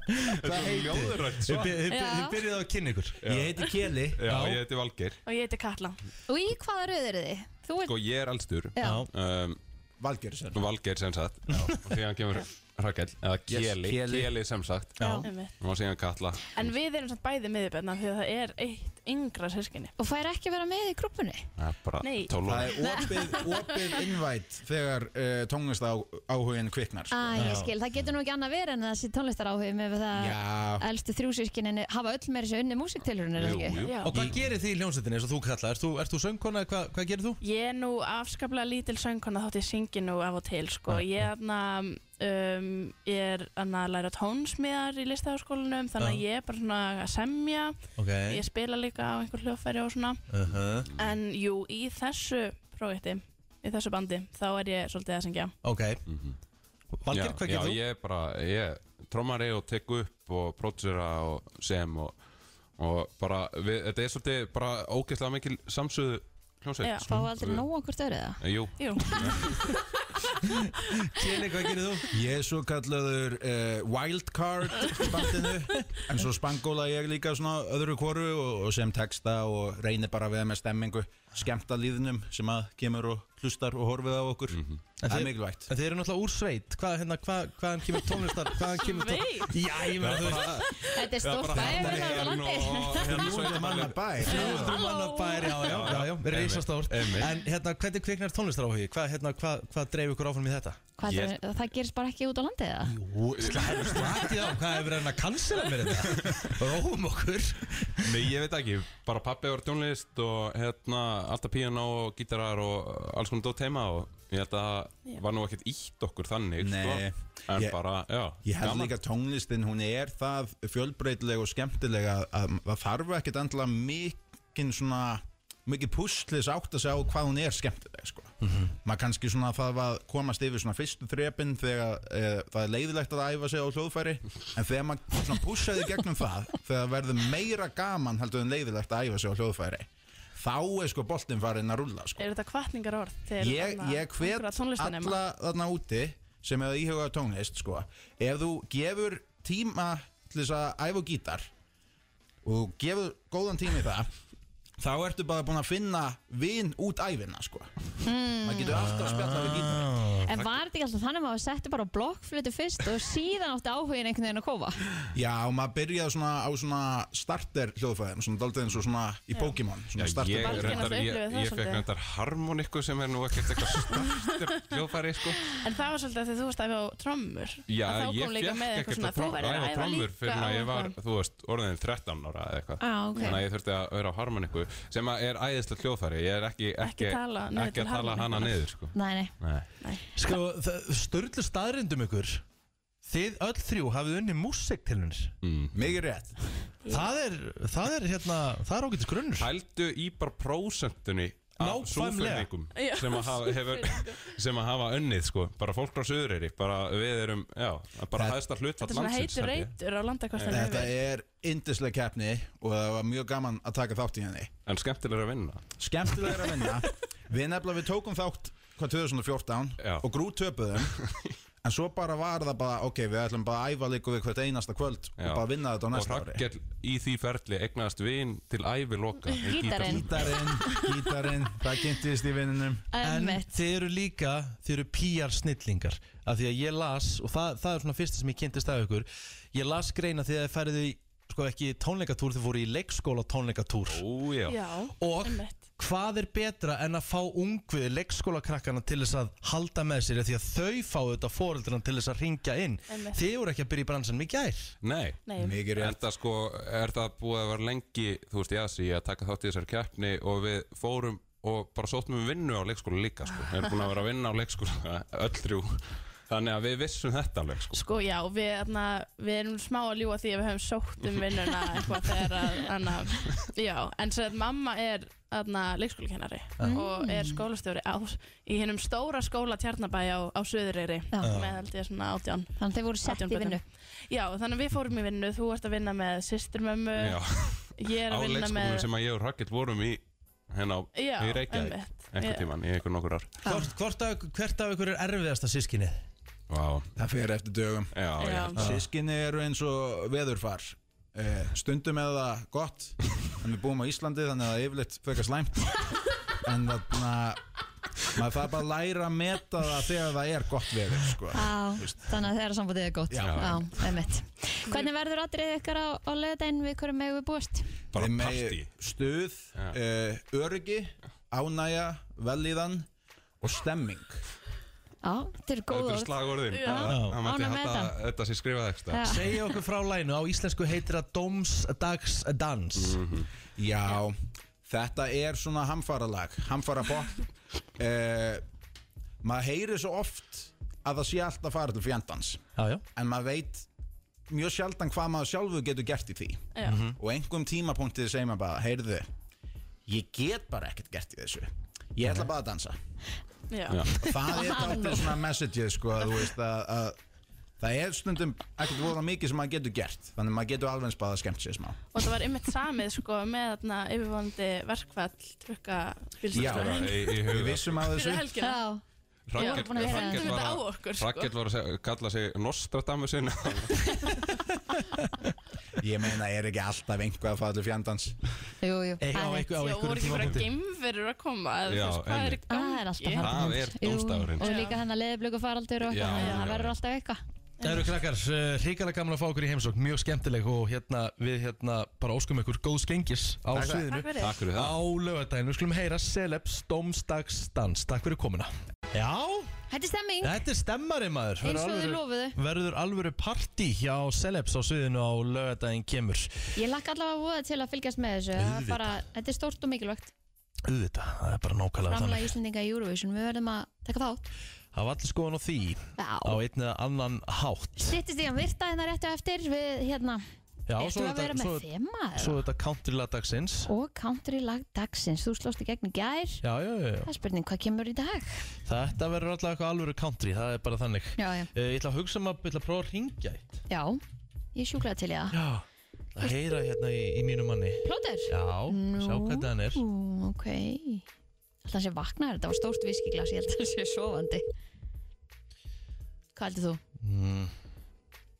Speaker 21: Hvað heitir?
Speaker 2: ljóðrænt svar. Þið by- þið by- Já. þið byrjuðu á að kynna ykkur
Speaker 21: Ég heiti Keli
Speaker 22: Já,
Speaker 2: Já.
Speaker 22: ég heiti Valgeir
Speaker 3: Og ég heiti Katla Og í hvaða röð eru þið? Þú ert
Speaker 22: Sko, ég er elstur
Speaker 3: Já.
Speaker 22: um,
Speaker 21: Valgeir sem sagt
Speaker 22: Valgeir sem sagt Og síðan kemur Rakel Eða
Speaker 21: Yes,
Speaker 22: Keli
Speaker 21: Keli.
Speaker 22: Keli sem sagt
Speaker 21: Já.
Speaker 23: Einmitt.
Speaker 22: Og síðan Katla
Speaker 2: Sko-
Speaker 23: En við erum samt bæði miðurbenna því að það er eitt yngra sískinni.
Speaker 3: Og fær ekki að vera með í grúpunni?
Speaker 22: Það er bara
Speaker 23: Nei.
Speaker 22: 12
Speaker 21: Það
Speaker 22: ára
Speaker 21: er opið, opið innvætt þegar uh, tónlist á, áhugin kviknar sko.
Speaker 3: Æ, Ah, ég skil, það getur nú ekki annað verið en þessi tónlistar áhug með það
Speaker 21: Já.
Speaker 3: elstu þrjúsískinni hafa öll meira sér unni
Speaker 21: Uh,
Speaker 3: músiktilurinn er það ekki?
Speaker 2: Og hvað gerir þið í hljónsettinni eins og þú kalla? Ert þú, ert þú söngkona? eða Hvað, hvað gerir
Speaker 21: Mhm.
Speaker 2: þú?
Speaker 23: Ég er nú afskaplega lítil söngkona þótt ég syngi nú af og til sko. Ég er þarna, um, ég er þarna að læra tónsmiðar í listaháskólanum þannig að
Speaker 2: Já.
Speaker 23: ég er bara svona að semja.
Speaker 2: Ok.
Speaker 23: Ég spila líka á einhver hljófæri og svona.
Speaker 2: Uh -huh.
Speaker 23: En jú, í þessu projekti, í þessu bandi, þá er ég svolítið að syngja.
Speaker 2: Ok
Speaker 21: Mhm.
Speaker 2: Valgeir,
Speaker 22: Já,
Speaker 2: hvað gerir
Speaker 22: já,
Speaker 2: þú?
Speaker 22: Ég er bara, ég er trommari og tek upp og pródusera og sem og, og bara, við, þetta er svolítið bara ógeðslega mikil samsöðu hljómsveit Sko.
Speaker 3: Já, fá aldrei nóg okkur störið það?
Speaker 22: Jú,
Speaker 3: Jú
Speaker 21: Keli,
Speaker 2: hvað gerir þú?
Speaker 21: Ég er svo kallaður uh, wildcard bandinu En svo spangóla ég líka svona öðru hvoru og, og sem texta og reynir bara við með stemmingu Skemmta líðnum sem að kemur og hlustar og horfið á okkur
Speaker 22: Mhm.
Speaker 2: En
Speaker 21: Það
Speaker 2: þið-
Speaker 21: er mikilvægt
Speaker 2: En þið eru náttúrulega úr sveit Hvað, hérna, hvað, hvaðan kemur tónlistar? Hvaðan kemur tónlistar?
Speaker 21: Sveit?
Speaker 2: Já, ég meina þú veist
Speaker 3: Þetta er stórt bæ
Speaker 21: bæði
Speaker 3: hérna á landi.
Speaker 2: hérna
Speaker 21: bæ
Speaker 2: Þrjúðum manna bær, já, já, já, já,
Speaker 22: Einmitt,
Speaker 2: reysastórt
Speaker 22: einmitt.
Speaker 2: En hérna, hvernig kviknar tónlistar áhugi? Hvað, hérna, hvað, hvað dreif ykkur áfram í þetta?
Speaker 3: Hvað, það- Það gerist bara ekki út á landið eða?
Speaker 2: Jú, slakið á, hvað hefur hann að cancela mér þetta? Róum okkur
Speaker 22: Nei, ég veit ekki, bara pappi var tónlist og hérna alltaf píano og gítarar og alls konar dótt heima og ég held að það var nú ekkert ítt okkur þannig
Speaker 21: Nei,
Speaker 22: sko, en
Speaker 21: ég-
Speaker 22: bara, já
Speaker 21: Ég held
Speaker 22: gaman.
Speaker 21: líka að tónlistin, hún er það fjölbreytileg og skemmtileg að, að það þarf ekkert endilega mikinn svona mikið púslis átt að sjá hvað hún er skemmtileg sko.
Speaker 22: Mhm.
Speaker 21: maður kannski svona það að komast yfir svona fyrstu þrepin þegar e, það er leiðilegt að æfa sig á hljóðfæri en þegar maður svona pússaði gegnum það þegar verður meira gaman heldur en leiðilegt að æfa sig á hljóðfæri þá er sko boltinn farinn að rulla sko
Speaker 23: Er þetta kvartningar orð til
Speaker 21: ég,
Speaker 23: þarna
Speaker 21: ég hvet
Speaker 23: ungra tónlistarnema?
Speaker 21: alla þarna úti sem hefur íhugað tónlist sko. ef þú gefur tíma til þess að æfa á gítar og þú gefur góðan tíma í það þá ertu bara búin að finna vin út æfina sko.
Speaker 3: Mm.
Speaker 21: maður getur alltaf að spjalla við gítar
Speaker 3: En var þetta ekki alltaf þannig að maður setti bara á blokkflötu fyrst og síðan átti áhugin einhvern veginn að kofa?
Speaker 21: Já, og maður byrjaði svona á svona starter hljóðfæðum, svona daldið eins og svona í
Speaker 3: Já.
Speaker 21: Pokémon,
Speaker 22: Já,
Speaker 21: svona starter
Speaker 22: ég hérna.
Speaker 21: hljóðfæri.
Speaker 22: reyndar, ég, ég fekk reyndar harmoniku sem er nú ekkert eitthvað startur hljóðfæri sko.
Speaker 23: En það var svolítið að þú veist að við á trommur
Speaker 22: Já,
Speaker 23: Að þá
Speaker 22: ég
Speaker 23: kom líka
Speaker 22: fekk
Speaker 23: með
Speaker 22: ekkert
Speaker 23: eitthvað svona
Speaker 22: að
Speaker 23: Þú
Speaker 22: tró-
Speaker 23: verður að
Speaker 22: æfa
Speaker 23: æfa
Speaker 22: trommur
Speaker 23: líka
Speaker 22: fyrir að
Speaker 23: á
Speaker 22: ég var,
Speaker 23: eitthvað.
Speaker 22: þú veist, orðin 13 ára eða eitthvað
Speaker 23: Á, ok.
Speaker 22: Þannig að ég þurfti að vera á harmoniku sem að er æðislega hljóðfæri Ég er ekki, ekki,
Speaker 23: Ekki tala niður
Speaker 22: ekki
Speaker 23: til
Speaker 22: að tala hana
Speaker 23: harmoníkunnar.
Speaker 22: niður sko.
Speaker 3: Nei, nei
Speaker 22: Nei.
Speaker 2: Sko, störlu staðrindum ykkur Þið öll þrjú hafið unni músiktilunir
Speaker 22: mm.
Speaker 21: Mikið rétt
Speaker 2: það er, það er hérna, það er ágætis grunnur
Speaker 22: Pældu í bara prósentunni af
Speaker 2: Nákvæmlega.
Speaker 22: súflendingum
Speaker 2: Já,
Speaker 22: sem að hafa, hefur, sem að hafa önnið sko. bara fólk á Suðureyri bara við erum, já, bara hæðsta
Speaker 23: Þetta
Speaker 22: hlutfall
Speaker 23: er svona heitur
Speaker 22: held ég.
Speaker 23: reytur á landakostinu
Speaker 21: Þetta er yndislega keppni og það var mjög gaman að taka þátt í henni
Speaker 22: En skemmtilega að vinna
Speaker 21: Skemmtilega að vinna Við nefnilega við tókum þátt hvað 2014 Já. og grú töpuðum En svo bara var það bara, ok, við ætlum bara að æfa líku við hvert einasta kvöld og bara vinna þetta á
Speaker 22: og
Speaker 21: næsta ári
Speaker 22: Raggell í því ferli egnaðist vin til ævi loka
Speaker 3: Gítarinn.
Speaker 21: Gítarinn, gítarinn, það kynntist í vinninum
Speaker 2: En
Speaker 3: Einmitt.
Speaker 2: þið eru líka, þið eru PR snillingar Af því að ég las, og það, það er svona fyrsta sem ég kynntist af ykkur Ég las greina því að þið færið í, sko ekki tónleikatúr Þið fóru í leikskóla tónleikatúr
Speaker 22: Ó, já.
Speaker 23: Já,
Speaker 2: Og
Speaker 23: einmitt.
Speaker 2: hvað er betra en að fá ungvið leikskólakrakkana til þess að halda með sér af Því að þau fá þetta fóreldrana til þess að ringja inn
Speaker 23: Einmitt.
Speaker 2: Þið voru ekki að byrja í bransanum í gær
Speaker 22: Nei,
Speaker 23: Nei.
Speaker 21: Mikið rétt.
Speaker 22: en það sko er það búið að vera lengi þú veist, í Asi að taka þátt í þessari keppni og við fórum og bara sóttum við vinnu á leikskóla líka sko. við erum búin að vera að vinna á leikskóla öll þrjú þannig að við vissum þetta alveg sko.
Speaker 23: Sko já, við, na, við erum smá að ljúa því að við höfum sótt um vinnuna eitthvað þegar að, anna, já, en sem sagt mamma er anna, leikskólakennari
Speaker 22: Ah.
Speaker 23: og
Speaker 3: Mm.
Speaker 23: er sko- skólastjóri á, í hinnum stóra skóla Tjarnabæ á, á Suðureyri
Speaker 3: Já.
Speaker 23: með held ég svona átján
Speaker 3: Þannig þeir voru sett í vinnu
Speaker 23: Já, þannig að við fórum í vinnu, þú ert að vinna með sýsturmömmu,
Speaker 22: Já.
Speaker 23: ég er
Speaker 22: á
Speaker 23: að vinna
Speaker 22: leikskólanum
Speaker 23: með
Speaker 22: sem að ég og Rakel vorum í hérna á,
Speaker 23: Já,
Speaker 22: í Reykjavík
Speaker 23: einmitt.
Speaker 22: einhvern
Speaker 23: Já.
Speaker 22: tíman, í einhver nokkur ár
Speaker 2: Hvort, hvort af, Hvert af ykkur er erfiðasta sískinið?
Speaker 22: Vá.
Speaker 21: Það fer eftir dögum Ah.
Speaker 22: Já,
Speaker 21: já.
Speaker 22: Já.
Speaker 21: Sískinni eru eins og veðurfar eh, Stundum er það gott En við búum á Íslandi þannig að það er yfirleitt frekar slæmt En þarna Maður þarf bara að læra að meta það þegar það er gott veður sko.
Speaker 3: Á, þannig að þeirra sambandið er gott
Speaker 21: Já.
Speaker 3: Á, einmitt Hvernig verður atrið ykkar á, á löðdæn við hverju megum við búast?
Speaker 22: Bara
Speaker 21: partí Stuð, eh, öryggi, ánægja, velíðan Og stemming
Speaker 3: Á, þetta eru góð
Speaker 22: Þetta
Speaker 3: orð
Speaker 22: er slagorðin
Speaker 3: Já,
Speaker 22: Það mætti
Speaker 3: ánægð með
Speaker 22: halda
Speaker 3: þetta.
Speaker 22: að þetta sé skrifað ekstra
Speaker 2: Segja okkur frá læginu, á íslensku heitir það Dómsdagsdans
Speaker 22: Mhm.
Speaker 21: Já, þetta er svona hamfaralag, hamfarabopp eh, Maður heyrir svo oft að það sé allt að fara til fjandans
Speaker 2: já, já.
Speaker 21: En maður veit mjög sjaldan hvað maður sjálfu getur gert í því
Speaker 23: Já. Mhm.
Speaker 21: Og einhverjum tímapunktið segir maður bara, heyrðu Ég get bara ekkert gert í þessu Ég ætla bara að dansa
Speaker 23: Já.
Speaker 21: Það er dálítið svona messageið sko að þú veist að, að það er stundum ekkert voða mikið sem maður getur gert Þannig að maður getur alveg eins bara skemmt sér smá
Speaker 23: Og það var einmitt samið sko með þarna yfirvonandi verkfall trukka
Speaker 21: Já,
Speaker 23: bílstæðstæðan.
Speaker 22: í- í huga.
Speaker 21: við vissum að þessu
Speaker 23: Fyrir helgina. Já,
Speaker 22: Rakel,
Speaker 23: búin að vera-
Speaker 22: Rakel,
Speaker 23: Fundum
Speaker 22: var,
Speaker 23: þetta á
Speaker 22: að-
Speaker 23: okkur, sko.
Speaker 22: Rakel var að seg- kalla sig hérna. Nostradamusin
Speaker 21: Ég meina, er ekki alltaf einhvað að fara til fjandans?
Speaker 3: Jú, jú
Speaker 21: Eitthvað á
Speaker 23: Já,
Speaker 21: eitthvað
Speaker 23: voru ekki bara geimverur að koma eða
Speaker 21: Já,
Speaker 23: þú veist hvað er í
Speaker 21: einmitt.
Speaker 3: Ah, Það
Speaker 23: gangi?
Speaker 3: er alltaf
Speaker 22: Það er dómstafurinn
Speaker 3: Og líka hann að leðblöku faraldur og
Speaker 2: Já,
Speaker 3: eitthvað þannig að
Speaker 2: já,
Speaker 3: Það verður
Speaker 2: já.
Speaker 3: alltaf eitthvað
Speaker 2: Það eru krakkar, eh, hrikalega gaman að fá okkur í heimsókn, mjög skemmtileg og hérna við hérna bara óskum ykkur góðs gengis á
Speaker 21: Takk fyrir.
Speaker 2: sviðinu
Speaker 21: Takk fyrir. Takk fyrir
Speaker 2: á lögadaginu. Við skulum heyra Celebs Dómstagsdans, takk fyrir komuna. Já,
Speaker 3: Þetta er stemming
Speaker 2: þetta er stemmari maður.
Speaker 3: Eins og
Speaker 2: Verður
Speaker 3: þau
Speaker 2: alvöru-
Speaker 3: lofuðu.
Speaker 2: Verður alvöru partí hjá Celebs á sviðinu á lögadagin kemur.
Speaker 3: Ég lakka allavega voða til að fylgjast með þessu Það er
Speaker 2: Auðvitað.
Speaker 3: bara, Þetta er stórt og mikilvægt
Speaker 2: Auðvitað, það er bara nákvæmlega
Speaker 3: Framlega
Speaker 2: þannig.
Speaker 3: Íslendinga í Eurovision Við verðum að taka þátt
Speaker 2: Það var allir skoðan á því
Speaker 3: Já.
Speaker 2: á einn eða annan hátt.
Speaker 3: Sittist í hann virta hérna réttu eftir Við hérna
Speaker 2: Já,
Speaker 3: Ertu að vera með þema? eða?
Speaker 2: svo þetta country lag dagsins.
Speaker 3: Og country lag dagsins Þú slóst í gegn í gær
Speaker 2: Já, já, já, já.
Speaker 3: Það er spurning hvað kemur í dag
Speaker 2: Þetta verður alltaf eitthvað alvöru country, það er bara þannig
Speaker 3: Já, já.
Speaker 2: Eh, Ég ætla að hugsa maður, ég ætla að prófa að ringja eitt
Speaker 3: Já, ég er sjúklega til í það
Speaker 2: Já Að heyra hérna í, í mínu manni
Speaker 3: Plóter?
Speaker 2: Já, sjá hvernig hann er
Speaker 3: Nú, Ok Alltaf sé vaknaður, þetta var stórt viskiglas Ég held að það sé sofandi Hvað heldur þú?
Speaker 2: mm.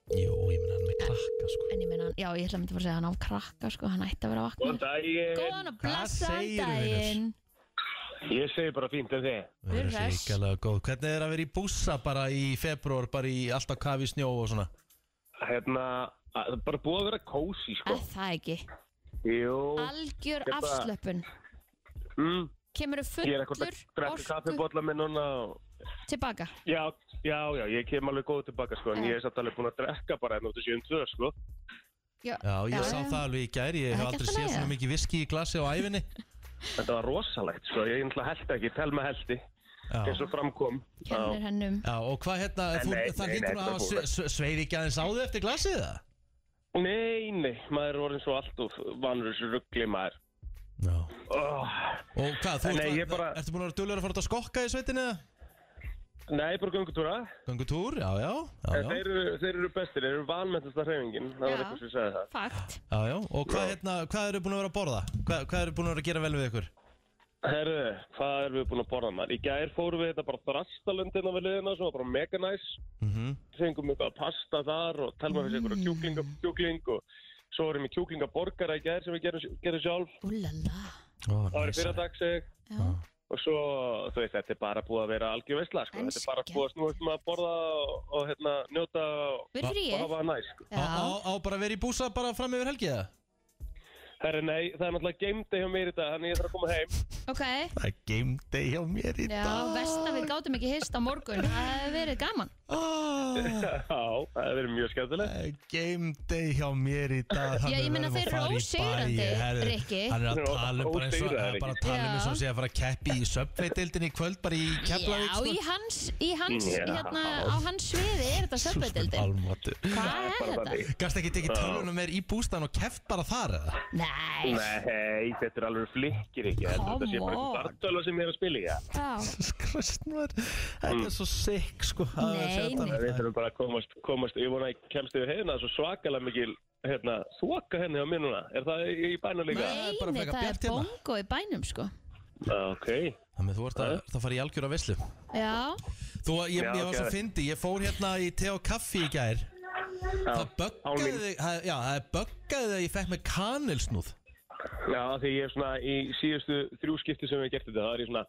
Speaker 2: Jó, ég meina hann er með krakka sko.
Speaker 3: En ég meina, hann- já, ég ætla að mynda bara að segja hann á krakka sko, hann ætti að vera vakna
Speaker 4: Góðan daginn
Speaker 3: Góðan og
Speaker 4: Hvað
Speaker 3: blessaðan
Speaker 4: segirðu,
Speaker 3: daginn
Speaker 4: Ég segi bara fínt en þið
Speaker 2: Það er
Speaker 3: hress.
Speaker 2: ríkalega góð Hvernig er að vera í bússa bara í februar bara í alltaf kafi í snjó og svona
Speaker 4: Hérna, að- það er bara búið að vera kósi sko
Speaker 3: Er Það ekki
Speaker 4: Jú
Speaker 3: Algjör
Speaker 4: Hérna,
Speaker 3: afslöpun
Speaker 4: mm,
Speaker 3: Kemurðu
Speaker 4: Ég er ekkert
Speaker 3: fullur
Speaker 4: að drekka kaffibólla minn núna og-
Speaker 3: tilbaka
Speaker 4: Já, já, já, ég kem alveg góð tilbaka sko En
Speaker 3: Já.
Speaker 4: ég er samt alveg búin að drekka bara hérna út í 7.2 sko
Speaker 3: Já,
Speaker 2: Já, ég sá það alveg í gær
Speaker 4: Það er
Speaker 2: Ég hef
Speaker 4: ekki allt í
Speaker 2: aldrei séð
Speaker 4: lagi,
Speaker 2: svona
Speaker 4: það?
Speaker 2: mikið viski í glasi á æfinni
Speaker 4: Þetta var rosalegt sko, ég náttúrulega held ekki, tel með heldi
Speaker 2: Já.
Speaker 4: eins og framkom
Speaker 3: Kennir hennum
Speaker 2: Já, og hvað hérna,
Speaker 4: Nei,
Speaker 2: þú,
Speaker 4: nei,
Speaker 2: það
Speaker 4: nei, nei,
Speaker 2: hlýtur að
Speaker 4: það er
Speaker 2: hafa
Speaker 4: búið.
Speaker 2: sve- sve- sveið ekki aðeins á þig eftir glasið það?
Speaker 4: Nei, nei, maður er orðin svo allt og vanur þessu ruggli maður Já
Speaker 2: Og hvað, þú
Speaker 4: Nei,
Speaker 2: ert,
Speaker 4: ég bara-
Speaker 2: ertu búin að vera dullur að fara út að skokka í sveitinni?
Speaker 4: Nei, bara göngutúra
Speaker 2: Göngutúr, já, já, já,
Speaker 4: En
Speaker 2: já,
Speaker 4: þeir, eru, þeir eru bestir, þeir eru vanmennasta hreyfingin Það
Speaker 3: Já.
Speaker 4: var eitthvað sem sagði það
Speaker 3: Fakt
Speaker 2: já, já. Og hvað, hérna, hvað eru búin að vera að borða? Hvað, hvað eru búin að vera að gera vel við ykkur?
Speaker 4: Herðu, hvað erum við búin að borða maður? Í gær fórum við þetta bara drastalöndina við liðina sem var bara mega næs
Speaker 2: Mhm.
Speaker 4: Fengum eitthvað pasta þar og telma fyrir
Speaker 3: Mm.
Speaker 4: einhverja kjúklinga, kjúkling og svo vorum við kjúklingaborgara í gær sem við gerum, gerum sjálf
Speaker 3: Úlala
Speaker 2: Það
Speaker 4: var í fyrra dag seg Og svo, þú veist, þetta er bara búið að vera algjör veistla, sko. Þetta er bara búið að snúa um að borða og, og hérna, njóta og,
Speaker 2: Verið fríið.
Speaker 4: og hafa það næs, sko.
Speaker 2: Á, á, á bara að vera í búsa bara fram yfir helgiða?
Speaker 4: Herri, nei, það er náttúrulega geimdi hjá mér í dag, þannig ég þarf að koma heim.
Speaker 3: Ok,
Speaker 2: Það er game day hjá mér
Speaker 3: já, vest að við gátum ekki hist á morgun Það hefur verið gaman
Speaker 4: Ah. Já, það verður mjög skemmtilegt.
Speaker 2: Game day hjá mér í dag hann
Speaker 3: Já, ég
Speaker 2: er
Speaker 3: meina, þeir
Speaker 2: verið að
Speaker 3: eru
Speaker 2: fara í
Speaker 3: ósigrandi,
Speaker 2: bæ, herðu,
Speaker 3: Rikki.
Speaker 2: Hann er að
Speaker 3: Þeir eru
Speaker 2: tala um bara eins og
Speaker 4: ósigraðir,
Speaker 2: bara að
Speaker 4: Rikki.
Speaker 2: tala um eins og
Speaker 3: Já.
Speaker 2: hann sé að fara að keppi í söpveideildin í kvöld bara í Keflavík sko.
Speaker 3: Já, í hans, í hans,
Speaker 2: Já.
Speaker 3: hérna, á hans sviði er þetta söpveitildin
Speaker 2: Almáttu
Speaker 3: Hvað er þetta?
Speaker 2: Gast ekki tekið
Speaker 4: Já.
Speaker 2: tölvunum með í bústan og keft bara þar eða?
Speaker 3: Nei
Speaker 4: Nei, þetta er alveg flikkir ekki. Þetta sé bara
Speaker 2: Come on.
Speaker 4: einhver dartölu sem ég er að spila í það.
Speaker 2: Jesus Christ, maður Þetta er svo sick, sko
Speaker 4: Við þurfum bara að komast, komast, ég vona að ég kemst yfir hérna, svo svakalega mikil, hérna, þoka henni á mér núna. Er það í, í bæna líka?
Speaker 3: Eini, það er bongo í bænum, sko
Speaker 4: Ok.
Speaker 2: Þannig þú ert að það fara í algjöra veislu
Speaker 3: Já,
Speaker 2: Þú, ég,
Speaker 4: Já,
Speaker 2: ég var svo
Speaker 4: geðveikt.
Speaker 2: fyndi, ég fór hérna í te og kaffi í gær Það böggaði
Speaker 4: mín.
Speaker 2: þig, það- já, það böggaði þig að ég fekk með kanilsnúð
Speaker 4: Já, því ég er svona í síðustu þrjú skipti sem við hefum gert þetta, það er ég svona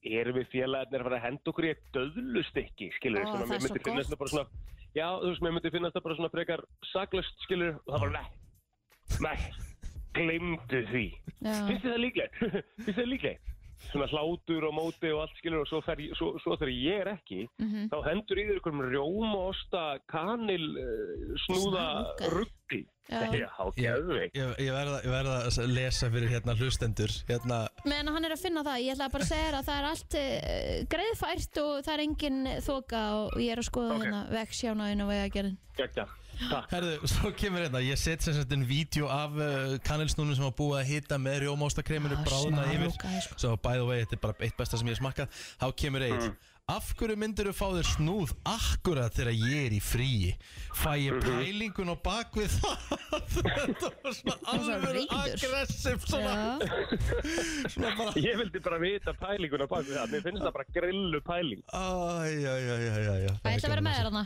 Speaker 4: erum við félagarnir að fara að henda okkur í eitt döðlustykki, skilur
Speaker 3: Ó,
Speaker 4: svona,
Speaker 3: það er
Speaker 4: mér myndi
Speaker 3: svo
Speaker 4: finnast
Speaker 3: gott.
Speaker 4: það bara svona já, þú veist, mér myndi finnast það bara svona frekar saklust, skilur, og það bara nei, nei, glemdu því
Speaker 3: Já.
Speaker 4: finnst þið það líklegt finnst þið það líklegt svona hlátur og móti og allt skilur og svo, fer, ég- svo, svo þegar ég er ekki
Speaker 3: Mhm.
Speaker 4: þá hendur í þér einhverjum rjómaosta kanil uh, snúða
Speaker 3: Snúðar.
Speaker 4: ruggi
Speaker 3: Já.
Speaker 2: Ég, ég, ég verða verð að lesa fyrir hérna hlustendur hérna,
Speaker 3: meðan hann er að finna það Ég ætla bara að segja þér að það er allt uh, greiðfært og það er engin þoka og ég er að skoða okay. hérna veksjánaðin og vegagerðin
Speaker 4: Gekka
Speaker 2: Herðu, svo kemur hérna Ég set sem sagt einn vídeo af uh, kanilsnúðum sem var búið að hita með rjómástakreminu
Speaker 3: Já,
Speaker 2: bráðna
Speaker 3: smá
Speaker 2: yfir
Speaker 3: Ah, lokaði, sko.
Speaker 2: Svo by the way, þetta er bara eitt besta sem ég hef smakkað Þá kemur eitt Af hverju myndir þú fá þér snúð akkurat þegar ég er í fríi? Fæ ég pælingun á bakvið það? þetta var svona alveg aggressiv svona Svona bara
Speaker 4: Ég vildi bara vita pælinguna bak við það Mér finnst það bara grillu pæling
Speaker 2: Æjæjæjæjæ
Speaker 3: Það ætla að vera með þér hana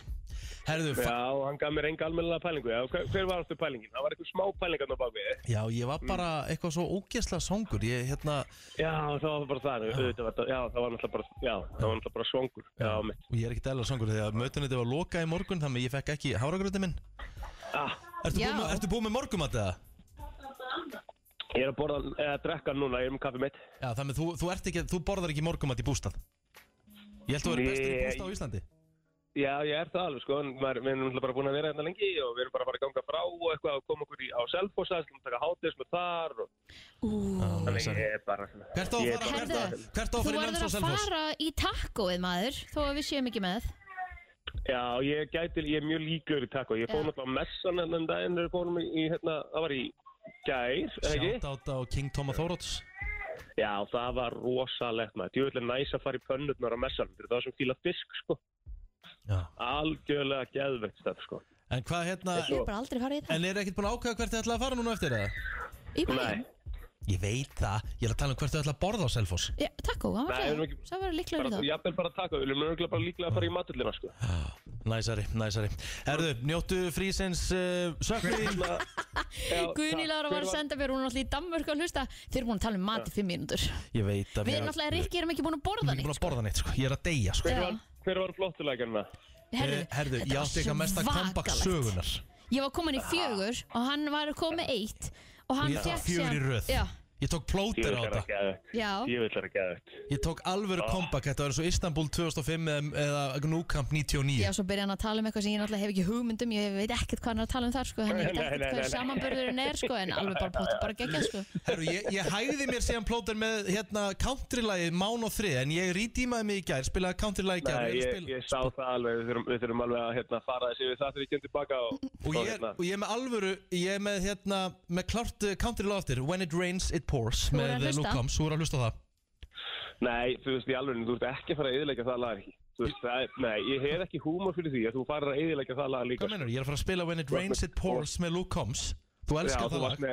Speaker 2: Herðu, fa-
Speaker 4: Já, hann gaf mér enga almennilega pælingu já, hver, hver var aftur pælingin? Það var eitthvað smá pælingarn á bak við
Speaker 2: Já, ég var bara eitthvað svo ógeðslega songur Ég, hérna,
Speaker 4: Já, það var bara það auðvitað var þetta- Já, það var náttúrulega bara, já, það var náttúrulega bara svangur Já, mitt
Speaker 2: og ég er ekkert eðla songur Þegar mötunandi var lokað í morgun Þannig að ég fekk ekki háragröti minn
Speaker 4: ah,
Speaker 2: Ertu
Speaker 4: Já.
Speaker 2: búinn með, ertu búin með morgumat eða?
Speaker 4: Ég er að borða, eða drekka núna, ég er með kaffi mitt
Speaker 2: Já, þannig að þú, þú, ert ekki, þú borðar ekki morgumat í bústað Ég held að þú verið bestur í
Speaker 4: Nei.
Speaker 2: bústað á Íslandi
Speaker 4: Já, ég er það alveg, sko, en maður, við erum náttúrulega bara búin að vera hérna lengi og við erum bara að fara að ganga frá og eitthvað að koma okkur í, á Selfoss, að taka hátis með þar og... Þannig ég er bara svona...
Speaker 2: Hvert á að
Speaker 4: Ég er
Speaker 2: fara-
Speaker 4: bara-
Speaker 2: hvert á- hvert á
Speaker 3: Þú
Speaker 2: að fara í
Speaker 3: verður
Speaker 2: náms á
Speaker 3: að
Speaker 2: Selfoss?
Speaker 3: fara í takkóið maður þó að við séum ekki með
Speaker 4: Já, ég gæti, ég er mjög líkur í takko. Ég fór náttúrulega á messan ennum daginn þegar við fórum í, í, hérna, það var í gær, eða Eh, ekki?
Speaker 2: Sjátt á King Toma Þóróts
Speaker 4: Já, það var rosalegt maður. Ég vil næs að fara í pönnurnar á messanum. Það var sem fíla fisk, sko.
Speaker 2: Já.
Speaker 4: Algjörlega geðvegt stöf, sko.
Speaker 2: En hvað hérna
Speaker 3: Ég er bara aldrei farið í það
Speaker 2: En er ekkert búin að ákveða hvert þið ætlaði að fara núna eftir það?
Speaker 3: Í bæinn?
Speaker 2: Ég veit það, ég er að tala um hvert þau ætla að borða á Selfoss
Speaker 3: Já, takk og það
Speaker 2: Nei,
Speaker 3: var
Speaker 2: við erum
Speaker 3: ekki Það var líklega við
Speaker 4: Bara,
Speaker 3: það
Speaker 4: jafnvel bara taka, við erum örgulega bara líklega að fara í matullina sko.
Speaker 2: Næsari, næsari Herðu, njóttu frísins uh, sökri
Speaker 3: Guðni Lára var að senda mér, hún er alltaf í Danmörku að hlusta Þeir eru búin að tala um mat í fimm mínútur
Speaker 2: Ég veit að
Speaker 3: Við erum alltaf, Rikki erum ekki búin að borða
Speaker 2: Ég er búin að borða neitt, sko. ég er að deyja sko.
Speaker 3: Hver var- Já.
Speaker 4: Hver var hérna? flottuleikarna?
Speaker 3: Herðu,
Speaker 2: Eh, herðu
Speaker 3: þetta
Speaker 2: ég
Speaker 3: var
Speaker 2: átti eitthvað mesta
Speaker 3: svakalegt.
Speaker 2: comeback sögunar
Speaker 3: Ég var komin í fjögur og hann var komið eitt og
Speaker 2: og
Speaker 3: hann
Speaker 2: Ah. ég tók
Speaker 3: fékk
Speaker 2: fjögur í
Speaker 3: síðan-
Speaker 2: röð
Speaker 3: Já,
Speaker 2: ég tók plóter á þetta
Speaker 3: já.
Speaker 4: Djöfullar Ah. að geða þetta
Speaker 2: ég tók alvöru comeback þetta var svo Istanbul 2005 eða, eða Núkamp 99
Speaker 3: Já, svo byrja hann að tala um eitthvað sem ég náttúrulega hef ekki hugmyndum Ég veit ekkert hvað hann er að tala um þar, sko Þannig ég veit
Speaker 2: Nei, nei,
Speaker 3: ekkert hvað
Speaker 2: nei, nei.
Speaker 3: samanbörðurinn er, sko En alveg bara potið bara gegja, sko
Speaker 2: Herru, ég, ég hægði mér síðan plóter með hérna countrylægi Mán og Þrið en ég rítímaði mig í gær, spilaði countrylægi í gær og
Speaker 4: Nei,
Speaker 2: ég er að
Speaker 4: ég, ég sá það alveg, við þurfum, við þurfum alveg að hérna, fara þessi við það þegar ég kem tilbaka og, hérna-
Speaker 2: Og ég, er, og ég er með alvöru, ég er með hérna, með klart uh, country loftir When it rains, it pours
Speaker 4: Þú er að
Speaker 2: með
Speaker 4: hlusta.
Speaker 2: Lukams, þú er að hlusta á það
Speaker 4: Nei, þú veist, í alveg, þú ert ekki að fara að yðurleika það lag ekki Þú veist, það er, nei, ég hef ekki húmor fyrir því að þú farir að yðurleika það lag líka sko.
Speaker 2: Hvað mennur, ég er að fara að spila When
Speaker 4: Þú
Speaker 2: it
Speaker 4: varst
Speaker 2: rains,
Speaker 4: með-
Speaker 2: it pours með Lukams Þú elskar það lag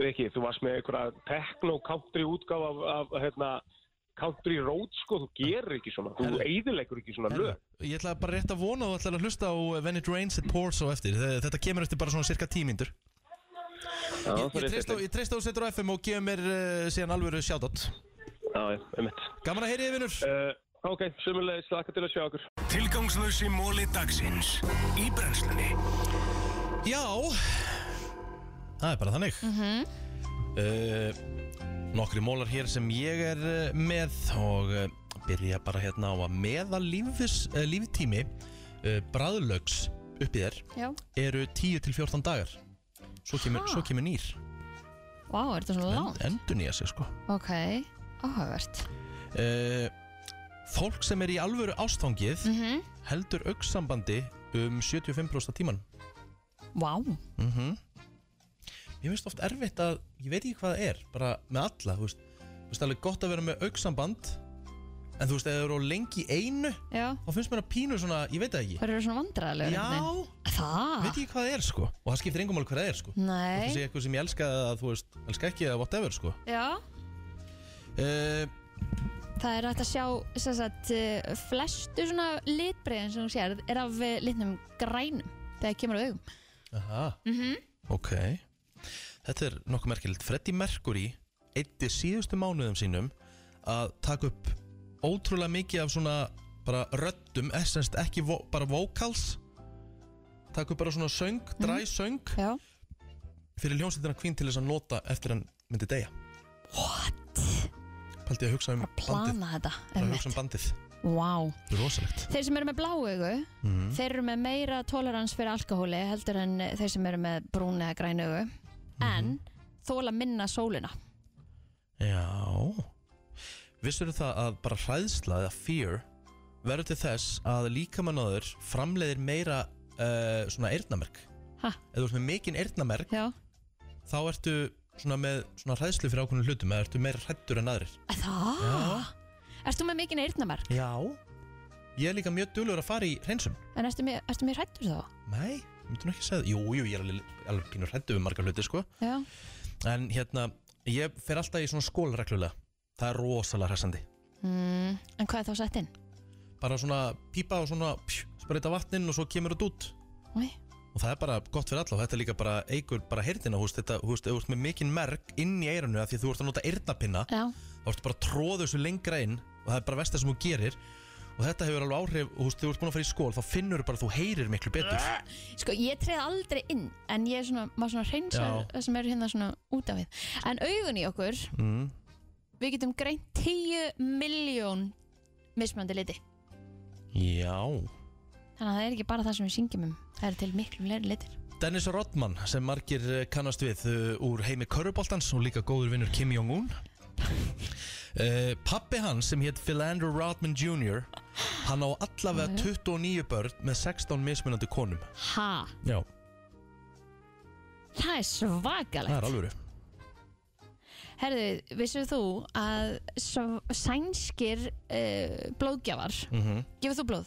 Speaker 4: Rikki, þú varst með einhverja techno-country útgáf af, af hérna, country road, sko, þú gerir ekki svona Þú eyðileggur ekki svona lög
Speaker 2: Ég ætla bara rétt að vona að þú ætlar að hlusta á eh, When it rains, it pours á eftir Þe- Þetta kemur eftir bara svona cirka tímindur
Speaker 4: Já,
Speaker 2: Ég,
Speaker 4: það
Speaker 2: ég
Speaker 4: er
Speaker 2: treyst á,
Speaker 4: rétt.
Speaker 2: ég treyst á að setja á FM og gefa mér uh, síðan alvöru shoutout
Speaker 4: Já, já, einmitt
Speaker 2: Gaman að heyriði, vinnur
Speaker 4: uh, Ok, sömulegis, þakka til að sjá okkur
Speaker 12: Tilgangslösi móli dagsins Í brennslunni
Speaker 2: Já Það er bara þannig
Speaker 12: mm -hmm.
Speaker 2: uh, Nokkri mólar hér sem ég er uh, með og uh, byrja bara hérna á að meða lífis, uh, líftími uh, bræðlaugs uppi þér
Speaker 3: Já.
Speaker 2: eru 10-14 dagar svo kemur,
Speaker 3: Ha?
Speaker 2: svo kemur nýr
Speaker 3: Vá, er þetta svona langt?
Speaker 2: endur nýja sig sko
Speaker 3: Ok, áhugavert
Speaker 2: uh, Fólk sem er í alvöru ástfangið
Speaker 3: Mhm.
Speaker 2: heldur auksambandi um 75% tíman
Speaker 3: Vá,
Speaker 2: mm Mér finnst oft erfitt að ég veit ekki hvað það er, bara með alla þú veist, þú veist alveg gott að vera með auksamband en þú veist, ef það eru lengi í einu,
Speaker 3: Já.
Speaker 2: þá finnst mér að pínu svona, ég veit það ekki,
Speaker 3: það eru svona vandræðilegur
Speaker 2: Já.
Speaker 3: einhvern veginn. Það?
Speaker 2: veit ekki hvað það er sko og það skiptir engum alveg hvað það er sko
Speaker 3: Ah. Nei.
Speaker 2: Það sé eitthvað sem ég elska að þú veist, elska ekki eða whatever sko
Speaker 3: Já,
Speaker 2: uh,
Speaker 3: það er hægt að sjá sem sagt, eh, flestu svona litbreiðin sem þú sér er af eh, litnum grænum þegar kemur á augum
Speaker 2: Aha,
Speaker 3: Mhm.
Speaker 2: ok Þetta er nokkuð merkilegt Freddie Mercury eitti síðustu mánuðum sínum að taka upp ótrúlega mikið af svona bara röddum, essence, ekki vo bara vocals taka upp bara svona söng, dræ söng
Speaker 3: Já.
Speaker 2: fyrir hljómsveitina Queen til þess að nota eftir hann myndi deyja What? Paldi að hugsa um bandið
Speaker 3: Plana þetta
Speaker 2: bara að hugsa um bandið,
Speaker 3: Vá wow.
Speaker 2: þetta er rosalegt
Speaker 3: Þeir sem eru með blá augu
Speaker 2: Mhm.
Speaker 3: Þeir eru með meira tolerans fyrir alkohóli heldur en eh, þeir sem eru með brún eða græn augu En þóla minna sólina
Speaker 2: Já Vissur það að bara hræðsla eða fear verður til þess að líkamannáður framleiðir meira uh, svona eyrnamerk
Speaker 3: Ha?
Speaker 2: Ef þú ert með mikinn eyrnamerk
Speaker 3: Já.
Speaker 2: þá ertu svona með svona hræðslu fyrir ákveðnum hlutum eða ertu meira hrættur en aðrir
Speaker 3: Það? Ertu með mikinn eyrnamerk?
Speaker 2: Já Ég er líka mjög dulur að fara í hreinsum
Speaker 3: En ertu með, ertu með hrættur þá?
Speaker 2: Nei, myndu nú ekki segja það Jú, jú, ég er alveg, alveg pínur hrættu við marga hluti sko
Speaker 3: Já
Speaker 2: En hérna, ég fer alltaf í svona skóla reglulega Það er rosalega hræsandi
Speaker 3: mm. En hvað er þá sett inn?
Speaker 2: bara svona pípa og svona pjú, spreita vatnin og svo kemur þetta út
Speaker 3: Oj.
Speaker 2: og það er bara gott fyrir alla og þetta er líka bara eigur bara heyrðina, þú veist, þetta, þú veist, ef þú ert með mikinn merk inn í eirunu af því að þú ert að nota eirnapinna
Speaker 3: Já.
Speaker 2: þá ertu bara að tróða þessu lengra inn og það er bara versta sem þú gerir og þetta hefur alveg áhrif, og þú veist, þegar þú ert búin að fara í skól þá finnur bara að þú heyrir miklu betur
Speaker 3: Sko, ég treð aldrei inn En ég er svona, maður svona hreinsar
Speaker 2: Já.
Speaker 3: það sem eru hérna svona út af við En augun í okkur,
Speaker 2: mm.
Speaker 3: við getum greint 10 miljón mismöndi liti
Speaker 2: Já
Speaker 3: Þannig að það er ekki bara það sem við syngjum um Það er til miklu fleiri litir
Speaker 2: Dennis Rodman sem margir eh, kannast við uh, úr heimi Köruboltans og líka góður vinnur Kim Jong-un uh, Pappi hans sem hétt Philander Rodman Jr. Hann á allavega 29 börn með 16 mismunandi konum
Speaker 3: Ha,
Speaker 2: Já,
Speaker 3: það er svakalegt
Speaker 2: það er alvöru
Speaker 3: Herðu, vissur þú að svo- sænskir uh, blóðgjafar
Speaker 2: mm -hmm.
Speaker 3: Gefur þú blóð?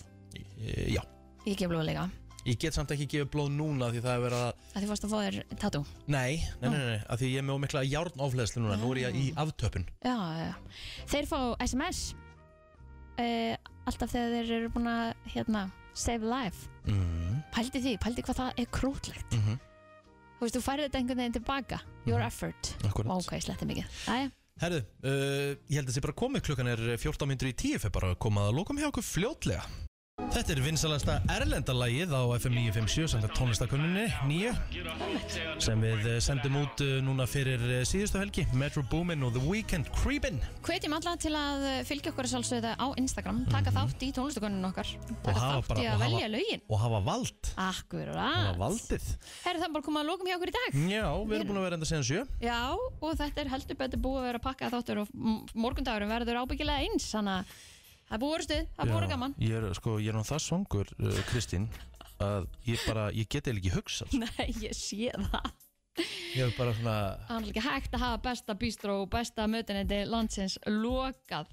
Speaker 2: Eh, Já,
Speaker 3: Ég gef blóð líka
Speaker 2: Ég get samt ekki gefið blóð núna því það er verið að
Speaker 3: að því varst að fá þér tattoo
Speaker 2: Nei, nei, nei, nei, að því ég er með ómikla járnofleðslu núna, nú er ég í aftöpun
Speaker 3: Já, já, já. Þeir fá SMS uh, alltaf þegar þeir eru búin að hérna, save life.
Speaker 2: mm.
Speaker 3: Pældi því, pældi hvað það er krútlegt.
Speaker 2: Mm
Speaker 3: Þú veist, þú færði þetta einhvern veginn tilbaka. Your effort.
Speaker 2: Mhm. Akkúrat.
Speaker 3: Ó, hvað ég sletti mikið. Æja,
Speaker 2: Herðu, uh, ég held að þessi bara komið klukkan er 14 myndur í 10 fyrir bara að koma að lokum hjá okkur fljótlega Þetta er vinsalasta erlendalagið á FM 957 samkvæmt tónlistakunninni, nýju sem við eh, sendum út eh, núna fyrir eh, síðustu helgi Metro Boomin og The Weekend Creepin
Speaker 3: hvetjum alla til að eh, fylgja okkur sjálfsögða á Instagram, taka þátt í tónlistakonunum okkar.
Speaker 2: Mhm. og
Speaker 3: Taka
Speaker 2: hafa,
Speaker 3: þátt í að
Speaker 2: og
Speaker 3: velja lögin.
Speaker 2: hafa, og hafa vald hafa
Speaker 3: Akkurat.
Speaker 2: valdið
Speaker 3: Herðu það bara komið að lokum hjá okkur í dag?
Speaker 2: Já, við erum búin að vera enda síðan sjö
Speaker 3: Já, og þetta er heldur betur búið að vera að pakka þáttur og m- morgundagurum verður ábyggilega eins, þannig að það er búið orðstuð, það er búið að vera
Speaker 2: Já,
Speaker 3: gaman.
Speaker 2: Ég er, sko, ég er nú það svangur, uh, Kristín að ég bara, ég get eiginlega ekki hugsað sko.
Speaker 3: Nei, ég sé það.
Speaker 2: Ég er bara svona
Speaker 3: Það er líka hægt að hafa besta bístró og besta mötunandi landsins lokað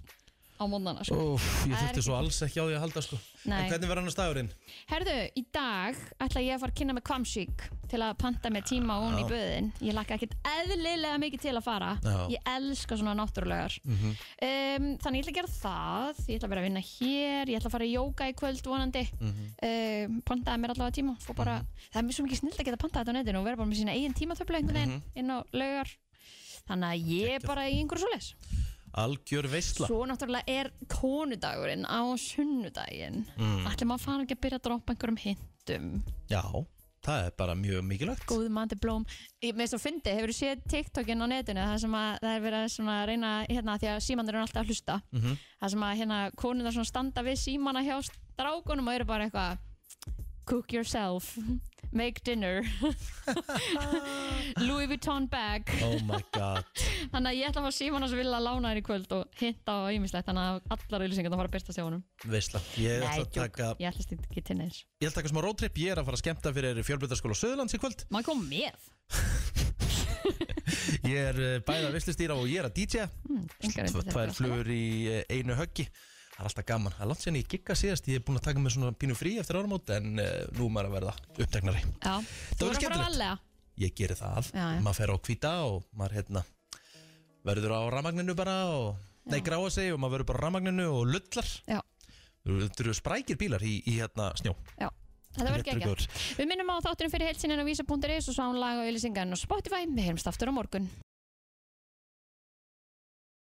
Speaker 3: á mónana. Sko.
Speaker 2: Óf,
Speaker 3: Það er
Speaker 2: ég þurfti
Speaker 3: ekki
Speaker 2: svo
Speaker 3: gott.
Speaker 2: alls ekki á því að halda sko
Speaker 3: Nei.
Speaker 2: En hvernig var annars dagurinn?
Speaker 3: Herðu, í dag ætla ég að fara að kynna með kvamsík til að panta með tíma og hún í
Speaker 2: Já.
Speaker 3: böðin. Ég lakka ekkert eðlilega mikið til að fara.
Speaker 2: Já.
Speaker 3: Ég elska svona náttúrulegar.
Speaker 2: Mhm.
Speaker 3: Um, þannig ég ætla að gera það, ég ætla að vera að vinna hér, ég ætla að fara í jóka í kvöld vonandi.
Speaker 2: Mhm.
Speaker 3: um, pantaði mér allavega tíma og bara, það er mjög svo mikið snild að geta pantað þetta á netinu og vera bara með sína eigin tímatöflu einhvern veginn
Speaker 2: Mhm.
Speaker 3: inn á laugar þannig að ég er bara í einhverju svoleiðis
Speaker 2: Algjör veistla
Speaker 3: svo náttúrulega er konudagurinn á sunnudaginn
Speaker 2: Mm.
Speaker 3: allir maður fara ekki að byrja að droppa einhverjum hintum
Speaker 2: Já, það er bara mjög mikilvægt
Speaker 3: góð mandi blóm Ég- með svo fyndi, hefur þú séð TikTokin á netinu það sem að það er verið að svona reyna hérna, því að símandir eru alltaf að hlusta
Speaker 2: Mhm.
Speaker 3: það sem að hérna konundar svona standa við símana hjá strákunum og eru bara eitthvað cook yourself, make dinner Louis Vuitton bag
Speaker 2: Oh my god
Speaker 3: þannig að ég ætla að fá símana sem vilja að lána þér í kvöld og hinta á ýmislegt þannig að allar auðlýsingar það fara að byrsta sjónum
Speaker 2: Veistla Ég ætla að
Speaker 3: djók,
Speaker 2: taka
Speaker 3: ég ætla að stýta ekki til neins
Speaker 2: Ég ætla að taka smá roadtrip, ég er að fara að skemmta fyrir fjölbyrðarskóla Söðurlands í kvöld
Speaker 3: maður kom með
Speaker 2: Ég er eh, bæði að veistlustýra og ég er að DJ
Speaker 3: Hmm, engar
Speaker 2: Tv-
Speaker 3: reyndar
Speaker 2: Tvær
Speaker 3: þetta.
Speaker 2: flugur í eh, einu höggi Það er alltaf gaman, það er langt síðan ég gigga síðast Ég er búin að taka mig svona pínu frí eftir áramót En uh, nú er maður að verða uppteknari
Speaker 3: já, þú
Speaker 2: verður
Speaker 3: verður að fara að
Speaker 2: skemmtilegt.
Speaker 3: valega
Speaker 2: Ég geri það,
Speaker 3: Já, já.
Speaker 2: maður fer á hvíta og maður hérna Verður á ramagninu bara og, Nei, gráa sig og maður verður bara á ramagninu og lullar
Speaker 3: Já.
Speaker 2: Þú eru sprækir bílar í, í hérna snjó
Speaker 3: Já, þetta verður
Speaker 2: Réttur
Speaker 3: ekki
Speaker 2: ykkur.
Speaker 3: Við minnum á þáttunum fyrir heilsininn á vísa.is og svo án laga og ylisingarinn á Spotify. Við heyrumst aftur á morgun.